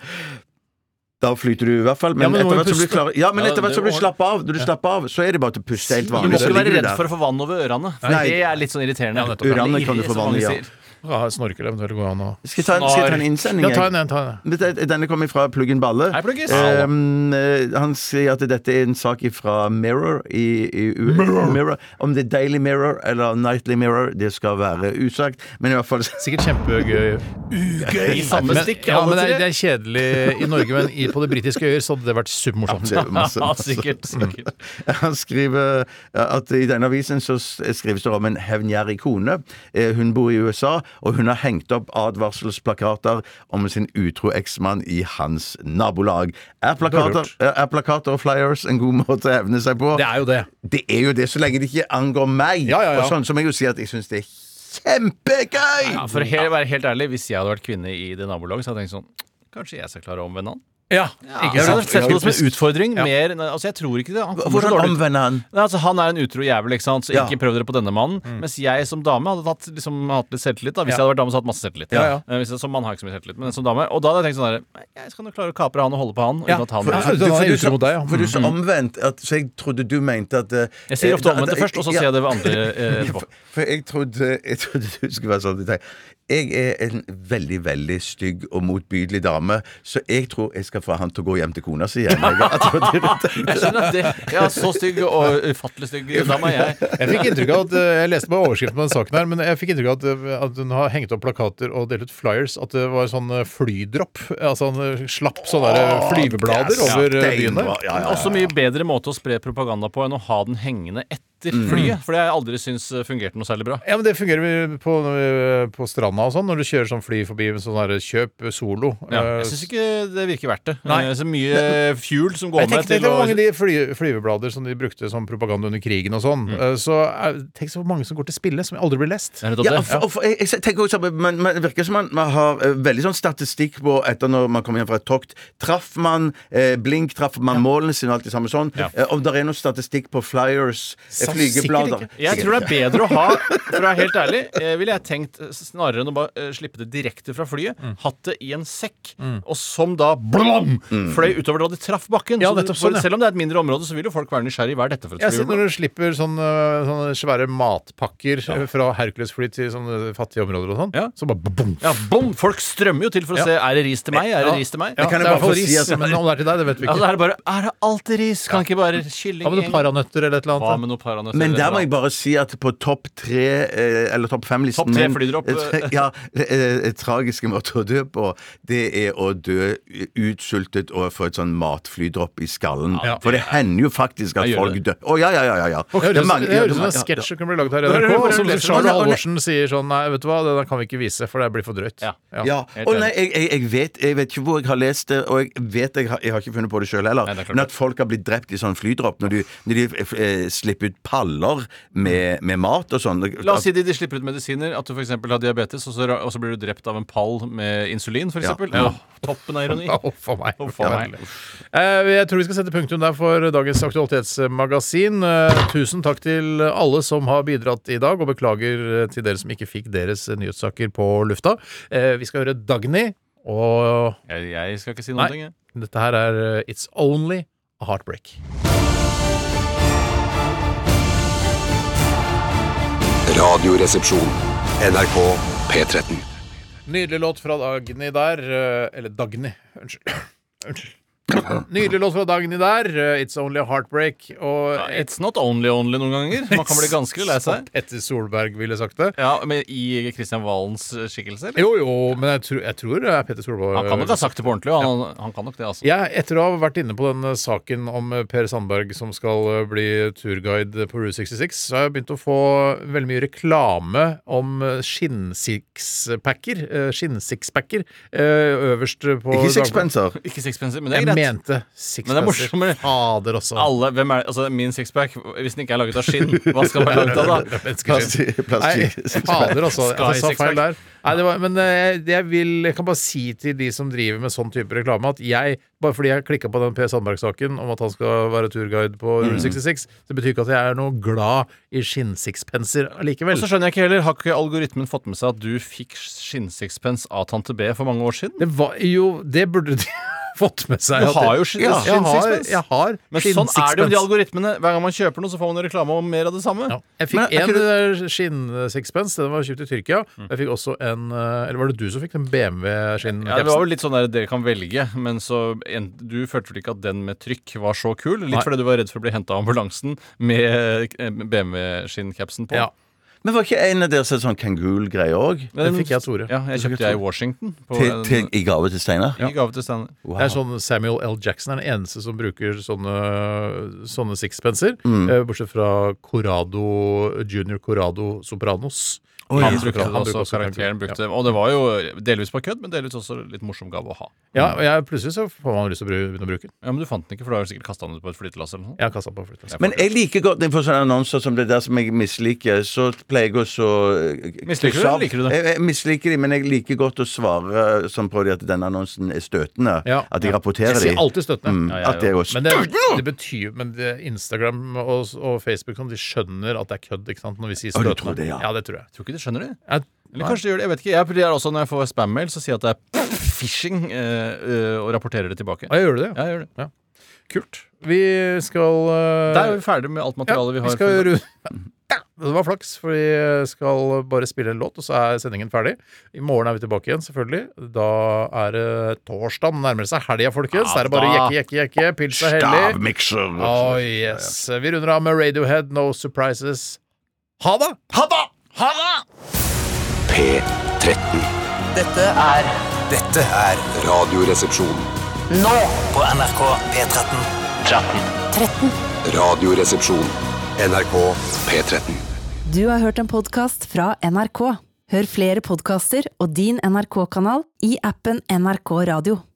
[SPEAKER 6] Da flyter du i hvert fall, men,
[SPEAKER 4] Ja, men du må
[SPEAKER 6] etter
[SPEAKER 4] jo
[SPEAKER 6] hvert som du
[SPEAKER 4] puste.
[SPEAKER 6] klarer Ja, men
[SPEAKER 5] Ja,
[SPEAKER 6] etter hvert
[SPEAKER 5] det
[SPEAKER 6] som du
[SPEAKER 5] må-
[SPEAKER 6] slapper av, når du slapper av, så er det bare til å puste helt
[SPEAKER 5] Du må
[SPEAKER 6] vanlig.
[SPEAKER 5] ikke
[SPEAKER 6] så
[SPEAKER 5] være
[SPEAKER 6] ligger
[SPEAKER 5] redd for å få vann over ørene. For
[SPEAKER 6] Nei.
[SPEAKER 5] det er litt sånn irriterende.
[SPEAKER 4] nettopp.
[SPEAKER 5] Det er
[SPEAKER 6] Ørene kan du
[SPEAKER 5] irriterende,
[SPEAKER 6] få
[SPEAKER 5] som
[SPEAKER 6] vann i,
[SPEAKER 5] mange
[SPEAKER 6] ja.
[SPEAKER 5] sier.
[SPEAKER 4] Ja, Snorkel eventuelt går an å
[SPEAKER 6] Skal jeg ta en, skal jeg ta en innsending?
[SPEAKER 4] Ja, ta en,
[SPEAKER 6] jeg?
[SPEAKER 4] en, ta en.
[SPEAKER 6] Dette- Denne kommer fra Pluggen Balle.
[SPEAKER 5] Hei, Pluggis.
[SPEAKER 6] Ehm, eh, han sier at dette er en sak fra Mirror i, i U- Mirror. Om det er Daily Mirror eller Nightly Mirror, det skal være usagt. Men i hvert fall
[SPEAKER 4] Sikkert kjempegøy.
[SPEAKER 5] I samme
[SPEAKER 4] Men,
[SPEAKER 5] stikk,
[SPEAKER 4] ja,
[SPEAKER 5] alle
[SPEAKER 4] men det, er, det
[SPEAKER 5] tre.
[SPEAKER 4] er kjedelig i Norge, men i, på de britiske øyer så hadde det vært supermorsomt.
[SPEAKER 6] det er masse-
[SPEAKER 4] [LAUGHS]
[SPEAKER 5] Ja, sikkert. sikkert.
[SPEAKER 6] Han skriver eh, at i denne avisen så skrives det om en hevngjerrig kone. Eh, Hun bor i USA, og hun har hengt opp advarselsplakater om sin utro eksmann i hans nabolag. Er plakater,
[SPEAKER 4] Det
[SPEAKER 6] er plakater og flyers en god måte å hevne seg på?
[SPEAKER 4] Det er jo det.
[SPEAKER 6] Det er jo det, så lenge det ikke angår meg.
[SPEAKER 4] Ja, ja, ja.
[SPEAKER 6] Og sånn som jeg jo sier at jeg syns det er kjempegøy!
[SPEAKER 5] Ja, for å he- være helt ærlig, hvis jeg hadde vært kvinne i det nabolaget, så hadde jeg tenkt sånn Kanskje jeg skal klare å omvende han?
[SPEAKER 4] Ja, ikke
[SPEAKER 5] Jeg hadde
[SPEAKER 4] sant?
[SPEAKER 5] sett det som en
[SPEAKER 4] Typisk.
[SPEAKER 5] utfordring. Mer, nei, altså, jeg tror ikke det. Han kommer så
[SPEAKER 6] Hvordan
[SPEAKER 5] dårlig ut.
[SPEAKER 6] omvender han?
[SPEAKER 5] Nei, altså, han er en utro jævel, ikke sant? så
[SPEAKER 6] Ja.
[SPEAKER 5] ikke prøv dere på denne mannen. Mens jeg som dame hadde hatt, liksom, hatt litt selvtillit. Da. Hvis jeg hadde vært dame, så hadde jeg hatt masse selvtillit.
[SPEAKER 4] Ja, ja.
[SPEAKER 5] Eh, Hvis jeg, som mann har jeg ikke så mye selvtillit, men som dame. Og da hadde jeg tenkt sånn der, «Nei, Jeg skal nok klare å kapre han og holde på han.
[SPEAKER 4] Ja,
[SPEAKER 5] Uten at han
[SPEAKER 4] for- for-
[SPEAKER 5] er.
[SPEAKER 4] han er
[SPEAKER 6] du
[SPEAKER 4] utro
[SPEAKER 6] sa-
[SPEAKER 4] mot deg, ja.
[SPEAKER 6] for du sa omvendt, at, så jeg trodde du mente at eh,
[SPEAKER 5] Mm, Jeg sier ofte
[SPEAKER 6] eh,
[SPEAKER 5] omvendt
[SPEAKER 6] da-
[SPEAKER 5] det først, og så
[SPEAKER 6] ja. [LAUGHS]
[SPEAKER 5] sier jeg det ved andre eh, [LAUGHS] etterpå.
[SPEAKER 6] For, for jeg, trodde, jeg trodde du skulle være sånn at jeg tenkte, Jeg er en veldig, veldig stygg og motbydelig dame, så jeg tror jeg skal få han til å gå hjem til kona si
[SPEAKER 5] [LAUGHS]
[SPEAKER 6] igjen. Jeg har- jeg trodde det- [LAUGHS]
[SPEAKER 5] Jeg skjønner at det, ja, Så stygg og ufattelig stygg dame er jeg.
[SPEAKER 4] Jeg fikk inntrykk av at eh, Jeg leste bare overskriften på den saken her, men jeg fikk inntrykk av at, eh, at hun har hengt opp plakater og delt ut flyers. At det var sånn eh, flydropp. Altså han eh, slapp sånne der, eh, flyveblader
[SPEAKER 6] Ja,
[SPEAKER 4] over eh,
[SPEAKER 6] det er
[SPEAKER 4] byen der.
[SPEAKER 6] bra. Ja, ja,
[SPEAKER 5] Men
[SPEAKER 6] ja.
[SPEAKER 5] Også mye bedre måte å spre propaganda på enn å ha den hengende etter
[SPEAKER 6] Mm.
[SPEAKER 5] flyet. For det har jeg aldri syntes eh, fungerte noe særlig bra.
[SPEAKER 4] Ja, men Det fungerer vel på, eh, på stranda og sånn, når du kjører sånn fly forbi med sånn her kjøp solo.
[SPEAKER 5] Ja,
[SPEAKER 4] Eh,
[SPEAKER 5] jeg syns ikke det virker verdt det.
[SPEAKER 4] Nei.
[SPEAKER 5] Eh, Så mye fuel som går
[SPEAKER 4] Jeg
[SPEAKER 5] med
[SPEAKER 4] tenkte
[SPEAKER 5] til
[SPEAKER 4] tenk hvor mange
[SPEAKER 5] å
[SPEAKER 4] av de fly, flyveblader som de brukte som propaganda under krigen og
[SPEAKER 5] Mm.
[SPEAKER 4] sånn. eh, Så er- tenk så mange som går til spille, som aldri blir lest.
[SPEAKER 5] Det er nettopp
[SPEAKER 6] Ja,
[SPEAKER 5] det.
[SPEAKER 6] og for, og for, jeg, jeg tenker også, at man, man det virker som man, man har eh, veldig sånn statistikk på etter når man kommer hjem fra et tokt. Traff man eh, blink, traff man målene sine, alt det samme sånn. Eh, om det er noe statistikk på flyers, eh,
[SPEAKER 4] Sa-
[SPEAKER 6] flygeblader
[SPEAKER 4] sikkert ikke.
[SPEAKER 5] Jeg tror det er bedre å ha For å være helt ærlig eh, ville jeg tenkt eh, snarere enn å bare eh, slippe det direkte fra flyet,
[SPEAKER 4] Mm.
[SPEAKER 5] hatt det i en sekk, og som da blom,
[SPEAKER 6] Mm.
[SPEAKER 5] fløy utover da de traff bakken.
[SPEAKER 4] Ja,
[SPEAKER 5] Så det-
[SPEAKER 4] nettopp sånn, ja.
[SPEAKER 5] Selv om det er et mindre område, så vil jo folk være nysgjerrig. Hva er dette for et
[SPEAKER 4] Jeg ser
[SPEAKER 5] flyvebladet?
[SPEAKER 4] når du slipper sånne, sånne svære matpakker eh, [LAUGHS] fra Hercules-fly til sånne fattige områder og sånn,
[SPEAKER 5] Ja.
[SPEAKER 4] så bare bom.
[SPEAKER 5] Ja, bom! Folk strømmer jo til for å
[SPEAKER 4] Ja.
[SPEAKER 5] se er det ris til meg. Er det
[SPEAKER 4] Ja.
[SPEAKER 5] ris til meg?
[SPEAKER 4] Ja,
[SPEAKER 5] Ja,
[SPEAKER 6] kan
[SPEAKER 4] det
[SPEAKER 6] jeg
[SPEAKER 4] er i hvert
[SPEAKER 6] bare
[SPEAKER 4] fall
[SPEAKER 6] få si altså.
[SPEAKER 4] ris,
[SPEAKER 6] at-
[SPEAKER 4] men om det er til deg, det vet vi
[SPEAKER 5] da
[SPEAKER 4] ikke.
[SPEAKER 5] er det bare Er det alltid ris? Kan ikke bare kylling
[SPEAKER 4] Hva med noen paranøtter eller et eller
[SPEAKER 5] Hva
[SPEAKER 4] annet?
[SPEAKER 5] med noe paranøtter?
[SPEAKER 6] Men der
[SPEAKER 5] eller
[SPEAKER 6] må
[SPEAKER 5] noe?
[SPEAKER 6] jeg bare si at på topp tre, eh, eller topp fem-listen
[SPEAKER 5] Topp tre flydropp, eh.
[SPEAKER 6] [LAUGHS] Ja. eh, eh, Tragiske måter å dø på, det er å dø utsultet og få et sånn matflydropp i skallen.
[SPEAKER 5] Ja,
[SPEAKER 6] For det hender jo faktisk at
[SPEAKER 5] Jeg gjør
[SPEAKER 6] folk
[SPEAKER 5] det.
[SPEAKER 6] dør. Å, ja, ja, ja, ja. ja.
[SPEAKER 4] Det
[SPEAKER 6] Det er
[SPEAKER 4] høres
[SPEAKER 6] mange-
[SPEAKER 4] det
[SPEAKER 6] ja,
[SPEAKER 4] høres ut
[SPEAKER 6] det er
[SPEAKER 4] som en
[SPEAKER 6] mange- ja,
[SPEAKER 4] sketsj som kunne bli laget her i
[SPEAKER 5] Hører du-
[SPEAKER 4] NRK.
[SPEAKER 5] hører du-
[SPEAKER 4] Som
[SPEAKER 5] hører du-
[SPEAKER 4] Charles
[SPEAKER 6] Å, nei, å, nei.
[SPEAKER 4] Halvorsen sier sånn Nei, vet du hva, det der kan vi ikke vise, for det blir for drøyt.
[SPEAKER 5] Ja.
[SPEAKER 6] ja.
[SPEAKER 5] Helt
[SPEAKER 6] Å
[SPEAKER 5] enig.
[SPEAKER 6] nei, jeg, jeg, jeg, vet, jeg vet ikke hvor jeg har lest det, og jeg vet jeg har, jeg har ikke funnet på det sjøl heller,
[SPEAKER 5] Nei, det er klart.
[SPEAKER 6] men at folk har blitt drept i sånn flydropp når de, når de eh, slipper ut paller med, med mat og sånn.
[SPEAKER 5] La oss si de, de slipper ut medisiner, at du f.eks. har diabetes, og så, ra- og så blir du drept av en pall med insulin, f.eks.
[SPEAKER 6] Ja.
[SPEAKER 5] Ja. Toppen av ironi.
[SPEAKER 4] Ja, Huff a meg.
[SPEAKER 5] Huff a meg.
[SPEAKER 4] Eh, Jeg tror vi skal sette punktum der for dagens aktualitetsmagasin. Eh, Tusen takk til alle som har bidratt i dag, og beklager eh, til dere som ikke fikk deres eh, nyhetssaker på lufta. Eh, Vi skal høre Dagny, og
[SPEAKER 5] Jeg, jeg skal ikke si
[SPEAKER 4] Nei.
[SPEAKER 5] noen ting, jeg.
[SPEAKER 4] dette her er eh, It's Only a Heartbreak.
[SPEAKER 2] Radioresepsjon. NRK P13.
[SPEAKER 4] Nydelig låt fra Dagny der. eh, Eller Dagny, unnskyld. [COUGHS] Unnskyld. Nydelig låt fra Dagny der. eh, It's Only a Heartbreak. Og
[SPEAKER 5] Ja, It's not only only noen ganger. Man kan bli ganske lei seg.
[SPEAKER 4] Etter Solberg, ville sagt det.
[SPEAKER 5] Ja, men I Kristian Valens eh, skikkelse? eller?
[SPEAKER 4] Jo, jo, men jeg, tror- jeg tror det er Petter Solberg.
[SPEAKER 5] Han kan nok ha sagt det på ordentlig. og Han, han kan nok det, altså.
[SPEAKER 4] Jeg, etter å ha vært inne på den eh, saken om eh, Per Sandberg som skal eh, bli turguide på Route 66, så har jeg begynt å få veldig mye reklame om eh, skinnsixpacker. eh, Skinnsixpacker eh, øverst på
[SPEAKER 6] Ikke sixpenser.
[SPEAKER 5] Ikke sixpencer, men det er
[SPEAKER 4] Jeg mente
[SPEAKER 5] greit. Men det er
[SPEAKER 4] sixpenser.
[SPEAKER 5] morsommere.
[SPEAKER 4] Fader også.
[SPEAKER 5] Alle, hvem er, altså Min sixpack, hvis den ikke er laget av skinn, hva skal den være laget av
[SPEAKER 6] [LAUGHS]
[SPEAKER 5] da?
[SPEAKER 4] Menneskeskinn. [LAUGHS] Nei, fader også.
[SPEAKER 5] Sky
[SPEAKER 4] Jeg sa feil
[SPEAKER 5] sixpack.
[SPEAKER 4] der. Nei, det var, men eh, det jeg, vil, jeg kan bare si til de som driver med sånn type reklame, at jeg, bare fordi jeg klikka på den Per Sandberg-saken om at han skal være turguide på Rule
[SPEAKER 5] Mm.
[SPEAKER 4] 66, det betyr ikke at jeg er noe glad i skinnsixpenser
[SPEAKER 5] Og
[SPEAKER 4] allikevel.
[SPEAKER 5] så skjønner jeg ikke heller, Har ikke algoritmen fått med seg at du fikk skinnsixpence av tante B for mange år siden?
[SPEAKER 4] Det var jo Det burde de [LAUGHS] fått med seg.
[SPEAKER 5] Du
[SPEAKER 4] at-
[SPEAKER 5] har jo skinn-
[SPEAKER 4] ja, jeg har,
[SPEAKER 5] skinnsixpence.
[SPEAKER 4] jeg har
[SPEAKER 5] Men sånn er det jo med de
[SPEAKER 4] skinnsixpence.
[SPEAKER 5] algoritmene. Hver gang man kjøper noe, så får man reklame om mer av det samme.
[SPEAKER 4] Ja. Jeg
[SPEAKER 6] Men
[SPEAKER 4] fikk
[SPEAKER 6] er
[SPEAKER 4] én
[SPEAKER 6] ikke
[SPEAKER 5] Mm.
[SPEAKER 4] skinnsixpence, den var kjøpt i Tyrkia. Jeg fikk også eh, en eh, Eller var det du som fikk den BMW-skinnen?
[SPEAKER 5] Ja, det var jo litt sånn der dere kan velge, men så en, du følte vel ikke at den med trykk var så kul? Litt
[SPEAKER 4] Nei.
[SPEAKER 5] fordi du var redd for å bli henta av ambulansen med eh, BMW-skinncapsen på?
[SPEAKER 4] ja,
[SPEAKER 6] Men var ikke en av dere sånn kangul-greie òg?
[SPEAKER 4] den fikk jeg av Tore.
[SPEAKER 5] Ja, jeg kjøpte jeg i Washington. På en-
[SPEAKER 6] I gave til Steinar?
[SPEAKER 5] I gave til Steinar.
[SPEAKER 4] Det er sånn Samuel L. Jackson er den eneste som bruker sånne, sånne sixpenser.
[SPEAKER 6] Mm.
[SPEAKER 4] eh, Bortsett fra Corrado, junior Corrado Sopranos.
[SPEAKER 5] Han
[SPEAKER 4] Sopranos,
[SPEAKER 5] brukte det
[SPEAKER 4] han
[SPEAKER 5] også,
[SPEAKER 4] ja.
[SPEAKER 5] karakteren brukte det. Og det var jo delvis på kødd, men delvis også litt morsom gave å ha.
[SPEAKER 4] Ja, og jeg, plutselig så får man lyst til å bru- begynne å bruke den.
[SPEAKER 5] Ja, Men du fant den ikke, for du har sikkert kasta den ut på et flytelass eller noe sånt.
[SPEAKER 4] Jeg har kassa på flyttet.
[SPEAKER 6] Men jeg liker godt når jeg får sånne annonser som det der som jeg misliker. Så pleier jeg også eh,
[SPEAKER 5] Misliker du det, eller liker du det?
[SPEAKER 6] Jeg, jeg misliker de, men jeg liker godt å svare sånn på de at denne annonsen er støtende.
[SPEAKER 4] Ja.
[SPEAKER 6] At jeg rapporterer
[SPEAKER 4] Jeg
[SPEAKER 6] de.
[SPEAKER 4] sier alltid støttende.
[SPEAKER 6] Mm,
[SPEAKER 5] ja, ja.
[SPEAKER 6] At det er jo
[SPEAKER 4] Men det,
[SPEAKER 6] støtende!
[SPEAKER 4] det betyr Men det, Instagram og, og Facebook sånn, De skjønner at det er kødd ikke sant, når vi sier
[SPEAKER 6] du
[SPEAKER 4] støtende.
[SPEAKER 6] tror det, ja.
[SPEAKER 4] det tror jeg.
[SPEAKER 5] Jeg tror ikke de skjønner det.
[SPEAKER 4] Jeg-
[SPEAKER 5] Eller kanskje de gjør det. Jeg vet ikke. Jeg pleier også når jeg får spam-mail, så sier jeg at det er phishing, eh, eh, og rapporterer det tilbake.
[SPEAKER 4] Ja, gjør du det?
[SPEAKER 5] Ja, jeg gjør det.
[SPEAKER 4] Kult. Vi skal eh,
[SPEAKER 5] Da er vi ferdig med alt materialet vi har.
[SPEAKER 4] skal
[SPEAKER 5] for i dag.
[SPEAKER 4] ru- Ja, Det var flaks, for vi eh, skal bare spille en låt, og så er sendingen ferdig. I morgen er vi tilbake igjen, selvfølgelig. Da er det torsdag. Nærmer det seg helga, folkens. Da er det bare jekke, jekke, jekke. Pils er hellig.
[SPEAKER 6] Stavmikser.
[SPEAKER 4] Oh, yes. Vi runder av med Radiohead, No Surprises. Ha det! Ha det! Ha det!
[SPEAKER 2] P13.
[SPEAKER 3] Dette er Dette er
[SPEAKER 2] Radioresepsjon.
[SPEAKER 3] nå på NRK P13. 13.
[SPEAKER 2] Radioresepsjon. NRK P13.
[SPEAKER 1] Du har hørt en podkast fra NRK. Hør flere podkaster og din NRK-kanal i appen NRK Radio.